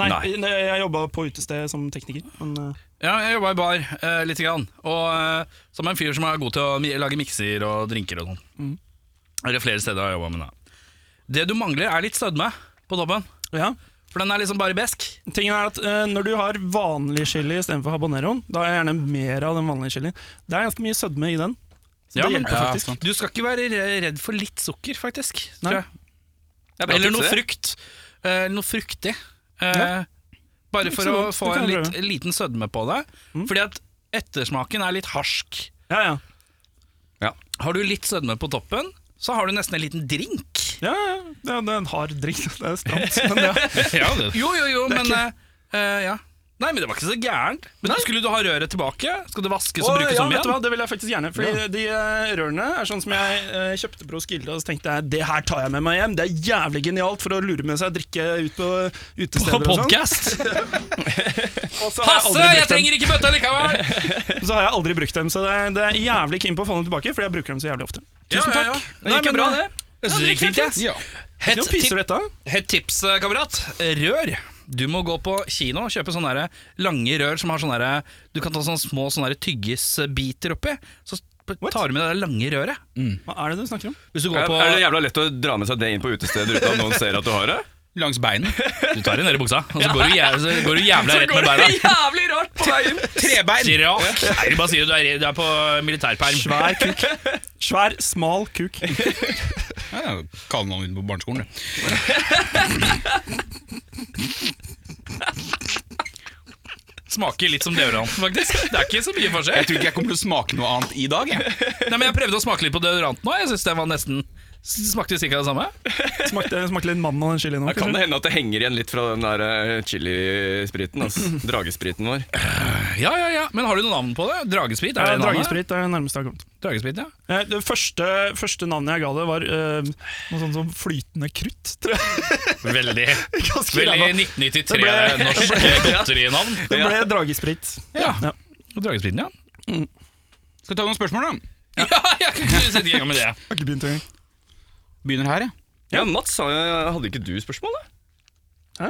Speaker 3: Nei, ne- jeg jobba på utested som tekniker, men eh,
Speaker 1: Ja, jeg jobba i bar eh, lite grann. Og eh, som en fyr som er god til å mi- lage mikser og drinker og sånn. Er Det flere steder jeg har jobba med det. Det du mangler, er litt sødme på toppen.
Speaker 3: ja.
Speaker 1: For den er liksom bare besk.
Speaker 3: Tingen er at eh, Når du har vanlig chili istedenfor habaneroen, da har jeg gjerne mer av den vanlige chilien. Det er ganske mye sødme i den. Så
Speaker 1: Ja,
Speaker 3: det
Speaker 1: men-
Speaker 3: hjelper
Speaker 2: ja,
Speaker 3: faktisk.
Speaker 2: sant.
Speaker 1: Du skal ikke være re- redd for litt sukker, faktisk.
Speaker 3: Nei.
Speaker 1: Tror jeg.
Speaker 7: Det er bra
Speaker 1: Eller
Speaker 7: tips,
Speaker 1: noe
Speaker 7: det.
Speaker 1: frukt. Eh, noe fruktig. Eh,
Speaker 3: Ja.
Speaker 1: Bare for
Speaker 3: så
Speaker 1: å
Speaker 3: dumt.
Speaker 1: få
Speaker 3: Det
Speaker 1: en
Speaker 3: kan jeg
Speaker 1: litt, liten sødme på det. Fordi at ettersmaken er litt harsk.
Speaker 3: Ja, ja.
Speaker 1: Har du litt sødme på toppen, så har du nesten en liten drink.
Speaker 3: Ja, ja, ja. Det er en hard drink. Det er stramt, men ja.
Speaker 2: Ja, det.
Speaker 1: Jo, jo, jo, men eh, eh, ja. Nei, men det var ikke så gærent. Men Skulle du ha røret tilbake? Skal det vaskes og
Speaker 3: Åh,
Speaker 1: brukes
Speaker 3: ja,
Speaker 1: om
Speaker 3: vet du hva,
Speaker 1: igjen?
Speaker 3: det vil jeg faktisk gjerne. Fordi de eh, rørene er sånn som jeg eh, kjøpte på Roskilde, og så tenkte jeg det her tar jeg med meg hjem. Det er jævlig genialt for å lure med seg drikke ut på
Speaker 1: På
Speaker 3: utesteder og sånn.
Speaker 1: podcast?
Speaker 3: Og så har jeg
Speaker 1: Hasse,
Speaker 3: aldri
Speaker 1: jeg
Speaker 3: brukt dem.
Speaker 1: trenger ikke bøtta likevel!
Speaker 3: Så har jeg aldri brukt dem, så det er, det er jævlig keen på å få dem tilbake, fordi jeg bruker dem så jævlig ofte. Tusen
Speaker 1: Ja, ja, ja.
Speaker 3: takk.
Speaker 7: Det gikk jo bra, det.
Speaker 1: Jeg synes det gikk fint, jeg. Hett
Speaker 3: Nå
Speaker 1: tip-
Speaker 3: pyser dette.
Speaker 1: hett tips, eh, kamerat. Rør. Du må gå på kino og kjøpe sånne der lange rør som har sånne der, Du kan ta sånne små sånne der tyggisbiter oppi. Så tar du med det der lange røret.
Speaker 3: Hva er det du snakker om?
Speaker 1: Hvis du går
Speaker 7: Er,
Speaker 1: på
Speaker 7: er det jævla lett å dra med seg det inn på utesteder uten at noen ser at du har det?
Speaker 2: Langs beinet.
Speaker 1: Du tar det ned i buksa, og så går du, jæv, så går du jævla rett med beina.
Speaker 7: jævlig rart på veien!
Speaker 2: Trebein!
Speaker 1: Sier ja. Nei, du bare sier du er, du er på militærperm.
Speaker 3: Svær kuk. Svær, smal kuk.
Speaker 2: Ja, Kall noen inn på barneskolen, du.
Speaker 1: Smaker litt som deodorant, faktisk. Det er ikke så mye
Speaker 2: Jeg
Speaker 1: forskjell.
Speaker 2: tror ikke jeg kommer til å smake noe annet i dag. Jeg.
Speaker 1: Nei, men jeg prøvde å smake litt på deodorant nå. Jeg synes det var nesten Smakte cirka det samme.
Speaker 3: Smakte, smakte litt mann og en chili nå.
Speaker 7: Da kan
Speaker 3: kanskje?
Speaker 7: det hende at det henger igjen litt fra den der eh, chilispriten. Altså. Dragespriten vår.
Speaker 1: Ja, ja, ja. Men har du noe navn på det? Dragesprit? Er
Speaker 3: Ja,
Speaker 1: det navnet?
Speaker 3: Eh, Dragesprit er det nærmeste jeg har kommet.
Speaker 1: Dragesprit, ja.
Speaker 3: Eh, Det første, første navnet jeg ga det, var eh, noe sånt som flytende krutt. Tror jeg.
Speaker 1: Veldig,
Speaker 3: Ganske
Speaker 1: veldig
Speaker 3: ræva.
Speaker 1: 1993
Speaker 3: Det ble-
Speaker 1: norsk godterinavn.
Speaker 3: Det ble dragesprit.
Speaker 1: Ja.
Speaker 3: Ja.
Speaker 1: Og Dragespriten, ja.
Speaker 2: Mm. Skal vi ta noen spørsmål, da?
Speaker 1: Ja, jeg kan ikke sette i gang med det.
Speaker 3: Har ikke begynt engang.
Speaker 2: Begynner her, jeg.
Speaker 7: Ja, Mats, sa jo- hadde ikke du spørsmål, da?
Speaker 3: Hæ?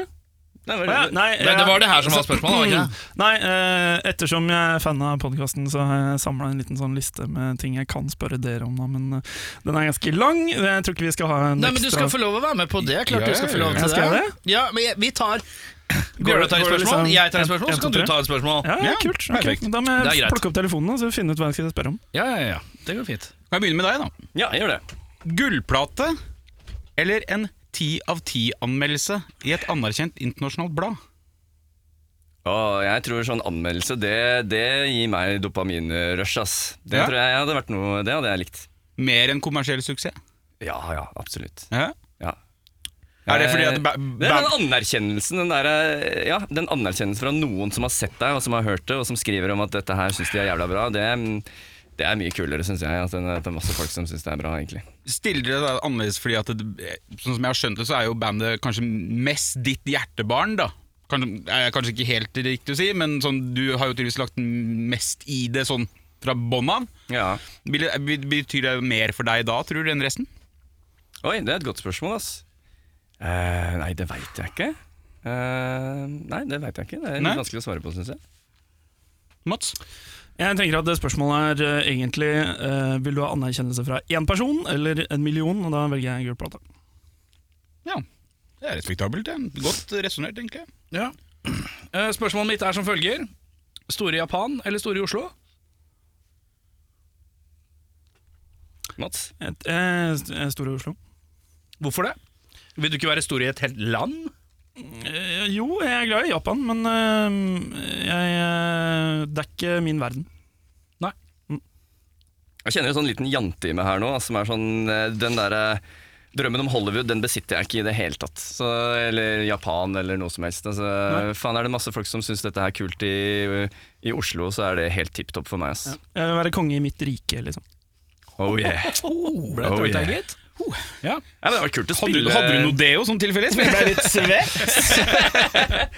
Speaker 7: Nei, hva er
Speaker 3: Å ja,
Speaker 7: det?
Speaker 3: Nei,
Speaker 1: Det, det
Speaker 3: eh,
Speaker 1: var det her som
Speaker 2: Altså,
Speaker 1: var spørsmålet, var det
Speaker 2: mm.
Speaker 1: ikke det?
Speaker 3: Nei, eh, ettersom jeg er fan av podkasten, så har jeg samla en liten sånn liste med ting jeg kan spørre dere om, da, men eh, den er ganske lang. Jeg tror ikke vi skal ha en
Speaker 1: Nei, men du
Speaker 3: ekstra
Speaker 1: skal få lov å være med på det. Klart
Speaker 2: Ja,
Speaker 1: du skal få lov
Speaker 3: ja,
Speaker 1: til
Speaker 3: skal jeg det?
Speaker 1: Ja, men jeg- vi tar
Speaker 3: Går
Speaker 1: Bjørnar tar et
Speaker 3: det- går det
Speaker 1: spørsmål,
Speaker 3: liksom
Speaker 1: jeg tar et
Speaker 3: en-
Speaker 1: spørsmål,
Speaker 3: en,
Speaker 1: så kan
Speaker 3: to,
Speaker 1: du
Speaker 3: tre?
Speaker 1: ta et spørsmål.
Speaker 3: ja, ja,
Speaker 2: Ja,
Speaker 3: kult. Ok,
Speaker 2: perfekt.
Speaker 3: Da må
Speaker 1: Det er
Speaker 3: jeg
Speaker 1: greit.
Speaker 3: plukke opp telefonen og så finne ut hva jeg skal spørre om.
Speaker 1: Ja, ja, ja. Det går fint.
Speaker 2: Kan jeg begynne med deg, da?
Speaker 7: Ja, jeg gjør det.
Speaker 2: Gullplate eller en ti av ti-anmeldelse i et anerkjent internasjonalt blad?
Speaker 7: Å, jeg tror sånn anmeldelse, det, det gir meg dopaminrush, ass. Det
Speaker 2: Ja.
Speaker 7: tror jeg hadde vært noe Det hadde jeg likt.
Speaker 2: Mer enn kommersiell suksess?
Speaker 7: Ja, ja, absolutt.
Speaker 2: Ja.
Speaker 7: Ja.
Speaker 2: Er det fordi at ba
Speaker 7: Eh, Det er
Speaker 2: ba
Speaker 7: den anerkjennelsen den der, eh, ja, den anerkjennelsen fra noen som har sett deg og som har hørt det, og som skriver om at dette her syns de er jævla bra, det, mm, det er mye kulere, syns jeg. At det er- det er masse folk som syns det er bra, egentlig.
Speaker 2: Stiller dere deg annerledes fordi at det, Sånn som jeg har skjønt det, så er jo bandet kanskje mest ditt hjertebarn, da. Kanskje, er jeg kanskje ikke helt riktig å si, men sånn, du har jo tydeligvis lagt mest i det sånn fra bånn av.
Speaker 7: Ja.
Speaker 2: Vil det- vil- Betyr det mer for deg da, tror du, enn resten?
Speaker 7: Oi, det er et godt spørsmål, ass. Eh, nei, det veit jeg ikke. Eh, nei, det veit jeg ikke. Det er
Speaker 2: Nei.
Speaker 7: litt vanskelig å svare på, syns jeg.
Speaker 2: Mats?
Speaker 3: Jeg tenker at det spørsmålet er eh, egentlig eh, Vil du ha anerkjennelse fra én person eller en million? Og da velger jeg gullplata.
Speaker 2: Ja. Det er respektabelt. det. Godt resonnert, egentlig.
Speaker 1: Ja. Eh, Spørsmålet mitt er som følger. Store i Japan eller store i Oslo?
Speaker 7: Mats?
Speaker 3: Et- eh, st- eh, Store Oslo.
Speaker 1: Hvorfor det? Vil du ikke være stor i et helt land?
Speaker 3: Eh, jo, jeg er glad i Japan, men eh, jeg, eh, det er ikke min verden.
Speaker 7: Jeg kjenner en sånn liten jante i meg her nå, ass, som er sånn eh, Den derre Drømmen om Hollywood den besitter jeg ikke i det hele tatt. Så, eller Japan, eller noe som helst. Altså, faen, er det masse folk som syns dette er kult i, i Oslo, så er det helt tipp topp for meg. Ass.
Speaker 3: Jeg vil være konge i mitt rike, liksom.
Speaker 7: Oh yeah.
Speaker 1: Oh, ble
Speaker 7: Oh,
Speaker 1: det
Speaker 7: yeah.
Speaker 1: gitt? Ja.
Speaker 7: Ja, men det var kult å
Speaker 2: Hadde,
Speaker 7: spille
Speaker 2: hadde du noe deo som tilfeldigvis? For jeg ble litt svett.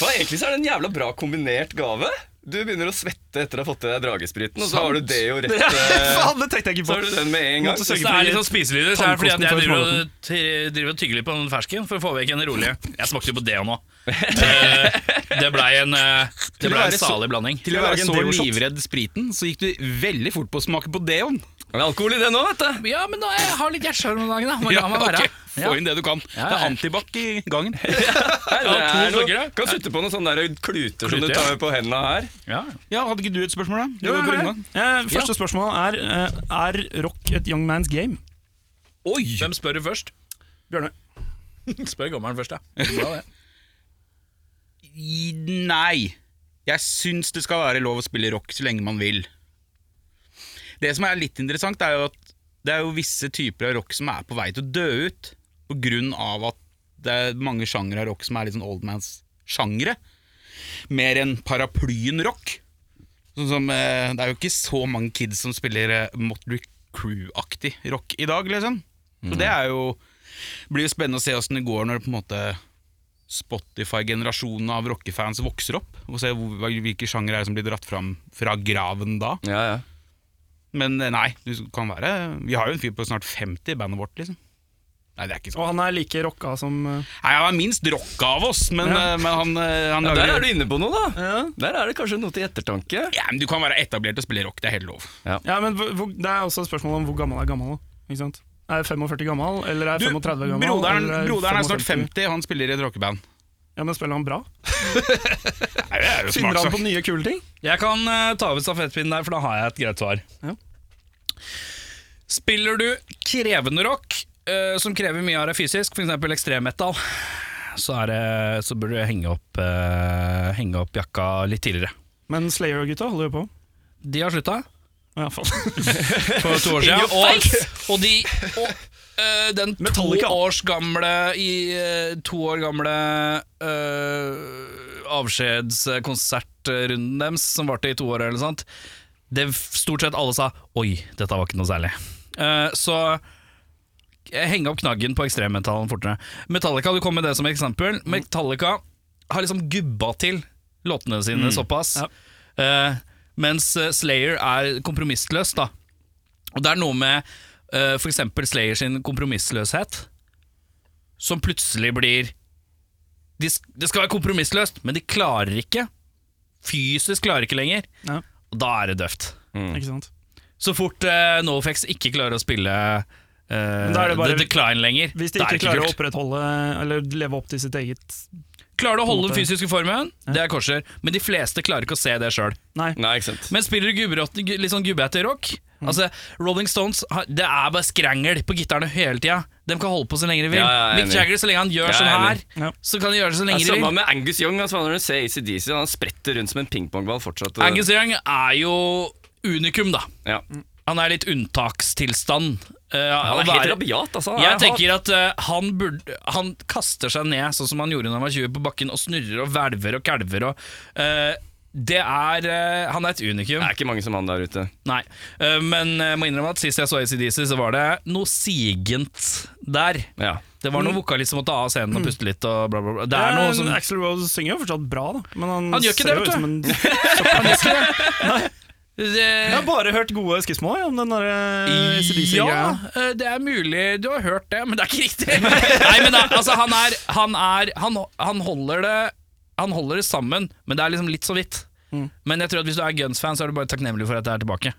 Speaker 7: Hva, egentlig så er det en jævla bra kombinert gave. Du begynner å svette etter å ha fått i deg dragespriten, og så har du det jo rett eh,
Speaker 3: Faen, det tenkte jeg ikke
Speaker 7: Så har du den med en gang.
Speaker 1: Hvis det er litt sånn spiselyder, så er det fordi at jeg
Speaker 3: Tannkosten for
Speaker 1: driver og, t- driver og tygger litt på den fersken for å få vekk en rolig Jeg smakte jo på det nå. Eh, Det blei en, eh, det ble en salig blanding.
Speaker 2: Til å
Speaker 3: Jeg
Speaker 2: være
Speaker 3: lager en
Speaker 2: så
Speaker 3: deo-shot.
Speaker 2: livredd spriten, så gikk du veldig fort på å smake på deoen.
Speaker 7: Det er alkohol i det nå, vet du.
Speaker 1: Ja, men da jeg har litt hjertesjarm om dagen, da. Man kan
Speaker 2: ok.
Speaker 1: være.
Speaker 2: Få inn det du kan.
Speaker 1: Ja,
Speaker 2: Det
Speaker 1: ja.
Speaker 2: er antibac i gangen.
Speaker 7: Nei, det
Speaker 1: to
Speaker 7: er noe,
Speaker 1: stykker, ja.
Speaker 7: kan slutte på noen sånne der kluter som
Speaker 1: Kluter,
Speaker 7: du tar på hendene her.
Speaker 1: Ja.
Speaker 2: Ja, Hadde ikke du et spørsmål, da? Du
Speaker 3: Jo,
Speaker 2: var på
Speaker 3: jeg har
Speaker 2: rundgang.
Speaker 3: det. Eh, Første spørsmål er eh, Er rock et young man's game?
Speaker 1: Oi! Hvem spør du først?
Speaker 3: Bjørnar.
Speaker 1: Spør gammelen først, ja. Bra, det.
Speaker 2: I- Nei. Jeg syns det skal være lov å spille rock så lenge man vil. Det som er litt interessant, er jo at det er jo visse typer av rock som er på vei til å dø ut. På grunn av at det er mange sjangere av rock som er litt sånn oldmans-sjangere. Mer enn paraplyen-rock. Sånn som, eh, det er jo ikke så mange kids som spiller eh, Motley Crew-aktig rock i dag, liksom. Så det er jo, blir jo spennende å se åssen det går når det på en måte Spotify-generasjonen av rockefans vokser opp, og se hvor- hvilke sjangere er det som blir dratt fram fra graven da.
Speaker 7: Ja, ja.
Speaker 2: Men eh, nei, du kan være Vi har jo en fyr på snart 50 i bandet vårt, liksom. Nei, det er ikke sånn.
Speaker 3: Og han er like rocka som eh,
Speaker 2: Nei, han er minst rocka av oss, men,
Speaker 3: Ja.
Speaker 2: eh, men han, eh, han
Speaker 7: Ja, der
Speaker 2: lager
Speaker 7: er du inne på noe, da. Der er det kanskje noe til ettertanke.
Speaker 2: ja, men Du kan være etablert og spille rock, det er helt lov.
Speaker 3: Ja, men hvor, hvor- Det er også et spørsmål om hvor gammel er gammel. da, Ikke sant? Er jeg 45 gammel, eller er
Speaker 2: Du,
Speaker 3: jeg 35 gammel?
Speaker 2: broderen,
Speaker 3: eller
Speaker 2: broderen er snart
Speaker 3: 55?
Speaker 2: 50, han spiller i et rockeband.
Speaker 3: Ja, men Spiller han bra?
Speaker 2: Nei, det er jo
Speaker 3: Finner han
Speaker 2: smakssak.
Speaker 3: på nye kule ting?
Speaker 1: Jeg kan eh, ta over stafettpinnen der, for da har jeg et greit svar.
Speaker 3: Ja.
Speaker 1: Spiller du krevende rock, eh, som krever mye av deg fysisk, f.eks. ekstremmetall, så, er det- så burde du henge opp, eh, henge opp jakka litt tidligere.
Speaker 3: Men Slayer-gutta holder jo på.
Speaker 1: De har slutta
Speaker 3: I hvert fall.
Speaker 1: for to år siden. Og, og de og, eh, den to,
Speaker 3: Metallica.
Speaker 1: års gamle, i, eh, to år gamle eh, avskjedskonsertrunden deres, som varte i to år, eller sant, det f- stort sett alle sa 'oi, dette var ikke noe særlig'. Eh, så henge opp knaggen på ekstremmetallen fortere. Metallica, du kom med det som eksempel. Metallica har liksom gubba til låtene sine såpass.
Speaker 3: Ja.
Speaker 1: Eh, mens eh, Slayer er kompromissløs, da. Og det er noe med eh, for f.eks. Slayer sin kompromissløshet, som plutselig blir de, sk- Det skal være kompromissløst, men de klarer ikke. Fysisk klarer ikke lenger.
Speaker 3: Ja.
Speaker 1: Og da er det døvt.
Speaker 3: Ikke sant?
Speaker 1: Så fort eh, NoFX ikke klarer å spille eh,
Speaker 3: da er det bare-
Speaker 1: The Decline lenger,
Speaker 3: Hvis de
Speaker 1: da er
Speaker 3: ikke
Speaker 1: det
Speaker 3: klarer å
Speaker 1: kult.
Speaker 3: opprettholde eller leve opp til sitt eget
Speaker 1: Klarer du å holde
Speaker 3: på en
Speaker 1: den
Speaker 3: måte.
Speaker 1: fysiske formen? Det er korser. Men de fleste klarer ikke å se det sjøl.
Speaker 3: Nei.
Speaker 7: Nei, ikke sant.
Speaker 1: Men spiller du gubberått- gu- litt sånn gubbete rock
Speaker 7: Mm.
Speaker 1: Altså, Rolling Stones har- Det er bare skrangel på gitarene hele tida. De kan holde på så lenge de vil.
Speaker 7: Ja, jeg er
Speaker 1: Mick
Speaker 7: enig.
Speaker 1: Jagger, så lenge han gjør
Speaker 7: Jeg er
Speaker 1: sånn her,
Speaker 7: enig.
Speaker 3: Ja.
Speaker 1: så kan de gjøre det så
Speaker 7: Det
Speaker 1: lenge
Speaker 7: er
Speaker 1: de
Speaker 7: samme
Speaker 1: vil.
Speaker 7: med Angus Young. Altså, når du ser ACDC, han spretter rundt som en pingpongball fortsatt. og-
Speaker 1: Angus Mm. Young er jo unikum, da.
Speaker 7: Ja.
Speaker 1: Han er litt unntakstilstand. Eh,
Speaker 7: Han
Speaker 1: og
Speaker 7: er
Speaker 1: det
Speaker 7: helt rabiat, altså. Han
Speaker 1: Jeg
Speaker 7: er
Speaker 1: tenker at eh, han, burde, han kaster seg ned sånn som han gjorde da han var 20 på bakken, og snurrer og hvelver og kalver og eh, Det er eh, Han er et unikum.
Speaker 7: Det er ikke mange som han der ute.
Speaker 1: Nei. Eh, men jeg må innrømme at sist jeg så ACDC, så var det noe sigent der.
Speaker 7: Ja.
Speaker 1: Det var noen
Speaker 3: Mm.
Speaker 1: vokalist som måtte av scenen og puste litt og bla, bla, bla. Det er noe som
Speaker 3: Axel Eh, Rose synger jo fortsatt bra, da. Men han,
Speaker 1: Han gjør ikke
Speaker 3: ser
Speaker 1: det,
Speaker 3: jo
Speaker 1: vet du.
Speaker 3: ut som en- Jeg har
Speaker 1: det,
Speaker 3: bare hørt gode skismål jeg, om den der eh, ACDC-greia.
Speaker 1: Ja, eh, det er mulig du har hørt det, men det er ikke riktig. Nei, men da, altså, han er, han, er han, han holder det Han holder det sammen, men det er liksom litt så vidt.
Speaker 3: Mm.
Speaker 1: Men jeg tror at hvis du er Guns-fan, så er du bare takknemlig for at det er tilbake.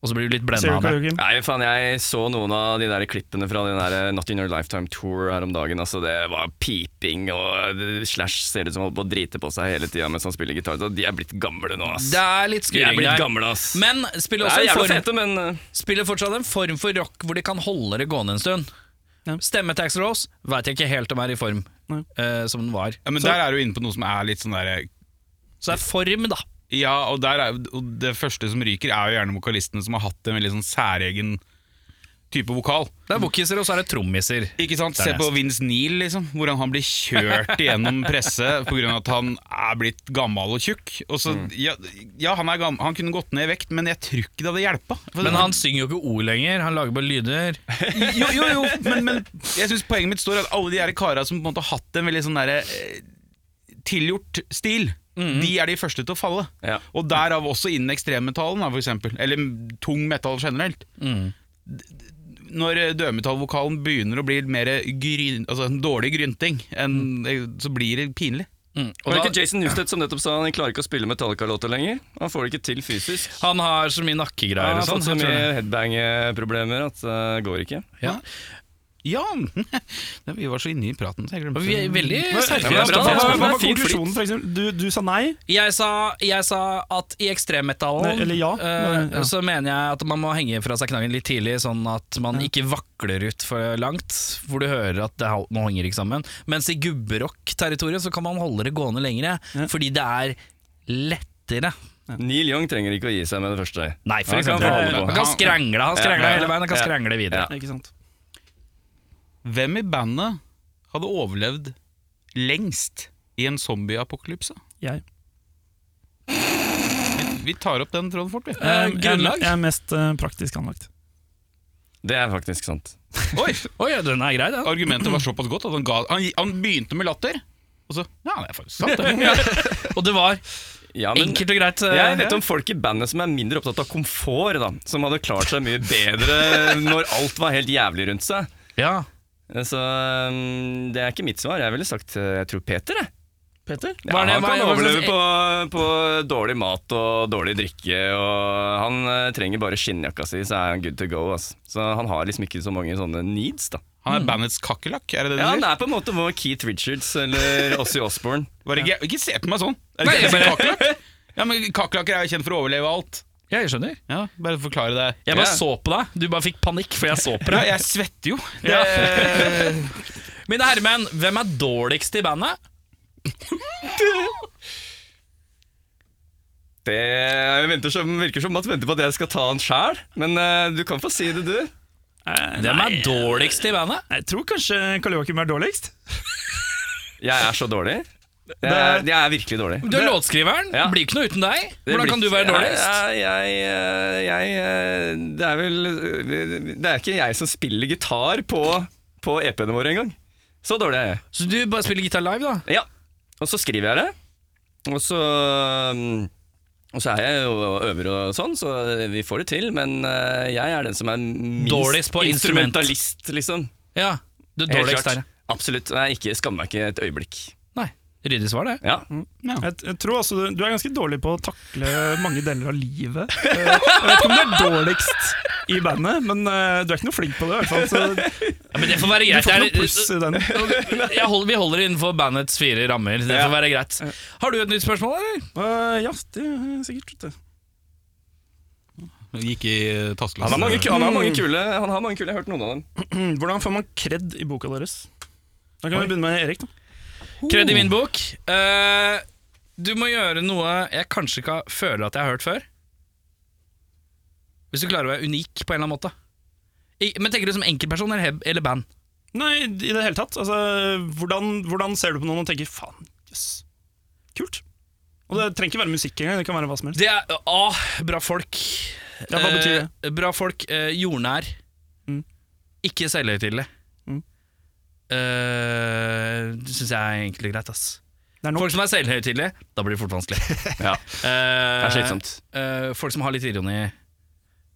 Speaker 1: Og så blir du litt blenda
Speaker 3: Ser du
Speaker 1: av det.
Speaker 3: ikke, Joakim?
Speaker 7: Nei, faen, jeg så noen av de der klippene fra den der eh, Not In Your Lifetime Tour her om dagen. Altså, det var piping og eh, Slash ser ut som han holder på å drite på seg hele tida mens han spiller gitar. Så De er blitt gamle nå, ass.
Speaker 1: Det er litt
Speaker 7: De er
Speaker 1: skuring
Speaker 7: blitt
Speaker 1: der.
Speaker 7: gamle, ass.
Speaker 1: Men spiller,
Speaker 7: det er
Speaker 1: også
Speaker 7: jævla
Speaker 1: en form,
Speaker 7: fete, men eh,
Speaker 1: spiller fortsatt en form for rock hvor de kan holde det gående en stund.
Speaker 3: Ja.
Speaker 1: Stemme Tax Rose veit jeg ikke helt om er i form
Speaker 3: Nei.
Speaker 1: eh, som den var.
Speaker 2: Ja, men der er du inne på noe som er litt sånn derre
Speaker 1: Så det er form, da.
Speaker 2: Ja, og, der er, og det første som ryker, er jo gjerne vokalistene som har hatt en veldig sånn særegen type vokal.
Speaker 1: Det
Speaker 7: Mm.
Speaker 1: er wokkiser, og så er det trommiser.
Speaker 2: Ikke sant?
Speaker 1: Det er
Speaker 2: Se på
Speaker 1: nest.
Speaker 2: Vince Neil, liksom, hvordan han blir kjørt igjennom presse pga. at han er blitt gammel og tjukk. Og så,
Speaker 1: Mm.
Speaker 2: ja, ja han, er gammel, han kunne gått ned i vekt, men jeg tror ikke det hadde hjelpa.
Speaker 1: Men han synger jo ikke ord lenger, han lager bare lyder.
Speaker 2: Jo, jo, jo, men, men jeg synes poenget mitt står at alle de her kara som på en måte har hatt en veldig sånn derre eh, tilgjort stil,
Speaker 1: Mhm.
Speaker 2: de er de første til å falle.
Speaker 7: Ja.
Speaker 2: Og derav også innen ekstremmetallen, da, for eksempel. Eller tung metall generelt.
Speaker 1: Mhm.
Speaker 2: D- Når eh, dødmetallvokalen begynner å bli mer gryn, altså en dårlig grynting,
Speaker 1: Mhm.
Speaker 2: enn- eh, så blir det pinlig.
Speaker 1: Mm. Og
Speaker 7: var det
Speaker 1: da,
Speaker 7: ikke Jason Newsted som nettopp sa han klarer ikke å spille Metallica-låter lenger? Han får det ikke til fysisk.
Speaker 1: han har så mye nakkegreier
Speaker 7: Han
Speaker 1: og
Speaker 7: har
Speaker 1: sånn.
Speaker 7: fått så
Speaker 1: jeg tror det.
Speaker 7: mye headbang-problemer at eh, det går ikke.
Speaker 2: Ja! men Vi var så inne i praten, så jeg glemte
Speaker 1: Vi er veldig
Speaker 7: Ja, men det er
Speaker 3: Hva
Speaker 7: bra,
Speaker 1: seriøse.
Speaker 7: da.
Speaker 3: var, hva
Speaker 7: Det er
Speaker 3: var
Speaker 7: fint
Speaker 3: konklusjonen, for eksempel? Du, du sa nei.
Speaker 1: Jeg sa, jeg sa at i ekstremmetallen
Speaker 3: Nei, eller ja.
Speaker 1: eh,
Speaker 3: Nei, ja.
Speaker 1: så mener jeg at man må henge fra seg knaggen litt tidlig, sånn at man ikke vakler ut for langt, hvor du hører at det, nå henger det ikke sammen. Mens i gubberock-territoriet så kan man holde det gående lengre, fordi det er lettere.
Speaker 7: Neil Young trenger ikke å gi seg med det første.
Speaker 1: Nei, for
Speaker 7: Han kan
Speaker 1: eksempel.
Speaker 7: få holde
Speaker 1: Han
Speaker 7: på.
Speaker 1: kan, skrangle, han
Speaker 7: Ja,
Speaker 1: skrangler
Speaker 7: ja, ja.
Speaker 1: hele veien, han kan
Speaker 7: Ja.
Speaker 1: skrangle videre.
Speaker 7: Ja.
Speaker 3: Ikke sant?
Speaker 2: Hvem i bandet hadde overlevd lengst i en zombieapokalypse?
Speaker 3: Jeg.
Speaker 2: Vi tar opp den tråden fort, vi.
Speaker 3: Eh,
Speaker 1: Eh,
Speaker 3: jeg,
Speaker 1: grunnlag?
Speaker 3: jeg er mest eh, praktisk anlagt.
Speaker 7: Det er faktisk sant.
Speaker 2: Oi,
Speaker 1: Oi, ja, den er grei, den.
Speaker 2: Argumentet var såpass godt at han, ga, han, han begynte med latter. Og så Ja, det er faktisk sant. det.
Speaker 1: Og det var
Speaker 7: Ja, men-
Speaker 1: Enkelt og greit. eh,
Speaker 7: Jeg vet
Speaker 1: ja.
Speaker 7: om folk i bandet som er mindre opptatt av komfort, da. Som hadde klart seg mye bedre når alt var helt jævlig rundt seg.
Speaker 1: Ja.
Speaker 7: Så um, det er ikke mitt svar. Jeg ville sagt eh, jeg tror Peter, jeg.
Speaker 3: Peter?
Speaker 7: Ja,
Speaker 1: Hva er det-
Speaker 7: han
Speaker 1: hva er-
Speaker 7: kan
Speaker 1: hva slags-
Speaker 7: overleve på, på dårlig mat og dårlig drikke. Og han eh, trenger bare skinnjakka si, så er han good to go. ass. Så han har liksom ikke så mange sånne needs, da.
Speaker 2: Han er bandets kakerlakk, er det det du
Speaker 7: Ja, Han
Speaker 2: sier?
Speaker 7: er på en måte vår Keith Richards eller Ossie Osborne.
Speaker 2: Bare ikke, ikke se på meg sånn! Er det
Speaker 1: Nei,
Speaker 2: ikke
Speaker 1: jeg
Speaker 2: jeg sier kakerlakk? Ja, men Kakerlakker er jo kjent for å overleve alt.
Speaker 1: ja, jeg skjønner.
Speaker 2: Ja, Bare forklare det.
Speaker 1: Jeg bare
Speaker 7: Ja.
Speaker 1: så på deg. Du bare fikk panikk, for jeg så på
Speaker 2: Ja,
Speaker 1: deg.
Speaker 2: jeg svetter jo. Det,
Speaker 1: Ja. Eh, Mine herremenn, hvem er dårligst i bandet?
Speaker 7: Det er- jeg venter som, virker som Mats venter på at jeg skal ta han sjæl, men eh, du kan få si det, du.
Speaker 3: Eh,
Speaker 1: Hvem er dårligst i bandet?
Speaker 3: Jeg tror kanskje Karl Joakim er dårligst.
Speaker 7: Jeg er så dårlig. Jeg er, jeg er virkelig dårlig.
Speaker 1: Du er låtskriveren.
Speaker 7: Ja.
Speaker 1: Blir ikke noe uten deg.
Speaker 7: Det
Speaker 1: Hvordan
Speaker 7: blir
Speaker 1: kan du
Speaker 7: ikke-
Speaker 1: være dårligst?
Speaker 7: Jeg, jeg, eh, jeg, jeg, Det er vel Det er ikke jeg som spiller gitar på, på EP-ene våre engang. Så dårlig er jeg.
Speaker 1: Så du bare spiller gitar live, da?
Speaker 7: Ja. Og så skriver jeg det. Og så mm, og så er jeg jo og øver og sånn, så vi får det til. Men eh, jeg er den som er minst
Speaker 1: Dårligst på instrument.
Speaker 7: instrumentalist, liksom.
Speaker 1: Ja. Du er
Speaker 7: Helt
Speaker 1: dårligst der,
Speaker 7: klart.
Speaker 1: ja.
Speaker 7: Absolutt. Nei, ikke, skammer meg ikke et øyeblikk.
Speaker 1: Nei. Ryddig svar, det.
Speaker 7: Ja.
Speaker 3: Jeg, jeg tror også du, du er ganske dårlig på å takle mange deler av livet. Eh, Jeg vet ikke om du er dårligst i bandet, men eh, du er ikke noe flink på det. I hvert fall, så
Speaker 1: Men det får være
Speaker 3: du
Speaker 1: greit.
Speaker 3: får ikke
Speaker 1: Jeg
Speaker 3: noe pluss i den.
Speaker 1: jeg holder, vi holder innenfor bandets fire rammer. Det får være greit. Har du et nytt spørsmål, eller?
Speaker 3: Eh, ja, det er sikkert. vet du.
Speaker 2: Gikk i eh, tasteløs.
Speaker 7: Han, har
Speaker 1: Mm.
Speaker 7: mange, han, har mange kule, han har mange kule. Jeg har hørt noen av dem.
Speaker 3: Mm, Hvordan får man kred i boka deres? Da kan vi begynne med Erik. da
Speaker 1: Kred i min bok. Eh, du må gjøre noe jeg kanskje ikke føler at jeg har hørt før. Hvis du klarer å være unik på en eller annen måte. I, men tenker du som enkeltperson eller, heb- eller band?
Speaker 3: Nei, i det hele tatt. Altså, hvordan, hvordan ser du på noen og tenker 'faen, jøss, kult'? Og Det trenger ikke være musikk engang. Det kan være hva som helst.
Speaker 1: Det er A. Bra folk.
Speaker 3: Ja, hva betyr det?
Speaker 1: Eh, bra folk. eh, jordnær.
Speaker 3: Mm.
Speaker 1: Ikke selvhøytidelig.
Speaker 3: Mm.
Speaker 1: Eh, det syns jeg er egentlig greit, ass.
Speaker 3: Det er nok.
Speaker 1: Folk som er selvhøytidelige, da blir det fort vanskelig.
Speaker 7: Ja,
Speaker 1: Eh,
Speaker 7: det er slitsomt.
Speaker 1: eh, folk som har litt ironi.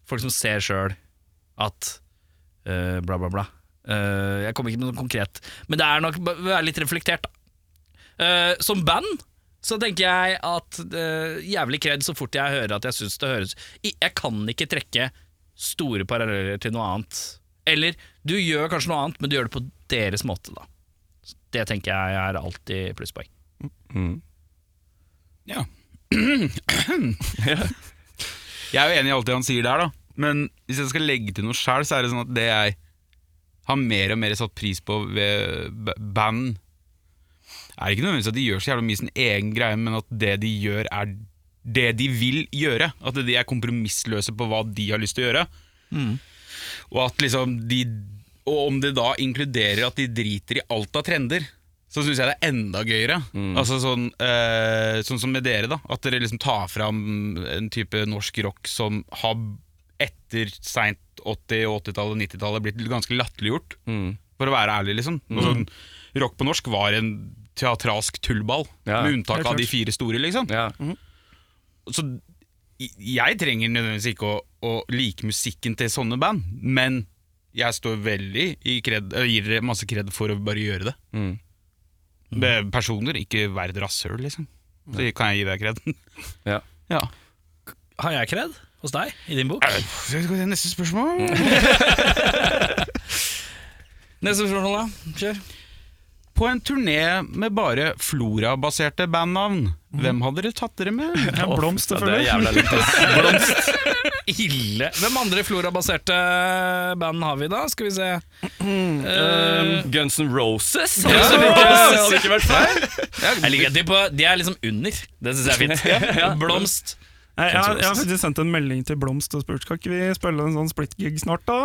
Speaker 1: Folk som ser sjøl at eh, bla, bla, bla. Eh, jeg kommer ikke med noe konkret, men det er nok b- være litt reflektert. da. Eh, som band så tenker jeg at eh, jævlig kred så fort jeg hører at jeg syns det høres I- Jeg kan ikke trekke store paralleller til noe annet. Eller du gjør kanskje noe annet, men du gjør det på deres måte, da. Så Det tenker jeg er alltid plusspoeng.
Speaker 2: Ja. jeg er jo enig i alt det han sier der, da. Men hvis jeg skal legge til noe sjæl, så er det sånn at det jeg har mer og mer satt pris på ved b- band, er ikke nødvendigvis at de gjør så jævla mye sin egen greie, men at det de gjør, er det de vil gjøre. At de er kompromissløse på hva de har lyst til å gjøre. Og at liksom de Og om det da inkluderer at de driter i alt av trender, så syns jeg det er enda gøyere.
Speaker 7: Mm.
Speaker 2: Altså sånn, eh, sånn som med dere, da. At dere liksom tar fram en type norsk rock som har etter seint 80-, 80-tallet, 90-tallet blitt ganske latterliggjort.
Speaker 7: Mm.
Speaker 2: For å være ærlig, liksom. Og Sånn, rock på norsk var en teatralsk tullball,
Speaker 7: Ja,
Speaker 2: med unntak
Speaker 3: helt
Speaker 2: av de
Speaker 3: klart.
Speaker 2: fire store, liksom.
Speaker 7: Ja.
Speaker 2: Så i- jeg trenger nødvendigvis ikke å, å like musikken til sånne band, men jeg står veldig i kred, eller gir dere masse kred for å bare gjøre det.
Speaker 7: Mm.
Speaker 2: Med Personer, ikke vær et rasshøl, liksom. Så kan jeg gi deg kred.
Speaker 7: Ja.
Speaker 2: ja.
Speaker 1: Har jeg kred hos deg i din bok?
Speaker 2: Skal vi gå til neste spørsmål?
Speaker 1: Neste spørsmål, da. Kjør.
Speaker 2: På en turné med bare Flora-baserte bandnavn, hvem hadde dere tatt dere med?
Speaker 3: Ja, blomst,
Speaker 7: Ja, det er
Speaker 3: selvfølgelig.
Speaker 7: jævla litt
Speaker 1: Ille. Hvem andre florabaserte band har vi da? Skal vi se.
Speaker 7: Guns N' Roses?
Speaker 1: Ja,
Speaker 7: Hadde det ikke-
Speaker 1: Roses!
Speaker 7: hadde det ikke vært feil?
Speaker 1: Jeg liker at de, på, de er liksom under. Det syns jeg er fint. Blomst.
Speaker 3: Jeg, jeg, har- jeg har faktisk sendt en melding til Blomst og spurt Skal ikke vi spille en sånn splittgig snart, da.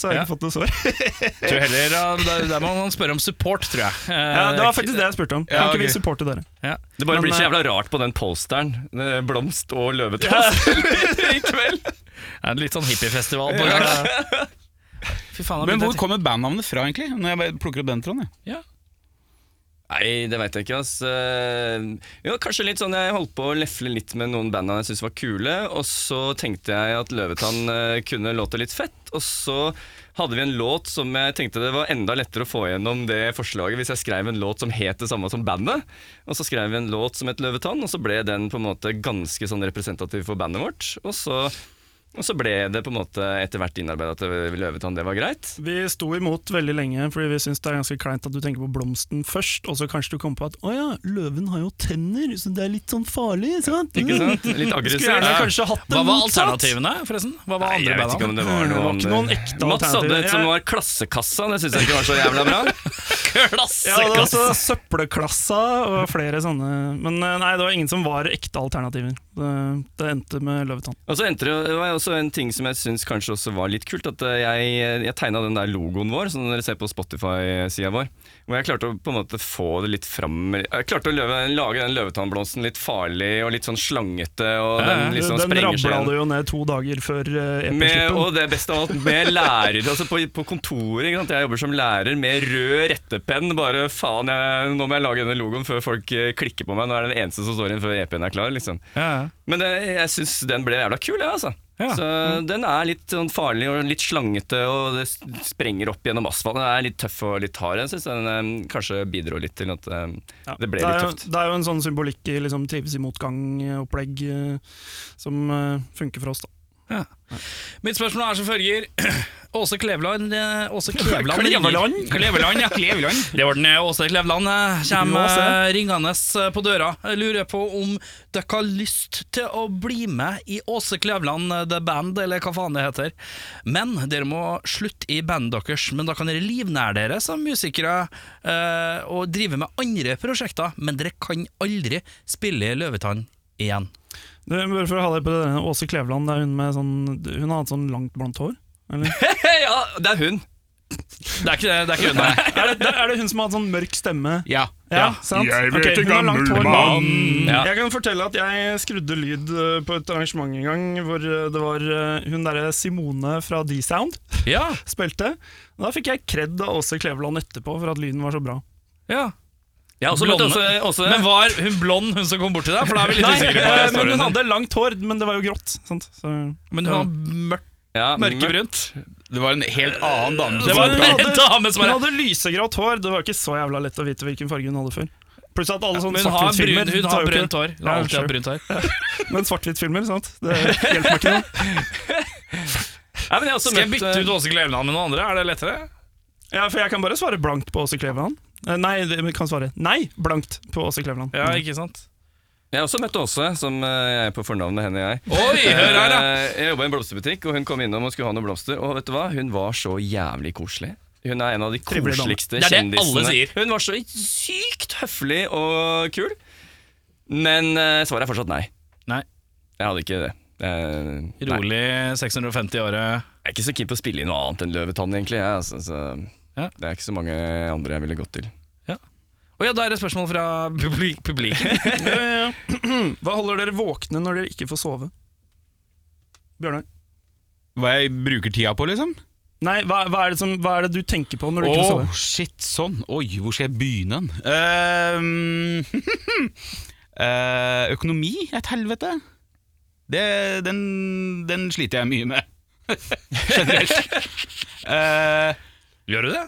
Speaker 3: Så har jeg ikke fått noe svar.
Speaker 1: Tror heller, ja, der, der må man spørre om support, tror jeg. Eh,
Speaker 3: Ja, det var faktisk det jeg spurte om. Kan
Speaker 2: Ja,
Speaker 3: ikke vi
Speaker 2: ok.
Speaker 3: supporte dere?
Speaker 1: ja.
Speaker 7: Det bare
Speaker 3: Men,
Speaker 7: blir så
Speaker 3: eh,
Speaker 7: jævla rart på den posteren. Det er Blomst og løvetann i kveld.
Speaker 1: Det er Litt sånn hippiefestival på gang. Fy faen,
Speaker 2: Men hvor
Speaker 1: kom
Speaker 2: kommer bandnavnet fra, egentlig? Når jeg bare plukker opp den tråden, jeg.
Speaker 1: ja.
Speaker 7: Nei, det veit jeg ikke, ass. Eh, Jo, kanskje litt sånn Jeg holdt på å lefle litt med noen banda jeg syntes var kule, og så tenkte jeg at Løvetann eh, kunne låta litt fett, og så hadde vi en låt som jeg tenkte det var enda lettere å få gjennom det forslaget hvis jeg skrev en låt som het det samme som bandet. Og så skrev vi en låt som het Løvetann, og så ble den på en måte ganske sånn representativ for bandet vårt. Og så, og så ble det på en måte etter hvert innarbeida at Løvetann, det var greit.
Speaker 3: Vi sto imot veldig lenge, fordi vi syns det er ganske kleint at du tenker på blomsten først, og så kanskje du kommer på at å ja, løven har jo tenner, så det er litt sånn farlig, sant?
Speaker 7: Ikke sant? Litt aggressivt.
Speaker 3: Skulle gjerne
Speaker 7: Ja.
Speaker 3: kanskje hatt det
Speaker 1: Hva var
Speaker 3: motsatt.
Speaker 1: alternativene, forresten? Hva var
Speaker 7: Nei,
Speaker 1: andre
Speaker 7: jeg vet ikke
Speaker 1: banda?
Speaker 7: om det var
Speaker 3: Mm, Det
Speaker 7: noe
Speaker 3: var ikke noen
Speaker 7: annet.
Speaker 3: ekte
Speaker 7: Mats hadde
Speaker 3: alternativer.
Speaker 7: et som
Speaker 3: Jeg-
Speaker 7: var Klassekassa, det syns jeg ikke var så jævla bra.
Speaker 3: Ja, det var
Speaker 1: Klassekass!
Speaker 3: også Søppelklassa og flere sånne. Men eh, nei, det var ingen som var ekte alternativer. Det, det endte med Løvetann.
Speaker 7: Og så endte det, det var jo også en ting som jeg syns kanskje også var litt kult, at eh, jeg, jeg tegna den der logoen vår, som dere ser på Spotify-sida vår, hvor jeg klarte å på en måte få det litt fram Jeg klarte å løve, lage den løvetannblomsten litt farlig og litt sånn slangete, og den liksom
Speaker 3: Eh, den
Speaker 7: sprenger seg
Speaker 3: rabla
Speaker 7: igjen.
Speaker 3: du jo ned to dager før eh,
Speaker 7: Med,
Speaker 3: EP-slippen.
Speaker 7: og det beste av alt, med lærer. Altså på, på kontoret. Ikke sant? Jeg jobber som lærer med rød rettepenn. Bare faen, jeg, nå må jeg lage denne logoen før folk eh, klikker på meg. Nå er det den eneste som står igjen før EP-en er klar. Liksom.
Speaker 1: Ja,
Speaker 7: Men eh, jeg syns den ble jævla kul, jeg, altså.
Speaker 1: Ja. Mm.
Speaker 7: Så Den er litt sånn farlig og litt slangete, og det s- sprenger opp gjennom asfalten. Den er litt tøff og litt hard. Jeg syns den eh, kanskje bidro litt til at eh,
Speaker 3: Ja,
Speaker 7: det ble
Speaker 3: er
Speaker 7: litt
Speaker 3: jo-
Speaker 7: tøft.
Speaker 3: Det er jo en sånn symbolikk i liksom, trives i motgang-opplegg eh, som eh, funker for oss, da.
Speaker 1: Mitt spørsmål er som følger. Åse Kleveland eh, Åse Kleveland
Speaker 3: Kleveland?
Speaker 1: ringer. Kleveland, ja. Kleveland. Det var den eh, Åse Kleveland eh, kommer eh, ringende eh, på døra. Jeg lurer på om dere har lyst til å bli med i Åse Kleveland eh, The Band, eller hva faen det heter. Men dere må slutte i bandet deres. Men da kan dere livnære dere som musikere eh, og drive med andre prosjekter. Men dere kan aldri spille Løvetann igjen.
Speaker 3: Du, bare for å ha deg på det, der, Åse Kleveland, det er hun, med sånn, hun har hatt sånn langt blondt hår? Eller?
Speaker 7: ja, det er hun.
Speaker 1: Det er ikke det. det er ikke unna.
Speaker 3: er, det, er det hun som har hatt sånn mørk stemme?
Speaker 1: Ja.
Speaker 3: sant?
Speaker 5: Jeg vet
Speaker 3: Ok, hun
Speaker 5: ikke,
Speaker 3: har langt hår.
Speaker 5: gammel mann.
Speaker 1: Ja.
Speaker 3: Jeg kan fortelle at jeg skrudde lyd eh, på et arrangement en gang, hvor eh, det var eh, hun derre Simone fra D-Sound
Speaker 1: ja.
Speaker 3: spilte. Da fikk jeg kred av Åse Kleveland etterpå for at lyden var så bra.
Speaker 1: Ja.
Speaker 7: også
Speaker 1: Blonde.
Speaker 7: møtte også- også-
Speaker 1: Men var hun blond, hun som kom bort til deg? For da er vi litt
Speaker 3: Nei,
Speaker 1: usikre på
Speaker 3: eh, men
Speaker 1: storyen
Speaker 3: hun
Speaker 1: din.
Speaker 3: hadde langt hår, men det var jo grått. Sant? Så,
Speaker 1: Men hun hadde mørkt,
Speaker 7: Ja,
Speaker 1: mørkebrunt.
Speaker 2: Det var en helt annen dame som
Speaker 1: Det var
Speaker 2: var
Speaker 1: en
Speaker 2: bra.
Speaker 3: hadde-
Speaker 1: dame som
Speaker 3: hun
Speaker 1: bare
Speaker 3: hadde lysegrått hår, det var ikke så jævla lett å vite hvilken farge hun hadde før. Pluss at alle sånne
Speaker 1: men hun har, brun,
Speaker 3: svart-hvitt-filmer
Speaker 1: sånn hun
Speaker 3: tar
Speaker 1: har
Speaker 3: jo ikke-
Speaker 1: brunt hår. Hun har
Speaker 3: Ja,
Speaker 1: alltid hatt
Speaker 3: sure.
Speaker 1: brunt hår.
Speaker 3: Men svart-hvitt-filmer, sant? Det hjelper meg ikke noe.
Speaker 7: Ja, men jeg har også
Speaker 1: Skal jeg
Speaker 7: møtt,
Speaker 1: bytte
Speaker 7: eh,
Speaker 1: ut Åse Kleveland med noen andre? Er det lettere?
Speaker 3: Ja, for jeg kan bare svare blankt på Åse Kleveland. Eh, Nei, det- jeg kan svare nei blankt på Åse Kleveland.
Speaker 1: Ja, ikke sant?
Speaker 7: Jeg har også møtt Åse, som eh, jeg er på fornavn med henne, jeg.
Speaker 1: Oi, hør her, da!
Speaker 7: Eh, Jeg jobba i en blomsterbutikk, og hun kom innom og skulle ha noen blomster. Og vet du hva? Hun var så jævlig koselig. Hun er en av de
Speaker 3: Trivelig dame.
Speaker 7: koseligste
Speaker 1: Det er det alle
Speaker 7: kjendisene.
Speaker 1: sier.
Speaker 7: Hun var så sykt høflig og kul. Men eh, svaret er fortsatt nei.
Speaker 1: Nei.
Speaker 7: Jeg hadde ikke det. Eh, nei.
Speaker 1: Rolig 650 i året.
Speaker 7: Jeg er ikke så keen på å spille i noe annet enn Løvetann, egentlig. Jeg, altså, så
Speaker 1: Ja.
Speaker 7: Det er ikke så mange andre jeg ville gått til.
Speaker 1: Å ja, da er det spørsmål fra publi- publikum.
Speaker 3: Eh, Hva holder dere våkne når dere ikke får sove? Bjørnar?
Speaker 2: Hva jeg bruker tida på, liksom?
Speaker 3: Nei, hva, hva, er det som, hva er det du tenker på når du ikke får
Speaker 2: Åh,
Speaker 3: sove?
Speaker 2: shit, sånn. Oi, hvor skal jeg begynne den? Ehm, eh, økonomi er et helvete. Det, den, den sliter jeg mye med. Generelt. Eh,
Speaker 1: Gjør du det?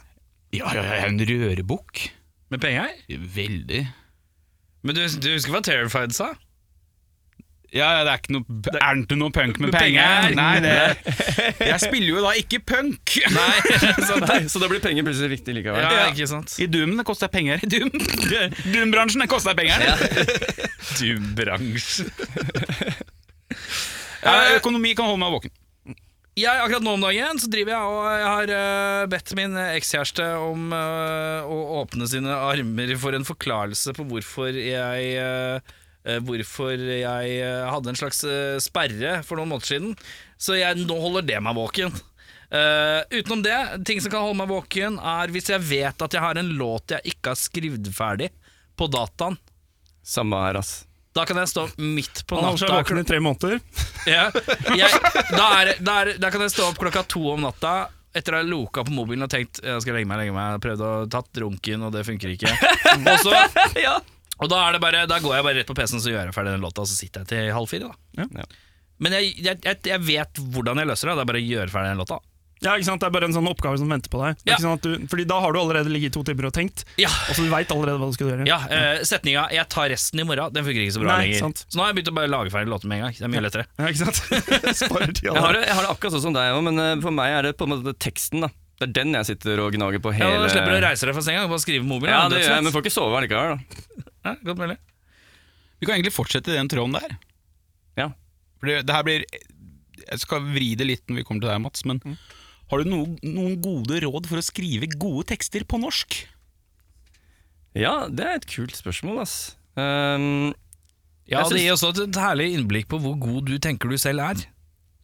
Speaker 2: ja, ja, jeg er en rørebukk.
Speaker 1: Med penger?
Speaker 2: Veldig.
Speaker 1: Men du, du husker hva Terrified sa?
Speaker 2: Ja, ja, det er ikke noe Er det ikke noe punk med
Speaker 1: Med
Speaker 2: penger?
Speaker 1: penger.
Speaker 2: Nei, det Jeg spiller jo da ikke punk!
Speaker 7: Så, så da blir penger plutselig viktig likevel.
Speaker 1: Ja, ikke sant?
Speaker 2: I Doom det koster penger. I Doom. Doom-bransjen det koster penger.
Speaker 1: Du bransje.
Speaker 2: Ja, økonomi kan holde meg våken.
Speaker 1: jeg, akkurat nå om dagen så driver jeg og jeg har eh, bedt min ekskjæreste om eh, å åpne sine armer for en forklarelse på hvorfor jeg eh, eh, Hvorfor jeg eh, hadde en slags eh, sperre for noen måneder siden. Så jeg, nå holder det meg våken. Eh, utenom det, ting som kan holde meg våken, er hvis jeg vet at jeg har en låt jeg ikke har skrevet ferdig på dataen.
Speaker 7: Samme her, ass.
Speaker 1: Da kan jeg stå midt på
Speaker 3: Han holder seg
Speaker 1: natta
Speaker 3: våken i tre måneder.
Speaker 1: ja. jeg, da, er, da, er, da kan jeg stå opp klokka to om natta, etter å ha loka på mobilen og tenkt Jeg skal legge meg, legge meg Prøvd å tatt runken, og det funker ikke Og så
Speaker 7: Ja.
Speaker 1: Og da, er det bare, da går jeg bare rett på PC-en Så gjør jeg ferdig den låta Og så sitter jeg til halv fire da
Speaker 3: Ja.
Speaker 7: Ja.
Speaker 1: Men jeg, jeg, jeg, jeg vet hvordan jeg løser det Det er bare å gjøre ferdig den låta
Speaker 3: Ja, ikke sant? Det er bare en sånn oppgave som venter på deg. Det er
Speaker 1: Ja.
Speaker 3: ikke sånn at du, fordi da har du allerede ligget i to timer og tenkt,
Speaker 1: Ja,
Speaker 3: og så du veit allerede hva du skal gjøre.
Speaker 1: ja eh, setninga 'Jeg tar resten i morgen' Den funker ikke så bra
Speaker 3: Nei,
Speaker 1: lenger
Speaker 3: sant.
Speaker 1: Så nå har jeg begynt å bare lage ferdig låten med en gang Det er mye lettere
Speaker 3: Ja, ikke sant? Sparer tida.
Speaker 7: Jeg har, det, jeg har det akkurat sånn som deg òg, men eh, for meg er det på en måte teksten. da Det er den jeg sitter og gnager på
Speaker 1: ja,
Speaker 7: hele
Speaker 1: Da slipper du å reise deg fra senga og bare skrive på mobilen
Speaker 7: Ja,
Speaker 1: da,
Speaker 7: det gjør jeg,
Speaker 1: dødslett.
Speaker 7: men får ikke sove allikevel. da
Speaker 1: ja, Godt mulig
Speaker 2: Vi kan egentlig fortsette i den tråden der.
Speaker 7: Ja.
Speaker 2: For det, det her blir Jeg skal vri det litt når vi kommer til deg, Mats, men
Speaker 1: Mm.
Speaker 2: har du noen, noen gode råd for å skrive gode tekster på norsk?
Speaker 7: Ja, det er et kult spørsmål, ass. Ehm,
Speaker 1: Ja,
Speaker 7: Jeg
Speaker 1: det
Speaker 7: syns-
Speaker 1: gir også et- et herlig innblikk på hvor god du tenker du selv er.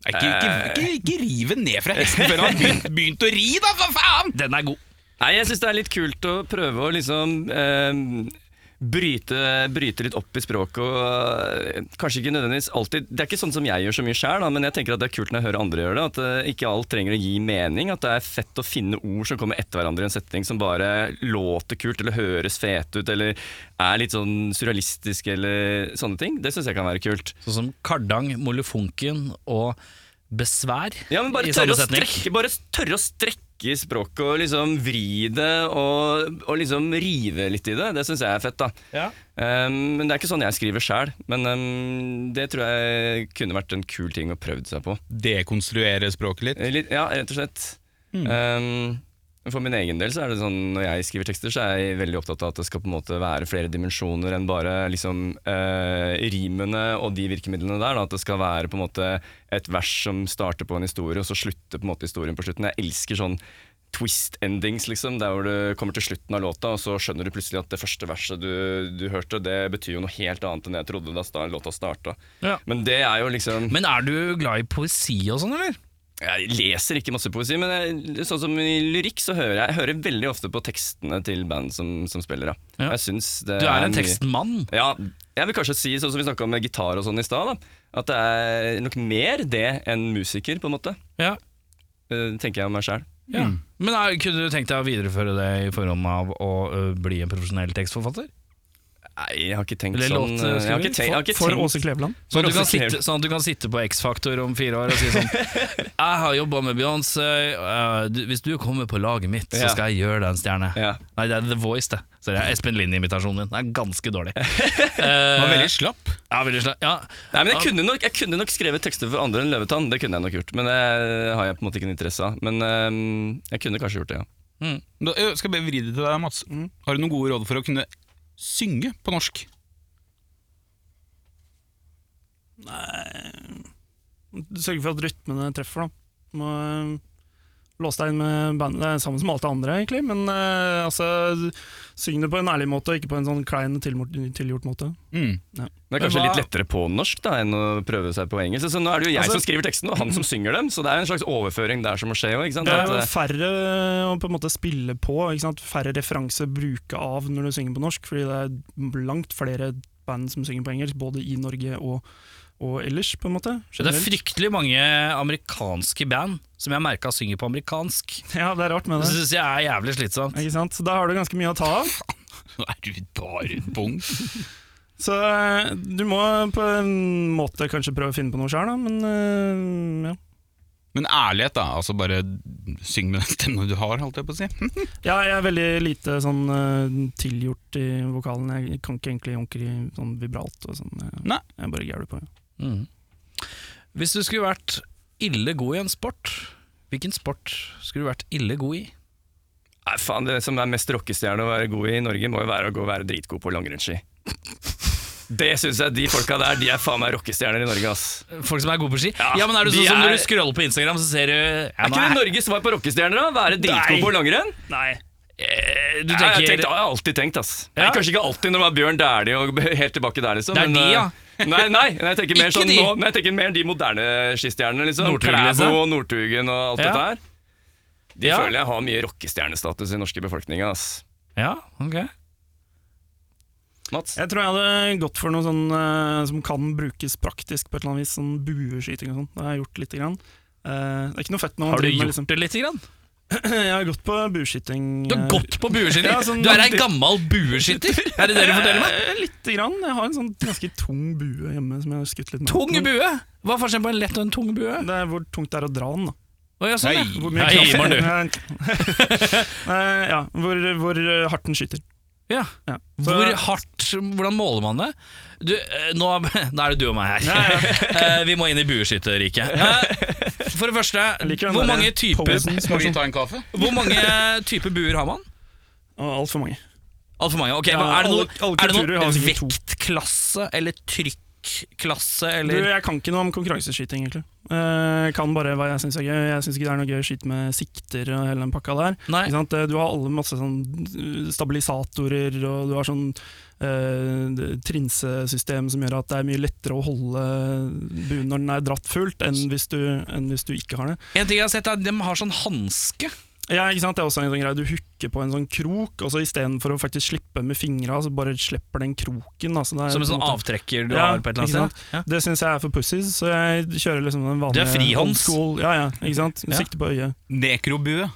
Speaker 2: Nei, Ikke,
Speaker 1: Eh.
Speaker 2: ikke, ikke, ikke rive ned fra hesten før han har begynt, begynt å ri, da, for faen!
Speaker 1: Den er god.
Speaker 7: nei, jeg syns det er litt kult å prøve å liksom ehm, Bryte, bryte litt opp i språket og eh, kanskje ikke nødvendigvis alltid Det er ikke sånn som jeg gjør så mye sjøl, men jeg tenker at det er kult når jeg hører andre gjøre det. At eh, ikke alt trenger å gi mening. At det er fett å finne ord som kommer etter hverandre i en setning som bare låter kult eller høres fete ut eller er litt sånn surrealistisk eller sånne ting. Det syns jeg kan være kult.
Speaker 1: Sånn som kardang, molefonken og besvær.
Speaker 7: Ja, men
Speaker 1: i
Speaker 7: bare
Speaker 1: samme
Speaker 7: tørre å
Speaker 1: setning.
Speaker 7: strekke Bare tørre å strekke i språket og liksom vri det og, og liksom rive litt i det. Det syns jeg er fett, da. Um, men det er ikke sånn jeg skriver sjæl. Men um, det tror jeg kunne vært en kul ting å prøve seg på.
Speaker 2: Dekonstruere språket litt.
Speaker 7: Eh, Litt, ja, rett og slett. Um, for min egen del så er det sånn når jeg skriver tekster, så er jeg veldig opptatt av at det skal på en måte være flere dimensjoner enn bare liksom eh, rimene og de virkemidlene der. Da. At det skal være på en måte et vers som starter på en historie, og så slutter på en måte historien på slutten. Jeg elsker sånn twist endings, liksom, der hvor du kommer til slutten av låta, og så skjønner du plutselig at det første verset du, du hørte, det betyr jo noe helt annet enn det jeg trodde da sta- låta starta.
Speaker 1: Ja.
Speaker 7: Men det er jo liksom
Speaker 1: Men er du glad i poesi og sånn, eller?
Speaker 7: jeg leser ikke masse poesi, men jeg, sånn som i lyrikk så hører jeg, jeg hører veldig ofte på tekstene til band som, som spiller. Da.
Speaker 1: Ja.
Speaker 7: Jeg synes det
Speaker 1: Du er en
Speaker 7: mye-
Speaker 1: tekstmann.
Speaker 7: Ja, jeg vil kanskje si, sånn som vi snakka om med gitar og sånn i stad, da, at det er nok mer det enn musiker, på en måte.
Speaker 1: Ja.
Speaker 7: Eh, tenker jeg om meg sjæl.
Speaker 1: ja.
Speaker 7: Mm.
Speaker 1: Men er, kunne du tenkt deg å videreføre det i forhånd av å ø, bli en profesjonell tekstforfatter?
Speaker 7: Nei, jeg har ikke tenkt
Speaker 1: Eller eh,
Speaker 7: sånn.
Speaker 1: låtskriver?
Speaker 7: Jeg har ikke tenkt, jeg har ikke
Speaker 3: For
Speaker 7: tenkt.
Speaker 3: Åse Kleveland.
Speaker 1: Sånn at, du
Speaker 7: For
Speaker 1: kan
Speaker 7: offisiell.
Speaker 1: sitte, sånn at du kan sitte på X-Faktor om fire år og si sånn 'Jeg har jobba med Beyoncé. ø, du- hvis du kommer på laget mitt,
Speaker 7: Ja.
Speaker 1: så skal jeg gjøre deg en stjerne.'
Speaker 7: Ja.
Speaker 1: Nei, det er The Voice, det. Så det er Espen Lind-imitasjonen din. Den er ganske dårlig.
Speaker 2: Han var
Speaker 1: Eh,
Speaker 2: veldig slapp.
Speaker 1: ja, veldig slapp. Ja.
Speaker 7: Nei, men jeg kunne, nok, jeg kunne nok skrevet tekster for andre enn Løvetann, det kunne jeg nok gjort. Men det har jeg på en måte ikke en interesse av. Men eh, jeg kunne kanskje gjort det, ja.
Speaker 2: Da, ø, skal jeg bare vri det til deg, Mats.
Speaker 1: Mm.
Speaker 2: Har du noen gode råd for å kunne synge på norsk?
Speaker 3: Sørge for at rytmene treffer, da. Du Må eh, låse deg inn med bandet. Det er sammen som alt det andre, egentlig. Men eh, altså, syng det på en ærlig måte, og ikke på en sånn klein, tilmort- tilgjort måte.
Speaker 2: Mm.
Speaker 7: Det er
Speaker 1: Men
Speaker 7: kanskje
Speaker 1: hva-
Speaker 7: litt lettere på norsk da, enn å prøve seg på engelsk. Så nå er det jo jeg
Speaker 3: Altså-
Speaker 7: som skriver teksten, og han som synger dem, så det er en slags overføring der som må skje. jo, Ikke sant?
Speaker 3: Det er
Speaker 7: At,
Speaker 3: jo
Speaker 7: eh,
Speaker 3: færre å på en måte spille på, ikke sant? færre referanse bruke av når du synger på norsk, fordi det er langt flere band som synger på engelsk, både i Norge og, og ellers, på en måte.
Speaker 1: Det er
Speaker 3: generelt.
Speaker 1: fryktelig mange amerikanske band som jeg merka synger på amerikansk.
Speaker 3: Ja, det er rart med
Speaker 1: Det
Speaker 3: det.
Speaker 1: syns jeg er jævlig slitsomt.
Speaker 3: Ikke sant? Så Da har du ganske mye å ta av.
Speaker 2: Nå er du bare bong.
Speaker 3: Så eh, du må på en måte kanskje prøve å finne på noe sjøl, men eh, ja.
Speaker 2: Men ærlighet, da. Altså bare syng med den stemmen du har, holdt jeg på å si.
Speaker 3: ja. Jeg er veldig lite sånn eh, tilgjort i vokalen. Jeg kan ikke egentlig jonker i sånn vibralt og sånn. Jeg-
Speaker 2: Nei.
Speaker 3: Jeg bare gæler på.
Speaker 1: Mm. Hvis du skulle vært ille god i en sport, hvilken sport skulle du vært ille god i?
Speaker 7: nei, faen, det som er mest rockestjerne å være god i i Norge, må jo være å gå og være dritgod på langrennsski. Det syns jeg de folka der, de er faen meg rockestjerner i Norge, ass.
Speaker 1: Folk som er gode på ski? Ja,
Speaker 7: Ja,
Speaker 1: men er du
Speaker 7: de
Speaker 1: sånn som
Speaker 7: er-
Speaker 1: når du scroller på Instagram, så ser du ja,
Speaker 7: Er ikke det Norges svar på rockestjerner, da? Være dritgod på langrenn?
Speaker 3: Nei.
Speaker 1: eh, Du
Speaker 7: Ja, jeg har
Speaker 1: tenker
Speaker 7: tenkt- jeg har alltid tenkt, ass.
Speaker 1: Ja.
Speaker 7: Nei, kanskje ikke alltid når det var Bjørn Dæhlie og helt tilbake der, liksom.
Speaker 1: Det er
Speaker 7: men,
Speaker 1: de, ja.
Speaker 7: eh, Nei, nei, jeg tenker mer
Speaker 1: Ikke
Speaker 7: sånn
Speaker 1: de.
Speaker 7: nå, nei, jeg tenker mer de moderne skistjernene, liksom.
Speaker 1: Northug, liksom.
Speaker 7: Klæbo og Northugen og alt
Speaker 1: Ja.
Speaker 7: dette her. De
Speaker 1: Ja.
Speaker 7: føler jeg har mye rockestjernestatus i den norske befolkninga, ass.
Speaker 1: Ja, ok
Speaker 7: Mats?
Speaker 3: Jeg tror jeg hadde gått for noe sånn eh, som kan brukes praktisk på et eller annet vis, sånn bueskyting og sånn. Det har jeg gjort lite grann. Eh, det er ikke noe fett når man
Speaker 1: Har du
Speaker 3: driver med
Speaker 1: gjort det lite grann?
Speaker 3: Jeg har gått på bueskyting.
Speaker 1: Du har
Speaker 3: eh,
Speaker 1: gått på bueskytter!
Speaker 3: Ja, sånn-
Speaker 1: du er ei gammal bueskytter! Er det det du forteller meg?
Speaker 3: eh, Lite grann. Jeg har en sånn ganske tung bue hjemme som jeg har skutt litt med.
Speaker 1: Tung
Speaker 3: Men
Speaker 1: bue! Hva er forskjellen på en lett og en tung bue?
Speaker 3: Det er hvor tungt det er å dra den, da.
Speaker 1: Å, ja, sånn, ja.
Speaker 3: Hvor
Speaker 1: Nei,
Speaker 3: kraft-
Speaker 1: Ivar, du.
Speaker 3: Eh, ja, hvor, hvor eh, hardt den skyter.
Speaker 1: Ja.
Speaker 3: Ja. Så-
Speaker 1: Hvor hardt Hvordan måler man det? Du, eh, nå, nå er det du og meg her. Eh, Vi må inn i bueskytterriket. Eh, For det første,
Speaker 3: Jeg liker den
Speaker 1: hvor
Speaker 3: der
Speaker 1: mange, typer,
Speaker 3: posen som
Speaker 2: Skal
Speaker 3: er
Speaker 2: vi
Speaker 3: sånn-
Speaker 2: ta en kaffe?
Speaker 1: hvor mange typer buer har man?
Speaker 3: Å, Altfor mange.
Speaker 1: Altfor mange. ok,
Speaker 3: Ja,
Speaker 1: hva- Er det
Speaker 3: alle-
Speaker 1: noe,
Speaker 3: alle
Speaker 1: er det
Speaker 3: kulturer
Speaker 1: noe
Speaker 3: har sikkert to.
Speaker 1: vektklasse eller trykklasse
Speaker 3: Du,
Speaker 1: eller
Speaker 3: jeg kan ikke noe om konkurranseskyting, egentlig. Eh, Jeg kan bare hva jeg syns er gøy. Jeg syns ikke det er noe gøy å skyte med sikter og hele den pakka der.
Speaker 1: Nei.
Speaker 3: Ikke sant? Eh, Du har alle masse sånn uh, stabilisatorer, og du har sånn eh, trinsesystem som gjør at det er mye lettere å holde buen når den er dratt fullt, enn hvis du, enn hvis du ikke har det.
Speaker 1: En ting jeg har sett er at De har sånn hanske.
Speaker 3: Ja, ikke sant? Det er også en sånn greie, Du hooker på en sånn krok, og så istedenfor å faktisk slippe med fingra, så bare slipper den kroken. da. Så det er
Speaker 1: Som en
Speaker 3: på en
Speaker 1: sånn
Speaker 3: måte-
Speaker 1: avtrekker du
Speaker 3: Ja,
Speaker 1: har på et eller
Speaker 3: ikke
Speaker 1: annet sted. Ja.
Speaker 3: Det syns jeg er for pussies, så jeg kjører liksom den vanlige
Speaker 1: Du er frihånds.
Speaker 3: old school- Ja, ja, ikke sant?
Speaker 1: Ja.
Speaker 3: Sikte på øyet.
Speaker 2: Nekrobue.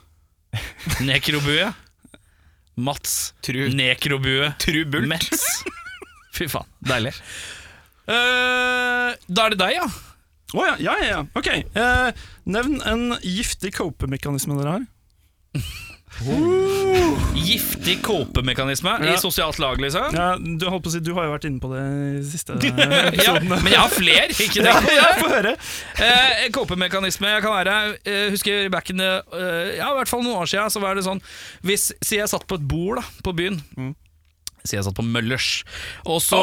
Speaker 1: Nekrobue. Mats.
Speaker 2: Tru,
Speaker 1: Nekrobue.
Speaker 2: trubult.
Speaker 1: Mets. Fy faen, deilig. Eh, da er det deg, ja.
Speaker 3: Å ja, ja, ja, ja. Ok. Eh, nevn en giftig copemekanisme dere har.
Speaker 1: Giftig kåpemekanisme
Speaker 3: Ja.
Speaker 1: i sosialt lag, liksom.
Speaker 3: Ja, du, holdt på å si, du har jo vært inne på det i siste
Speaker 1: Ja,
Speaker 3: episoden.
Speaker 1: men jeg har flere, ikke
Speaker 3: ja,
Speaker 1: tenk på
Speaker 3: ja,
Speaker 1: det.
Speaker 3: få høre.
Speaker 1: Eh, Kåpemekanisme jeg kan være eh, Husker back in the eh, Ja, i hvert fall noen år siden Så var det sånn Hvis Si jeg satt på et bord da På byen Si jeg satt på Møllers Og så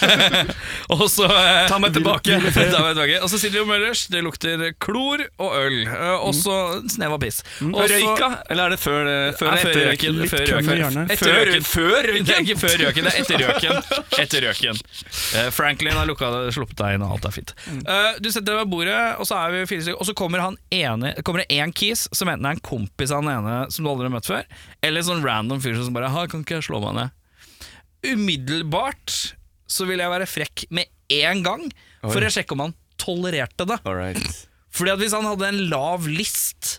Speaker 1: Og så eh, Ta meg tilbake Ta meg tilbake Og så sitter vi på Møllers Det lukter klor og øl eh, Og så snev av piss Og så-
Speaker 7: Mm. Røyka? Eller er det før, det- før,
Speaker 1: Nei,
Speaker 7: eller
Speaker 1: Eh, før
Speaker 7: etter
Speaker 1: røyken.
Speaker 3: Litt
Speaker 1: Før
Speaker 3: køm i
Speaker 1: røyken.
Speaker 3: hjørnet.
Speaker 1: Etter røyken. Det er ikke før røyken, det er etter røyken. Etter røyken. Eh, Franklin har lukka, det, sluppet deg inn, og alt er fint. Eh, du setter deg ved bordet, og så er vi fire stykker, og så kommer, han ene, kommer det én kis som enten er en kompis av han ene som du aldri har møtt før, eller en sånn random fyr som bare ha, 'Kan ikke jeg slå meg ned?' Umiddelbart så vil jeg være frekk med én gang, for å sjekke om han tolererte det.
Speaker 7: Alright.
Speaker 1: Fordi at hvis han hadde en lav list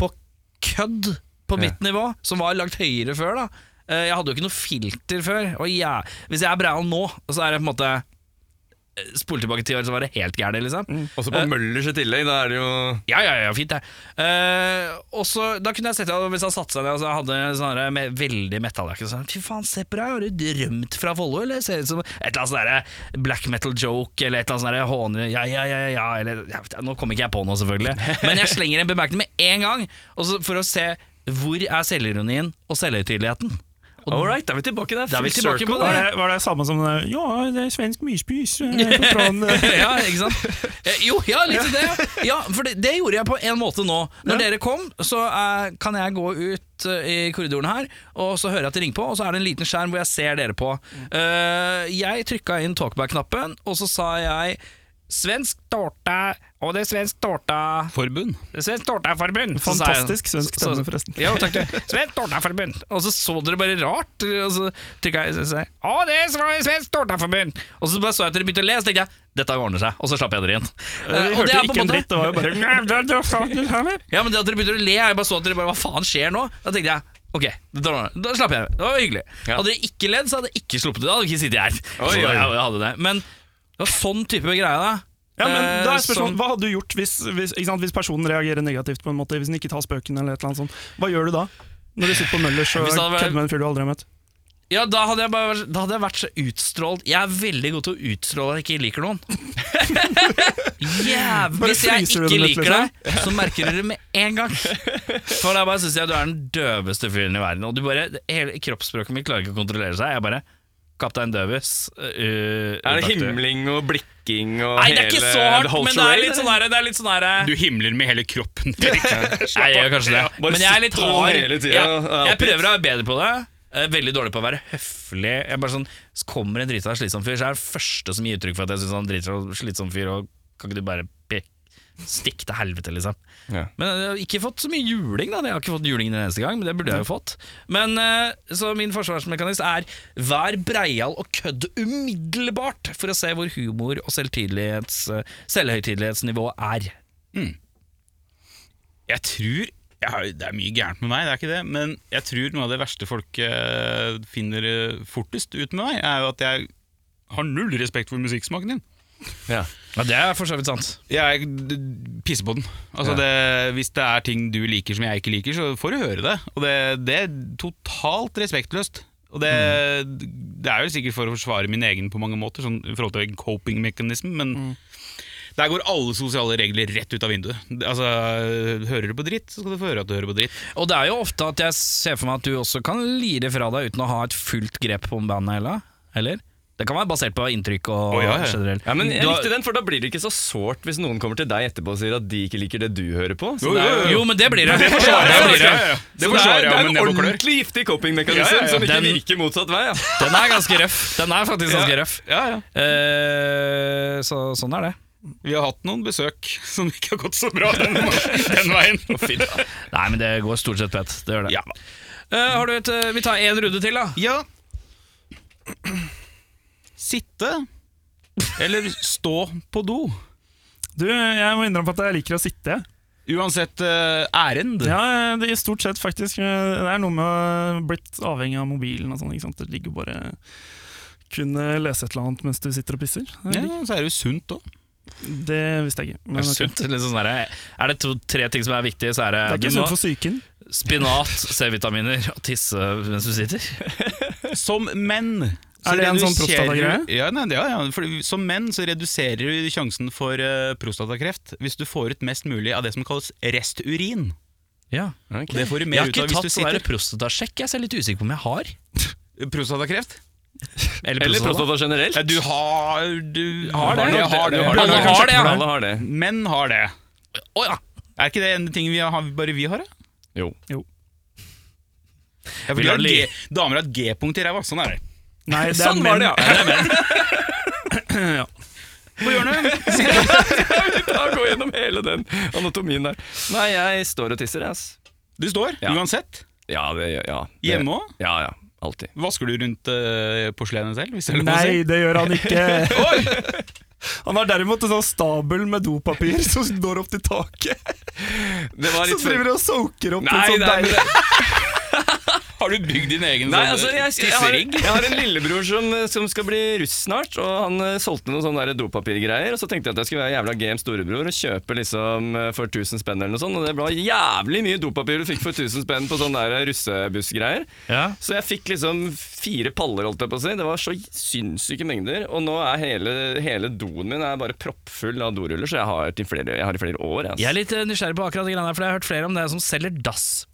Speaker 1: på kødd på mitt nivå, som var langt høyere før da eh, Jeg hadde jo ikke noe filter før. Og ja, hvis jeg er Breial nå, så er det på en måte eh, Spole tilbake ti år, så var det helt gærent, liksom.
Speaker 7: Også på Møllers i tillegg, da er det jo
Speaker 1: Ja, ja, ja, fint, det. Eh, og så, da kunne jeg sett at hvis han satte seg ned og så hadde en sånn her med veldig metalljakke og sånn Fy faen, se på deg, har du drømt fra Follo, eller ser det ut som et eller annet sånn derre black metal joke, eller et eller annet sånn derre håne... Ja, ja, ja, ja, ja, eller ja, Nå kommer ikke jeg på noe, selvfølgelig, men jeg slenger en bemerkning med en gang, og så for å se hvor er selvironien og selvhøytideligheten.
Speaker 7: Alright, da er vi tilbake der.
Speaker 1: Da er vi
Speaker 7: Full
Speaker 1: tilbake på
Speaker 7: circle.
Speaker 1: det.
Speaker 3: Var det, var det samme som den der, Ja, det er svensk myrspys. eh, på tråden, eh.
Speaker 1: ja, ikke sant? Eh, Jo, ja, litt av det. Ja, for det, det gjorde jeg på en måte nå. Når dere kom, så eh, kan jeg gå ut eh, i korridoren her, og så hører jeg at det ringer på, og så er det en liten skjerm hvor jeg ser dere på. Eh, jeg trykka inn talkback-knappen, og så sa jeg Svensk tårta, og det er svensk tårta
Speaker 2: Forbund.
Speaker 1: Svensk Tårtaforbund. så sa jeg-
Speaker 3: Fantastisk svensk
Speaker 1: så- så-
Speaker 3: stemme, forresten.
Speaker 1: Jo, takk du. Svensk Tårtaforbund. Og så så dere bare rart, eh, og så trykka jeg så sa jeg, Å, det er Sve- Svensk Tårtaforbund! Og så bare så jeg at dere begynte å lese, tenkte jeg dette ordner seg, og så slapp jeg dere inn. Eh, og
Speaker 3: Vi
Speaker 1: det er
Speaker 3: hørte
Speaker 1: på
Speaker 3: ikke en dritt,
Speaker 1: måte,
Speaker 3: det var jo bare
Speaker 1: ja, men det at dere begynte å le, jeg bare så at dere bare Hva faen skjer nå? Da tenkte jeg Ok, da, ordner det. da slapp jeg. Det var hyggelig. Hadde dere ikke ledd, så hadde jeg ikke sluppet det. Da hadde jeg ikke sittet her. Så
Speaker 7: Oi, oi, oi.
Speaker 1: jeg, jeg hadde det. Men det var sånn type greie, da.
Speaker 3: Ja, men da
Speaker 1: Eh,
Speaker 3: er spørsmålet,
Speaker 1: som-
Speaker 3: Hva hadde du gjort hvis, hvis, ikke sant, hvis personen reagerer negativt, på en måte, hvis den ikke tar spøken? eller et eller annet sånt? Hva gjør du da? Når du sitter på Møllers og
Speaker 1: Hvis det hadde vært-
Speaker 3: kødder med en fyr du aldri har møtt?
Speaker 1: Ja, da hadde, jeg bare, vært- da hadde jeg vært så utstrålt Jeg er veldig god til å utstråle at jeg ikke liker noen Jævlig
Speaker 3: Bare
Speaker 1: Hvis jeg
Speaker 3: fryser du
Speaker 1: ikke
Speaker 3: dem ut,
Speaker 1: liker
Speaker 3: liksom?
Speaker 1: deg Så merker du det med en gang For da bare synes jeg du er den døveste fyren i verden Og du bare, hele kroppsspråket mitt klarer ikke å kontrollere seg Jeg bare, kaptein døves
Speaker 7: Er det himling og blikking og
Speaker 1: Nei, det er ikke
Speaker 7: hele
Speaker 1: så hardt
Speaker 7: the whole
Speaker 1: Men det er
Speaker 7: charade,
Speaker 1: litt sånn
Speaker 7: eller?
Speaker 1: der, det er litt sånn der
Speaker 2: Du himler med hele kroppen.
Speaker 1: Nei, jeg gjør kanskje det.
Speaker 7: bare
Speaker 1: Men jeg er litt
Speaker 7: sitter
Speaker 1: hard.
Speaker 7: hele tiden
Speaker 1: jeg,
Speaker 7: og er
Speaker 1: jeg
Speaker 7: oppgitt.
Speaker 1: prøver å være bedre på det. Jeg er veldig dårlig på å være høflig. Jeg er bare sånn, så Kommer en drita slitsom fyr, så er jeg den første som gir uttrykk for at jeg syns han er drita slitsom fyr, og kan ikke du bare pe- Stikk til helvete, liksom.
Speaker 7: Ja.
Speaker 1: Men jeg har ikke fått så mye juling, da. Jeg har ikke fått juling den eneste gang, men det burde jeg jo fått. Men eh, Så min forsvarsmekanisme er vær breial og kødd umiddelbart for å se hvor humor og eh, selvtidelighets- selvhøytidelighetsnivået er.
Speaker 2: Jeg tror jeg har, det er mye gærent med meg, det er ikke det. Men jeg tror noe av det verste folk eh, finner eh, fortest ut med meg, er jo at jeg har null respekt for musikksmaken din.
Speaker 1: Ja, det er for så vidt sant.
Speaker 2: Jeg d- pisser på den. Altså det, hvis det er ting du liker som jeg ikke liker, så får du høre det. Og det, det er totalt respektløst. Og det,
Speaker 7: Mm.
Speaker 2: det er jo sikkert for å forsvare min egen på mange måter, sånn, i forhold til en coping mechanism, men
Speaker 7: Mm.
Speaker 2: der går alle sosiale regler rett ut av vinduet. Altså, Hører du på dritt, så skal du få høre at du hører på dritt.
Speaker 1: Og det er jo ofte at jeg ser for meg at du også kan lire fra deg uten å ha et fullt grep om bandet, eller? eller? Det kan være basert på inntrykk og
Speaker 2: Å, ja, ja.
Speaker 1: generelt.
Speaker 7: Ja, men jeg
Speaker 1: Du har-
Speaker 7: likte den, for da blir det ikke så sårt hvis noen kommer til deg etterpå og sier at de ikke liker det du hører på. Så
Speaker 2: Jo,
Speaker 7: det er
Speaker 2: jo,
Speaker 1: Jo, men det blir det. Det
Speaker 7: forsvarer jeg,
Speaker 1: blir det.
Speaker 2: ja, ja.
Speaker 7: Så
Speaker 2: Det forsvarer jeg
Speaker 7: det er
Speaker 2: med
Speaker 7: en
Speaker 2: nebb og klør.
Speaker 7: ordentlig giftig coping-mekanisme
Speaker 2: Ja, ja, ja.
Speaker 7: som ikke
Speaker 1: Den-
Speaker 7: virker motsatt vei. Ja.
Speaker 1: Den er ganske røff. Den er faktisk ganske røff.
Speaker 2: Ja, ja.
Speaker 1: Eh, så, sånn er det.
Speaker 2: Vi har hatt noen besøk som ikke har gått så bra den, den veien.
Speaker 1: Nei, men det går stort sett pett. Det gjør det.
Speaker 2: Ja.
Speaker 1: Eh, har du et, eh, vi tar én runde til, da.
Speaker 2: Ja Sitte Eller stå på do
Speaker 3: Du, jeg må innrømme at jeg liker å sitte. jeg.
Speaker 2: Uansett eh, ærend
Speaker 3: Ja, det er Stort sett, faktisk. eh, Det er noe med å ha blitt avhengig av mobilen og sånn. ikke sant? Det ligger bare kunne lese et eller annet mens du sitter og pisser. Det,
Speaker 2: Ja,
Speaker 3: lik-
Speaker 2: så er det jo sunt også
Speaker 3: det visste jeg ikke. Men,
Speaker 1: Er det,
Speaker 3: ok.
Speaker 1: sunt? Litt sånn der, er det to, tre ting som er viktige, så er
Speaker 3: det er
Speaker 1: det,
Speaker 3: ikke
Speaker 1: du må-
Speaker 2: sånn
Speaker 3: sunt for psyken.
Speaker 1: spinat, C-vitaminer og tisse mens du sitter.
Speaker 2: Som menn så
Speaker 3: Er det en sånn
Speaker 2: reduserer-
Speaker 3: prostatagreie?
Speaker 2: Ja, nei, det- ja, ja for som menn så reduserer du sjansen for eh, prostatakreft Hvis du får ut mest mulig av det som kalles resturin
Speaker 1: Ja.
Speaker 2: Og Det får du
Speaker 1: Jeg
Speaker 2: mer
Speaker 1: har
Speaker 2: ut
Speaker 1: ikke
Speaker 2: av hvis
Speaker 1: tatt
Speaker 2: du
Speaker 1: sånn der
Speaker 2: sitter
Speaker 1: prostatasjekk, jeg er så litt usikker på om jeg har.
Speaker 2: Prostatakreft?
Speaker 7: Eller prostata generelt.
Speaker 2: Ja, du har, du har det,
Speaker 7: Alle
Speaker 2: Jeg har det.
Speaker 1: Alle
Speaker 7: Alle
Speaker 1: har
Speaker 7: har
Speaker 1: det,
Speaker 7: det,
Speaker 1: ja.
Speaker 7: Alle har det.
Speaker 2: Menn har det
Speaker 1: Å ja.
Speaker 2: Er ikke det en ting vi har, bare vi har, da?
Speaker 7: Jo.
Speaker 3: Jo.
Speaker 2: Ja, for
Speaker 1: Vil
Speaker 2: du har
Speaker 1: du le-
Speaker 2: G, damer har et G-punkt i ræva. Sånn er det.
Speaker 3: Nei, det er
Speaker 7: Sånn var det,
Speaker 3: menn.
Speaker 7: ja.
Speaker 2: På hjørnet.
Speaker 7: Da Gå gjennom hele den anatomien der. Nei, jeg står og tisser, jeg, ass.
Speaker 2: Du står
Speaker 7: Ja.
Speaker 2: uansett.
Speaker 7: Ja, det gjør ja, det-
Speaker 2: Hjemme òg.
Speaker 7: Ja, ja. Alltid.
Speaker 2: Vasker du rundt eh, porselenet selv? Hvis det er lov å si?
Speaker 3: Nei, det gjør han ikke. Han har derimot en sånn stabel med dopapir som når opp til taket.
Speaker 7: Det var
Speaker 3: Som
Speaker 7: litt
Speaker 3: driver og soaker opp
Speaker 7: Nei,
Speaker 3: en sånn
Speaker 7: nei, men
Speaker 3: deilig
Speaker 7: det-
Speaker 2: Har du bygd din egen
Speaker 7: Nei,
Speaker 2: sånn,
Speaker 7: altså,
Speaker 2: eh,
Speaker 7: jeg, jeg, har,
Speaker 2: tisserigg?
Speaker 7: jeg har en lillebror som, eh, som skal bli russ snart, og han eh, solgte noen sånne der dopapirgreier. Og så tenkte jeg at jeg skulle være jævla game storebror og kjøpe liksom eh, for 1000 spenn eller noe sånt. Og det var jævlig mye dopapir du fikk for 1000 spenn på sånne der russebussgreier.
Speaker 1: Ja.
Speaker 7: Så jeg fikk liksom fire paller, holdt jeg på å si. Det var så sinnssyke mengder. Og nå er hele, hele doen min er bare proppfull av doruller, så jeg har til flere, jeg har i flere år. ass.
Speaker 1: Jeg er litt eh, nysgjerrig på akkurat de greiene her, for jeg har hørt flere om det som selger dasspapir.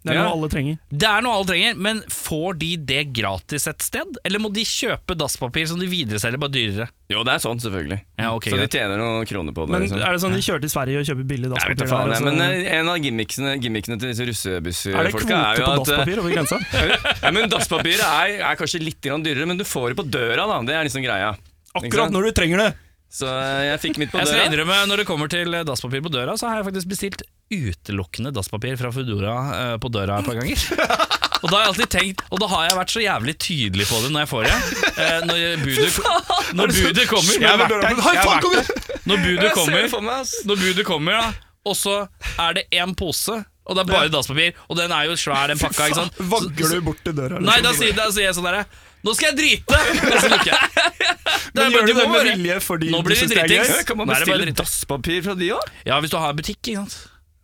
Speaker 3: Det er
Speaker 7: Ja.
Speaker 3: noe alle trenger.
Speaker 1: Det er noe alle trenger, men får de det gratis et sted? Eller må de kjøpe dasspapir som de videreselger, bare dyrere?
Speaker 7: Jo, det er sånn, selvfølgelig.
Speaker 1: Ja, ok,
Speaker 7: så de
Speaker 1: greit.
Speaker 7: tjener noen kroner på det.
Speaker 3: Men
Speaker 7: liksom.
Speaker 3: er det sånn de kjører til Sverige og kjøper billig
Speaker 7: Jeg vet
Speaker 3: dasspapir?
Speaker 7: da faen,
Speaker 3: der, altså?
Speaker 1: altså-
Speaker 7: jeg,
Speaker 3: og så-
Speaker 7: men eh, en av gimmicksene, gimmicksene til disse
Speaker 3: er det
Speaker 7: russebussfolka er
Speaker 3: kvote
Speaker 7: jo at
Speaker 3: på
Speaker 7: eh,
Speaker 3: dasspapir over grensa?
Speaker 7: ja, men Dasspapiret er, er kanskje litt grann dyrere, men du får det på døra, da. Det er liksom greia. Ikke sant?
Speaker 3: Akkurat når du trenger det!
Speaker 7: Så eh, jeg fikk mitt på
Speaker 1: Jeg skal
Speaker 7: døra.
Speaker 1: innrømme, når det kommer til eh, dasspapir på døra, så har jeg faktisk bestilt utelukkende dasspapir fra Foodora eh, på døra et par ganger. Og da har jeg alltid tenkt, og da har jeg vært så jævlig tydelig på det når jeg får det. Eh, når budet, når budet kommer,
Speaker 2: Jeg har vært der. Jeg har vært der.
Speaker 1: når budet
Speaker 7: Jeg ser det
Speaker 1: kommer,
Speaker 7: for meg, ass.
Speaker 1: når budet kommer da, og så er det én pose, og det er bare dasspapir, og den er jo svær, den pakka. ikke sant?
Speaker 3: Vagler du bort til døra? liksom?
Speaker 1: Nei, da sier, da sier jeg sånn derre Nå skal jeg drite! sånn, Og så lukker jeg. Det er
Speaker 3: Men
Speaker 1: bare-
Speaker 3: gjør du
Speaker 1: må
Speaker 3: det med
Speaker 1: bare-
Speaker 3: vilje fordi
Speaker 1: Nå
Speaker 3: du
Speaker 1: blir det
Speaker 3: synes det er
Speaker 1: dritings.
Speaker 3: gøy?
Speaker 7: Kan man
Speaker 1: Nå er det bare
Speaker 7: bestille
Speaker 1: dritt.
Speaker 7: dasspapir fra de òg?
Speaker 1: Ja, hvis du har butikk, ikke sant.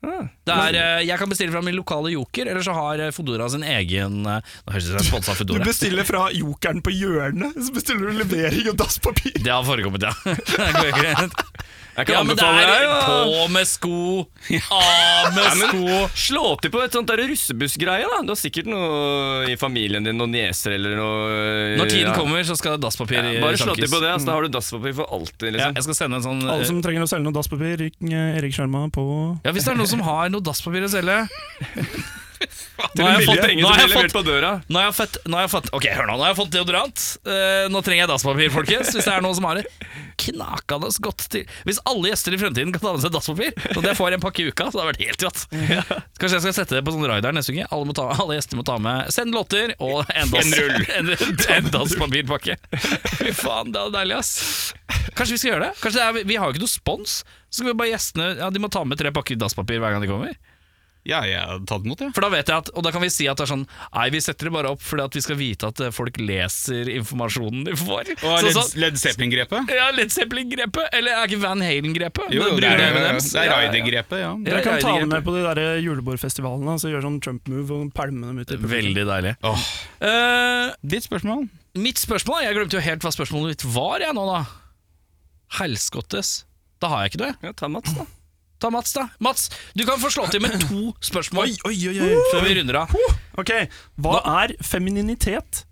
Speaker 3: Ah,
Speaker 1: Det er, eh, jeg kan bestille fra min lokale joker, eller så har eh, Foodora sin egen eh, Nå høres det ut som jeg er sponset av
Speaker 3: Du
Speaker 1: Foodora.
Speaker 3: bestiller fra jokeren på hjørnet, så bestiller du levering og dasspapir.
Speaker 1: Det har forekommet, ja. Det går greit.
Speaker 7: Jeg kan
Speaker 1: Ja, men det
Speaker 7: anbefale
Speaker 1: er
Speaker 7: deg å
Speaker 1: på med sko, av med sko
Speaker 7: slå til på et sånt der russebussgreie, da. Du har sikkert noe i familien din, noen nieser eller noe eh,
Speaker 1: Når tiden
Speaker 7: ja.
Speaker 1: kommer, så skal dasspapir
Speaker 7: Ja,
Speaker 1: i
Speaker 7: bare slå til
Speaker 1: sjakkis.
Speaker 7: på det, ass. Da har du dasspapir for
Speaker 1: Ja,
Speaker 7: alltid, liksom.
Speaker 1: jeg skal sende en sånn
Speaker 3: Alle
Speaker 1: eh,
Speaker 3: som trenger å selge noe dasspapir, ring eh, Erik Sjarma på
Speaker 1: Ja, Hvis det er noen som har noe dasspapir å selge Nå
Speaker 7: Har jeg fått
Speaker 1: nå
Speaker 7: penger
Speaker 1: har
Speaker 7: som
Speaker 1: jeg fått-
Speaker 7: blir levert på døra?
Speaker 1: Nå har jeg fått, nå har jeg fått Ok, hør nå, nå har jeg fått deodorant Eh, Nå trenger jeg dasspapir, folkens Hvis det er noen som har det Knakende godt til Hvis alle gjester i fremtiden kan ta med seg dasspapir Sånn at jeg får en pakke i uka Så det har vært helt rått Kanskje jeg skal sette det på sånn rider neste uke alle, må ta, alle gjester må ta med Send låter og en, dass, en, en dasspapirpakke Fy faen, det er deilig ass Kanskje vi skal gjøre det? Kanskje det er, vi har jo ikke noe spons Så skal vi bare gjestene Ja, de må ta med tre pakker dasspapir hver gang de kommer
Speaker 2: Ja, jeg hadde tatt imot, jeg.
Speaker 1: For da vet jeg at, og da kan vi si at det er sånn Nei, vi setter det bare opp fordi at vi skal vite at eh, folk leser informasjonen de får.
Speaker 2: Og
Speaker 1: Så
Speaker 2: Led,
Speaker 1: sånn-
Speaker 2: Led Zeppelin-grepet?
Speaker 1: ja, Led Zeppelin-grepet, eller er ikke Van Halen-grepet?
Speaker 2: Jo, jo, det er, det er,
Speaker 1: M&Ms.
Speaker 2: det er Ryder-grepet,
Speaker 1: Ja,
Speaker 2: ja.
Speaker 3: Dere kan ta
Speaker 1: Ryder-grepet.
Speaker 3: det med på de der eh, julebordfestivalene og gjøre sånn Trump-move og pælme dem ut. i publikum.
Speaker 1: Veldig deilig.
Speaker 2: Åh,
Speaker 1: Eh,
Speaker 2: ditt spørsmål?
Speaker 1: mitt spørsmål Jeg glemte jo helt hva spørsmålet mitt var, jeg nå, da. Helskottes. Da har jeg ikke det.
Speaker 7: Ja, ta Mats, da.
Speaker 1: Ta Mats, da. Mats, du kan få slå til med to spørsmål
Speaker 3: Oi, oi, oi, oi.
Speaker 1: før vi runder av.
Speaker 3: Ok, hva er femininitet?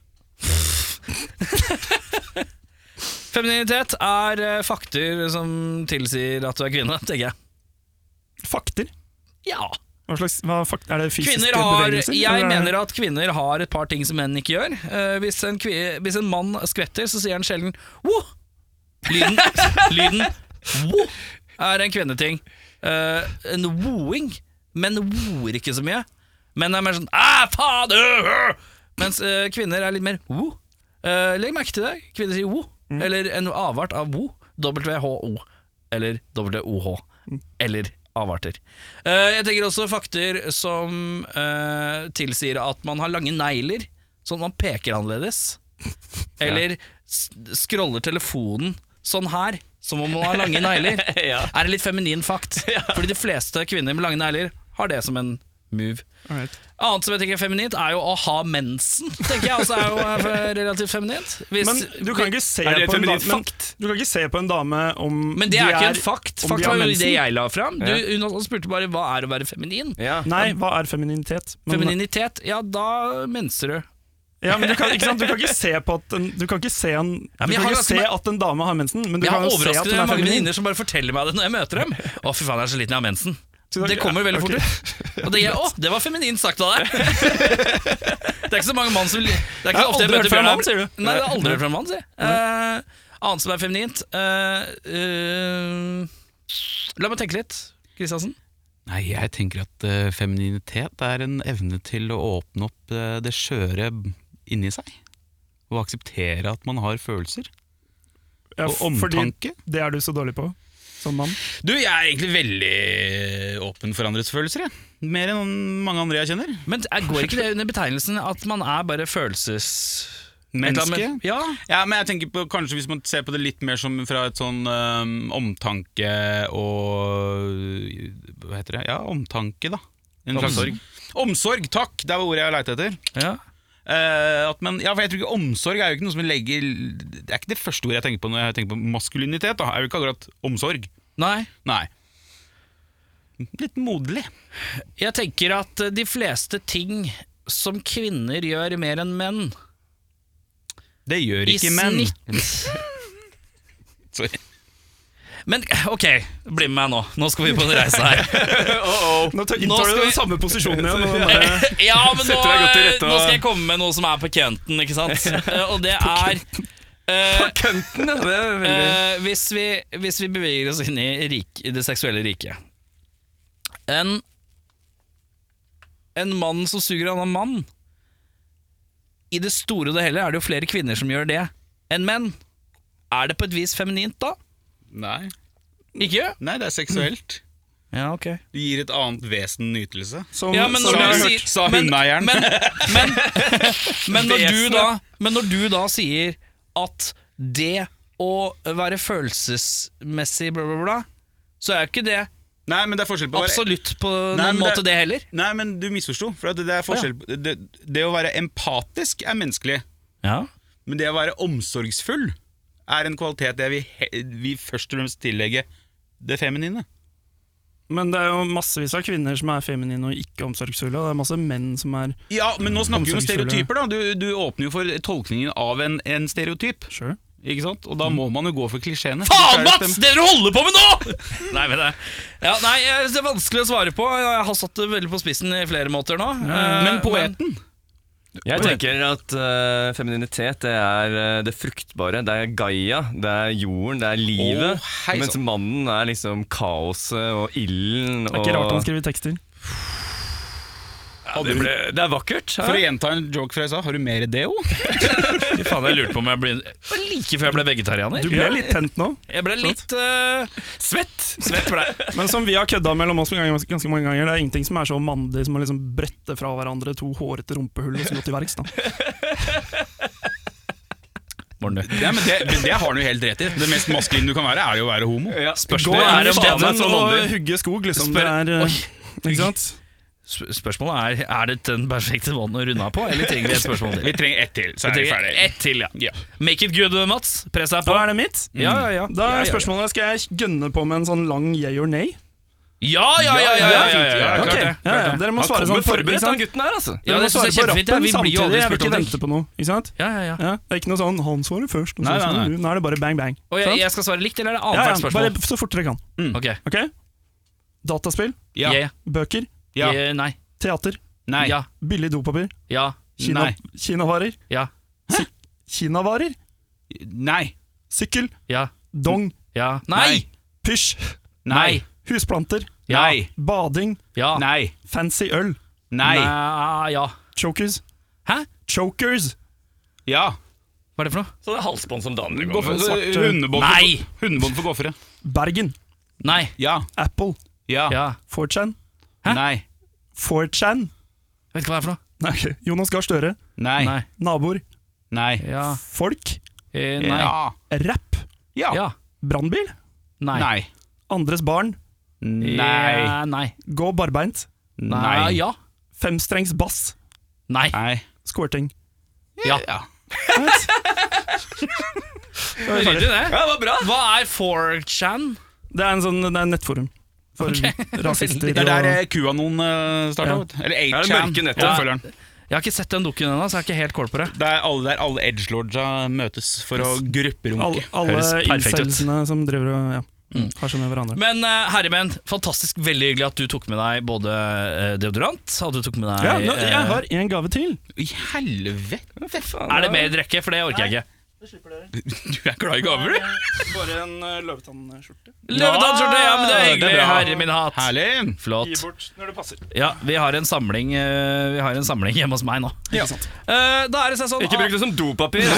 Speaker 1: Femininitet er eh, fakter som tilsier at du er kvinne, tenker jeg.
Speaker 3: Fakter?
Speaker 1: Ja.
Speaker 3: Hva slags, hva, fakt, er det fysiske
Speaker 1: Kvinner har,
Speaker 3: bevegelser?
Speaker 1: jeg mener at kvinner har et par ting som menn ikke gjør. Eh, hvis, en kvi, hvis en mann skvetter, så sier han sjelden «Wo!» Lyden, lyden «Wo!» er en kvinneting. Eh, en woing. Menn woer ikke så mye. Menn er mer sånn «Æ, faen! øh, øh!» Mens eh, kvinner er litt mer «Wo!» Eh, legg merke til det. Kvinner sier «Wo!» Eller en avart av «Wo». W-H-O. Eller W-O-H. Eller avarter. Eh, jeg tenker også fakter som eh, tilsier at man har lange negler, sånn at man peker annerledes. Eller s- scroller telefonen sånn her, som om man har lange negler. Er det litt feminin fakt? Fordi de fleste kvinner med lange negler har det som en move.
Speaker 3: Alright.
Speaker 1: Annet som jeg tenker er feminint, er jo å ha mensen, tenker jeg. Altså er jo eh, relativt feminint. Hvis-
Speaker 3: Men du kan ikke se,
Speaker 2: Er det et
Speaker 3: på en,
Speaker 2: feminint
Speaker 3: dame, men, du kan ikke se på en dame om
Speaker 1: Men det er
Speaker 3: de
Speaker 1: ikke en fakt.
Speaker 3: om
Speaker 1: Fakt
Speaker 3: de har
Speaker 1: var jo
Speaker 3: mensen.
Speaker 1: det jeg la fram. Du, hun spurte bare hva er å være feminin.
Speaker 7: Ja.
Speaker 3: Nei, hva er femininitet? Men-
Speaker 1: Femininitet, ja da menser du.
Speaker 3: Ja, men du kan, ikke sant? du kan ikke se på at en, Du kan ikke se, en,
Speaker 1: Ja, men
Speaker 3: du
Speaker 1: jeg
Speaker 3: kan
Speaker 1: har
Speaker 3: ikke
Speaker 1: ganske
Speaker 3: se
Speaker 1: ma-
Speaker 3: at en dame har mensen, men du
Speaker 1: Jeg
Speaker 3: kan
Speaker 1: har
Speaker 3: jo se at
Speaker 1: overraskende
Speaker 3: hun er
Speaker 1: mange
Speaker 3: feminin.
Speaker 1: venninner som bare forteller meg det når jeg møter dem. Å, fy faen, jeg er så liten, jeg har mensen.
Speaker 3: Så da-
Speaker 1: Det kommer veldig fort
Speaker 3: ok.
Speaker 1: ut. Og det, å, det var feminint sagt av deg. Det er ikke så mange mann som Det er ikke så ofte jeg
Speaker 3: aldri hørt
Speaker 1: møter
Speaker 3: fra en
Speaker 1: Bjørnar.
Speaker 3: mann, sier du?
Speaker 1: Nei, det er aldri hørt fra en mann, sier jeg. Eh, annet som er feminint eh, eh, La meg tenke litt, Kristiansen.
Speaker 2: Nei, jeg tenker at eh, femininitet er en evne til å åpne opp eh, det skjøre inni seg. Og akseptere at man har følelser.
Speaker 3: Ja,
Speaker 2: Og omtanke.
Speaker 3: Fordi det er du så dårlig på som mann.
Speaker 2: Du, jeg er egentlig veldig åpen for andres følelser, jeg. Mer enn mange andre jeg kjenner.
Speaker 1: Men er- går ikke det under betegnelsen at man er bare følelses...
Speaker 2: Menneske.
Speaker 1: Ja,
Speaker 2: Ja, men jeg tenker på kanskje hvis man ser på det litt mer som fra et sånn øhm, omtanke og Hva heter det? Ja, omtanke, da. En slags-
Speaker 7: Omsorg.
Speaker 2: Omsorg, takk! Det var ordet jeg leita etter.
Speaker 1: ja.
Speaker 2: Eh, at man, ja, for jeg tror ikke Omsorg er jo ikke noe som vi legger Det er ikke det første ordet jeg tenker på når jeg tenker på maskulinitet. da Er jo ikke akkurat omsorg.
Speaker 1: Nei.
Speaker 2: Nei. Litt moderlig.
Speaker 1: Jeg tenker at eh, de fleste ting som kvinner gjør mer enn menn,
Speaker 2: Det gjør
Speaker 1: i
Speaker 2: ikke menn.
Speaker 1: snitt
Speaker 2: Sorry.
Speaker 1: Men eh, ok, bli med meg nå. Nå skal vi på en reise her.
Speaker 3: Nå
Speaker 1: Nå
Speaker 3: tar, inntar
Speaker 1: skal
Speaker 3: du
Speaker 1: vi-
Speaker 3: den samme posisjonen igjen. og bare-
Speaker 1: Eh, Ja, men nå, eh,
Speaker 7: Setter deg godt til rette,
Speaker 1: nå
Speaker 7: og-
Speaker 1: skal jeg komme med noe som er på kønten, ikke sant? Eh, Og det er eh,
Speaker 7: Kønten, ja. Det er veldig
Speaker 1: Eh, hvis, vi, hvis vi beveger oss inn i, rik, i det seksuelle riket en, en mann som suger en annen mann I det store og det hele er det jo flere kvinner som gjør det enn menn. Er det på et vis feminint da?
Speaker 2: Nei.
Speaker 1: Ikke?
Speaker 2: Nei, det er seksuelt.
Speaker 1: Ja, ok.
Speaker 2: Det gir et annet vesen en ytelse.
Speaker 3: Som,
Speaker 1: Ja, men når
Speaker 3: som
Speaker 2: Sa-
Speaker 1: du
Speaker 3: jeg har
Speaker 1: sier-
Speaker 3: hørt.
Speaker 2: sa
Speaker 1: men-
Speaker 2: hundeeieren.
Speaker 1: Men, men, men, når du da, men når du da sier at det å være følelsesmessig bla, bla, bla, så er jo ikke det
Speaker 2: Nei, men det er forskjell på å være-
Speaker 1: absolutt på
Speaker 2: Nei,
Speaker 1: noen
Speaker 2: men
Speaker 1: måte, det heller.
Speaker 2: Nei, men du misforsto. For at det, er forskjell på- det, det å være empatisk er menneskelig,
Speaker 1: Ja.
Speaker 2: men det å være omsorgsfull er en kvalitet jeg vil, he- vil først og fremst tillegge det feminine.
Speaker 3: Men det er jo massevis av kvinner som er feminine og ikke omsorgsfulle, og det er masse menn som er
Speaker 2: Ja, men nå snakker vi om
Speaker 3: Omsorgsfull,
Speaker 2: stereotyper, da. Du, du åpner jo for tolkningen av en, en stereotyp.
Speaker 3: Sure.
Speaker 2: Ikke sant? Og da må man jo gå for klisjeene.
Speaker 1: Faen,
Speaker 2: Ellers er det
Speaker 1: Mats!
Speaker 2: stem-
Speaker 1: Det dere holder på med nå! nei, men det, ja, nei, eh, det er vanskelig å svare på. Jeg har satt det veldig på spissen i flere måter nå. Eh,
Speaker 2: Men poeten
Speaker 7: Jeg tenker at eh, femininitet det er eh, det fruktbare. Det er Gaia, det er jorden, det er livet.
Speaker 2: Å, hei sann.
Speaker 7: mens mannen er liksom kaoset og ilden
Speaker 3: Det er ikke rart han
Speaker 7: og
Speaker 3: skriver tekster.
Speaker 7: det, ble, det er vakkert.
Speaker 2: For å gjenta en joke fra i stad, har du mer idé òg?
Speaker 1: Fy faen, jeg lurte på om jeg ble Det var Like før jeg ble vegetarianer.
Speaker 3: Du ble litt tent nå.
Speaker 1: Jeg ble litt eh, svett. Svett ble jeg.
Speaker 3: Men som vi har kødda mellom oss ganske, ganske mange ganger, det er ingenting som er så mandig som å liksom brette fra hverandre to hårete rumpehull og så gå til verks. da.
Speaker 1: Morten, du.
Speaker 2: Ja, men det, men det har han jo helt rett i. Det mest maskuline du kan være, er jo å være homo.
Speaker 7: Ja.
Speaker 1: Spørsmålet er om han er sånn
Speaker 3: og
Speaker 1: ånder.
Speaker 3: hugge skog, liksom. Det
Speaker 1: Spør-
Speaker 3: er, eh,
Speaker 1: Oi.
Speaker 3: ikke sant?
Speaker 1: Sp- Spørsmålet er Er det den perfekte måten å runde av på, eller trenger vi et spørsmål til?
Speaker 2: Vi trenger ett til, så er vi
Speaker 1: trenger
Speaker 2: ferdig.
Speaker 1: ett til, ja.
Speaker 2: Ja.
Speaker 1: Make it good, Mats. Press deg på.
Speaker 3: Da er det mitt.
Speaker 1: Mm. Ja, ja, ja.
Speaker 3: Da
Speaker 1: Ja,
Speaker 3: er
Speaker 1: ja,
Speaker 3: spørsmålet skal jeg gønne på med en sånn lang yeah or nay.
Speaker 1: Ja, ja, ja! ja, ja, ja, ja, ja.
Speaker 3: Ok,
Speaker 1: Klart
Speaker 3: ja,
Speaker 1: det.
Speaker 3: ja. Dere må
Speaker 7: Han
Speaker 3: svare sånn
Speaker 7: kommer
Speaker 3: for- ikke
Speaker 7: forberedt,
Speaker 3: sant?
Speaker 7: han gutten her, altså.
Speaker 1: Ja,
Speaker 3: Dere må
Speaker 1: det synes jeg er
Speaker 3: svare på
Speaker 1: kjempefint. Ja, vi
Speaker 3: rappen
Speaker 1: blir jo aldri
Speaker 3: samtidig. Jeg vil
Speaker 1: spurt om
Speaker 3: ikke
Speaker 1: ting.
Speaker 3: vente på noe. Ikke sant?
Speaker 1: Ja, ja, ja.
Speaker 3: Ja, det er ikke noe sånn 'han svarer først', og så
Speaker 2: Nei, nei,
Speaker 3: svarer
Speaker 2: nei.
Speaker 3: du. Nå er det bare bang, bang.
Speaker 1: Og jeg,
Speaker 3: Sant?
Speaker 1: jeg skal svare likt, eller er det
Speaker 3: Ja,
Speaker 1: annethvert
Speaker 3: ja,
Speaker 1: spørsmål? Mm.
Speaker 3: bare så fort dere kan.
Speaker 1: Ok.
Speaker 3: Ok? Dataspill,
Speaker 2: Ja.
Speaker 1: Yeah.
Speaker 3: bøker,
Speaker 2: Ja.
Speaker 1: Eh, Nei.
Speaker 3: teater,
Speaker 2: Nei.
Speaker 1: Ja.
Speaker 3: billig dopapir,
Speaker 1: Ja.
Speaker 3: Kina,
Speaker 2: Nei.
Speaker 3: kinavarer,
Speaker 1: Ja.
Speaker 3: kinavarer,
Speaker 2: Nei.
Speaker 3: sykkel,
Speaker 1: Ja.
Speaker 3: dong,
Speaker 1: Ja. Nei!
Speaker 3: pysj,
Speaker 2: Nei.
Speaker 3: husplanter,
Speaker 1: Ja.
Speaker 2: Nei.
Speaker 3: bading,
Speaker 1: Ja.
Speaker 2: Nei.
Speaker 3: fancy øl,
Speaker 2: Nei.
Speaker 1: Nei, Ah, Ja.
Speaker 3: chokers.
Speaker 1: Hæ?
Speaker 3: Chokers!
Speaker 2: Ja.
Speaker 1: Hva er det for noe?
Speaker 7: Så det er halsbånd som danner
Speaker 2: Gå for-
Speaker 3: Svarte-
Speaker 2: Hundebånd
Speaker 1: Nei.
Speaker 2: for- hundebånd for gåfere.
Speaker 3: Bergen,
Speaker 1: Nei.
Speaker 2: Ja.
Speaker 3: Apple,
Speaker 2: Ja.
Speaker 1: Ja.
Speaker 3: 4chan,
Speaker 1: Hæ?
Speaker 2: Nei.
Speaker 3: 4chan,
Speaker 1: Vet ikke hva det er for noe.
Speaker 3: Nei, ok. Jonas Gahr Støre,
Speaker 2: Nei.
Speaker 1: Nei.
Speaker 3: naboer,
Speaker 2: Nei.
Speaker 1: Ja.
Speaker 3: folk,
Speaker 1: Eh, Nei.
Speaker 2: Ja.
Speaker 3: rapp,
Speaker 2: Ja.
Speaker 1: Ja.
Speaker 3: brannbil,
Speaker 1: Nei.
Speaker 2: Nei.
Speaker 3: andres barn,
Speaker 2: Nei.
Speaker 1: Ja, Nei.
Speaker 3: gå barbeint,
Speaker 1: Nei.
Speaker 2: Nei.
Speaker 1: Ja.
Speaker 3: femstrengs bass,
Speaker 1: Nei.
Speaker 2: Nei.
Speaker 3: squirting.
Speaker 1: Ja.
Speaker 2: Ja.
Speaker 1: Ryddig, det. Ja, det var bra. Hva er 4chan?
Speaker 3: Det er en sånn det er en nettforum for rasister.
Speaker 2: Det er der
Speaker 3: og,
Speaker 2: eh, QAnon eh, starta. vet du. Eller
Speaker 7: det
Speaker 2: 8chan.
Speaker 7: mørke nettet?
Speaker 2: oppfølgeren.
Speaker 1: Jeg har ikke sett den dukken ennå, så jeg er ikke helt kål på det.
Speaker 2: Det er alle der alle edgelordsa møtes for å
Speaker 3: alle
Speaker 2: grupperunke.
Speaker 3: alle
Speaker 1: Høres perfekt ut. Mm.
Speaker 3: incelsene som driver og ja, har seg med hverandre.
Speaker 1: Men uh, herremenn, fantastisk veldig hyggelig at du tok med deg både eh, deodorant og du tok med deg
Speaker 3: Ja, nå,
Speaker 1: eh,
Speaker 3: jeg har en gave til.
Speaker 2: I helvete!
Speaker 1: Er det mer drikke? For det orker jeg ikke.
Speaker 2: Du er glad i gaver, du!
Speaker 3: Bare en eh, løvetannskjorte.
Speaker 1: Løvedansskjorte! Ja, men det er
Speaker 2: Ja, det er
Speaker 1: hyggelig,
Speaker 2: bra.
Speaker 1: herre min hatt.
Speaker 2: Herlig!
Speaker 1: Flott.
Speaker 3: bort når det passer.
Speaker 1: Ja, vi har en samling eh, Vi har en samling hjemme hos meg nå.
Speaker 2: Ja.
Speaker 1: Eh, da er det seg sånn
Speaker 7: Ikke bruk det som dopapir.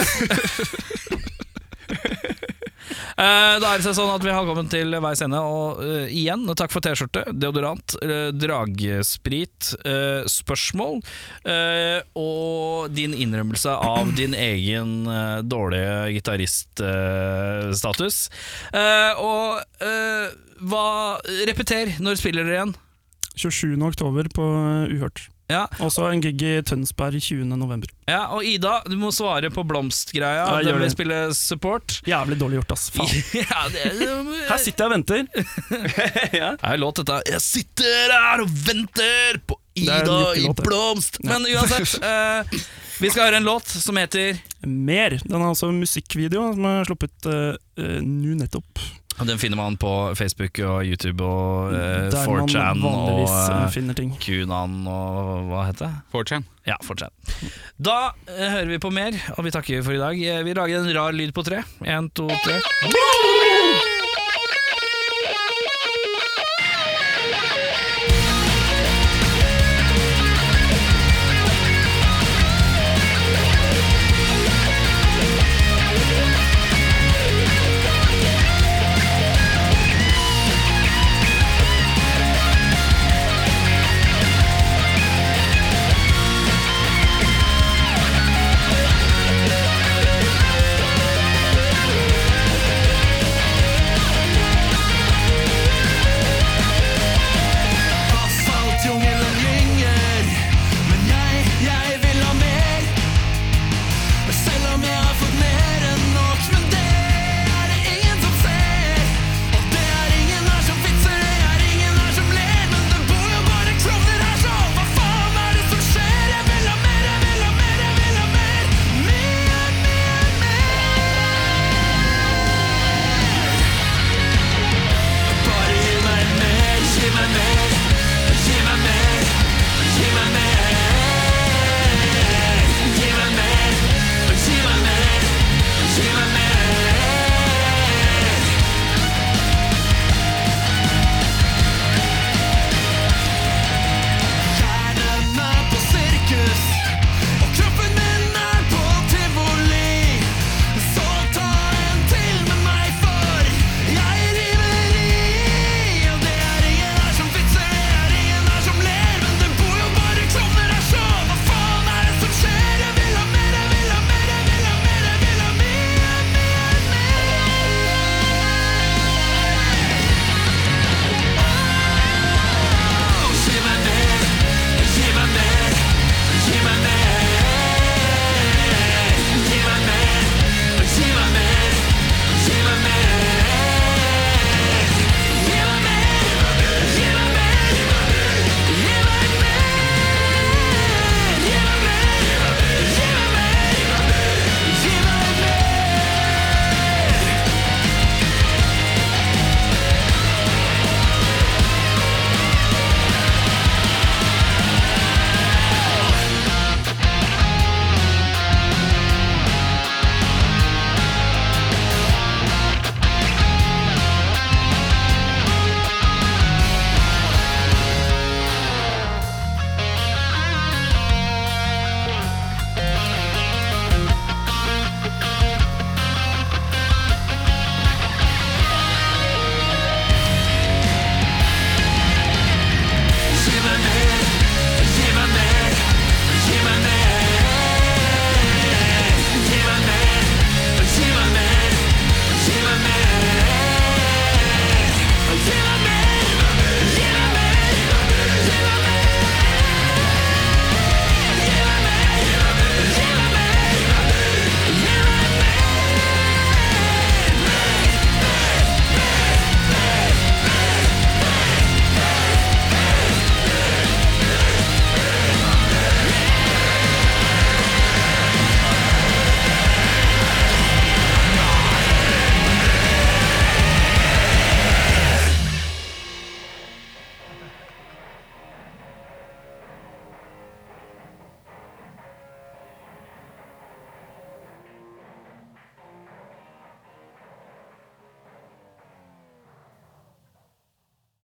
Speaker 1: Eh, Da er det seg sånn at vi har kommet til veis ende, og eh, igjen, takk for T-skjorte, deodorant, eh, dragsprit, eh, spørsmål, eh, og din innrømmelse av din egen eh, dårlige gitariststatus. og eh, hva Repeter, når spiller dere igjen?
Speaker 3: 27. oktober på Uhørt.
Speaker 1: Ja,
Speaker 3: Også en gig i Tønsberg 20. november.
Speaker 1: ja, og Ida, du må svare på blomstgreia.
Speaker 3: Ja, jeg
Speaker 1: Den
Speaker 3: gjør
Speaker 1: vil
Speaker 3: det.
Speaker 1: spille support.
Speaker 3: Jævlig dårlig gjort, ass. Faen.
Speaker 1: Ja, det,
Speaker 3: Her sitter jeg og venter.
Speaker 1: er låt dette Jeg sitter her og venter på
Speaker 3: er en
Speaker 1: Ida i
Speaker 3: jukkelåt, det.
Speaker 1: blomst Men uansett eh, Vi skal høre en låt som heter
Speaker 3: Mer. Den har også musikkvideo som er sluppet eh, eh, nå nettopp.
Speaker 1: og Den finner man på Facebook og YouTube og eh,
Speaker 3: der man
Speaker 1: 4chan og
Speaker 3: vanligvis eh,
Speaker 1: eh,
Speaker 3: finner ting.
Speaker 1: Kunan og hva heter det?
Speaker 2: 4chan.
Speaker 1: Ja, 4chan Da eh, hører vi på mer, og vi takker for i dag Eh, Vi lager en rar lyd på tre En, to, tre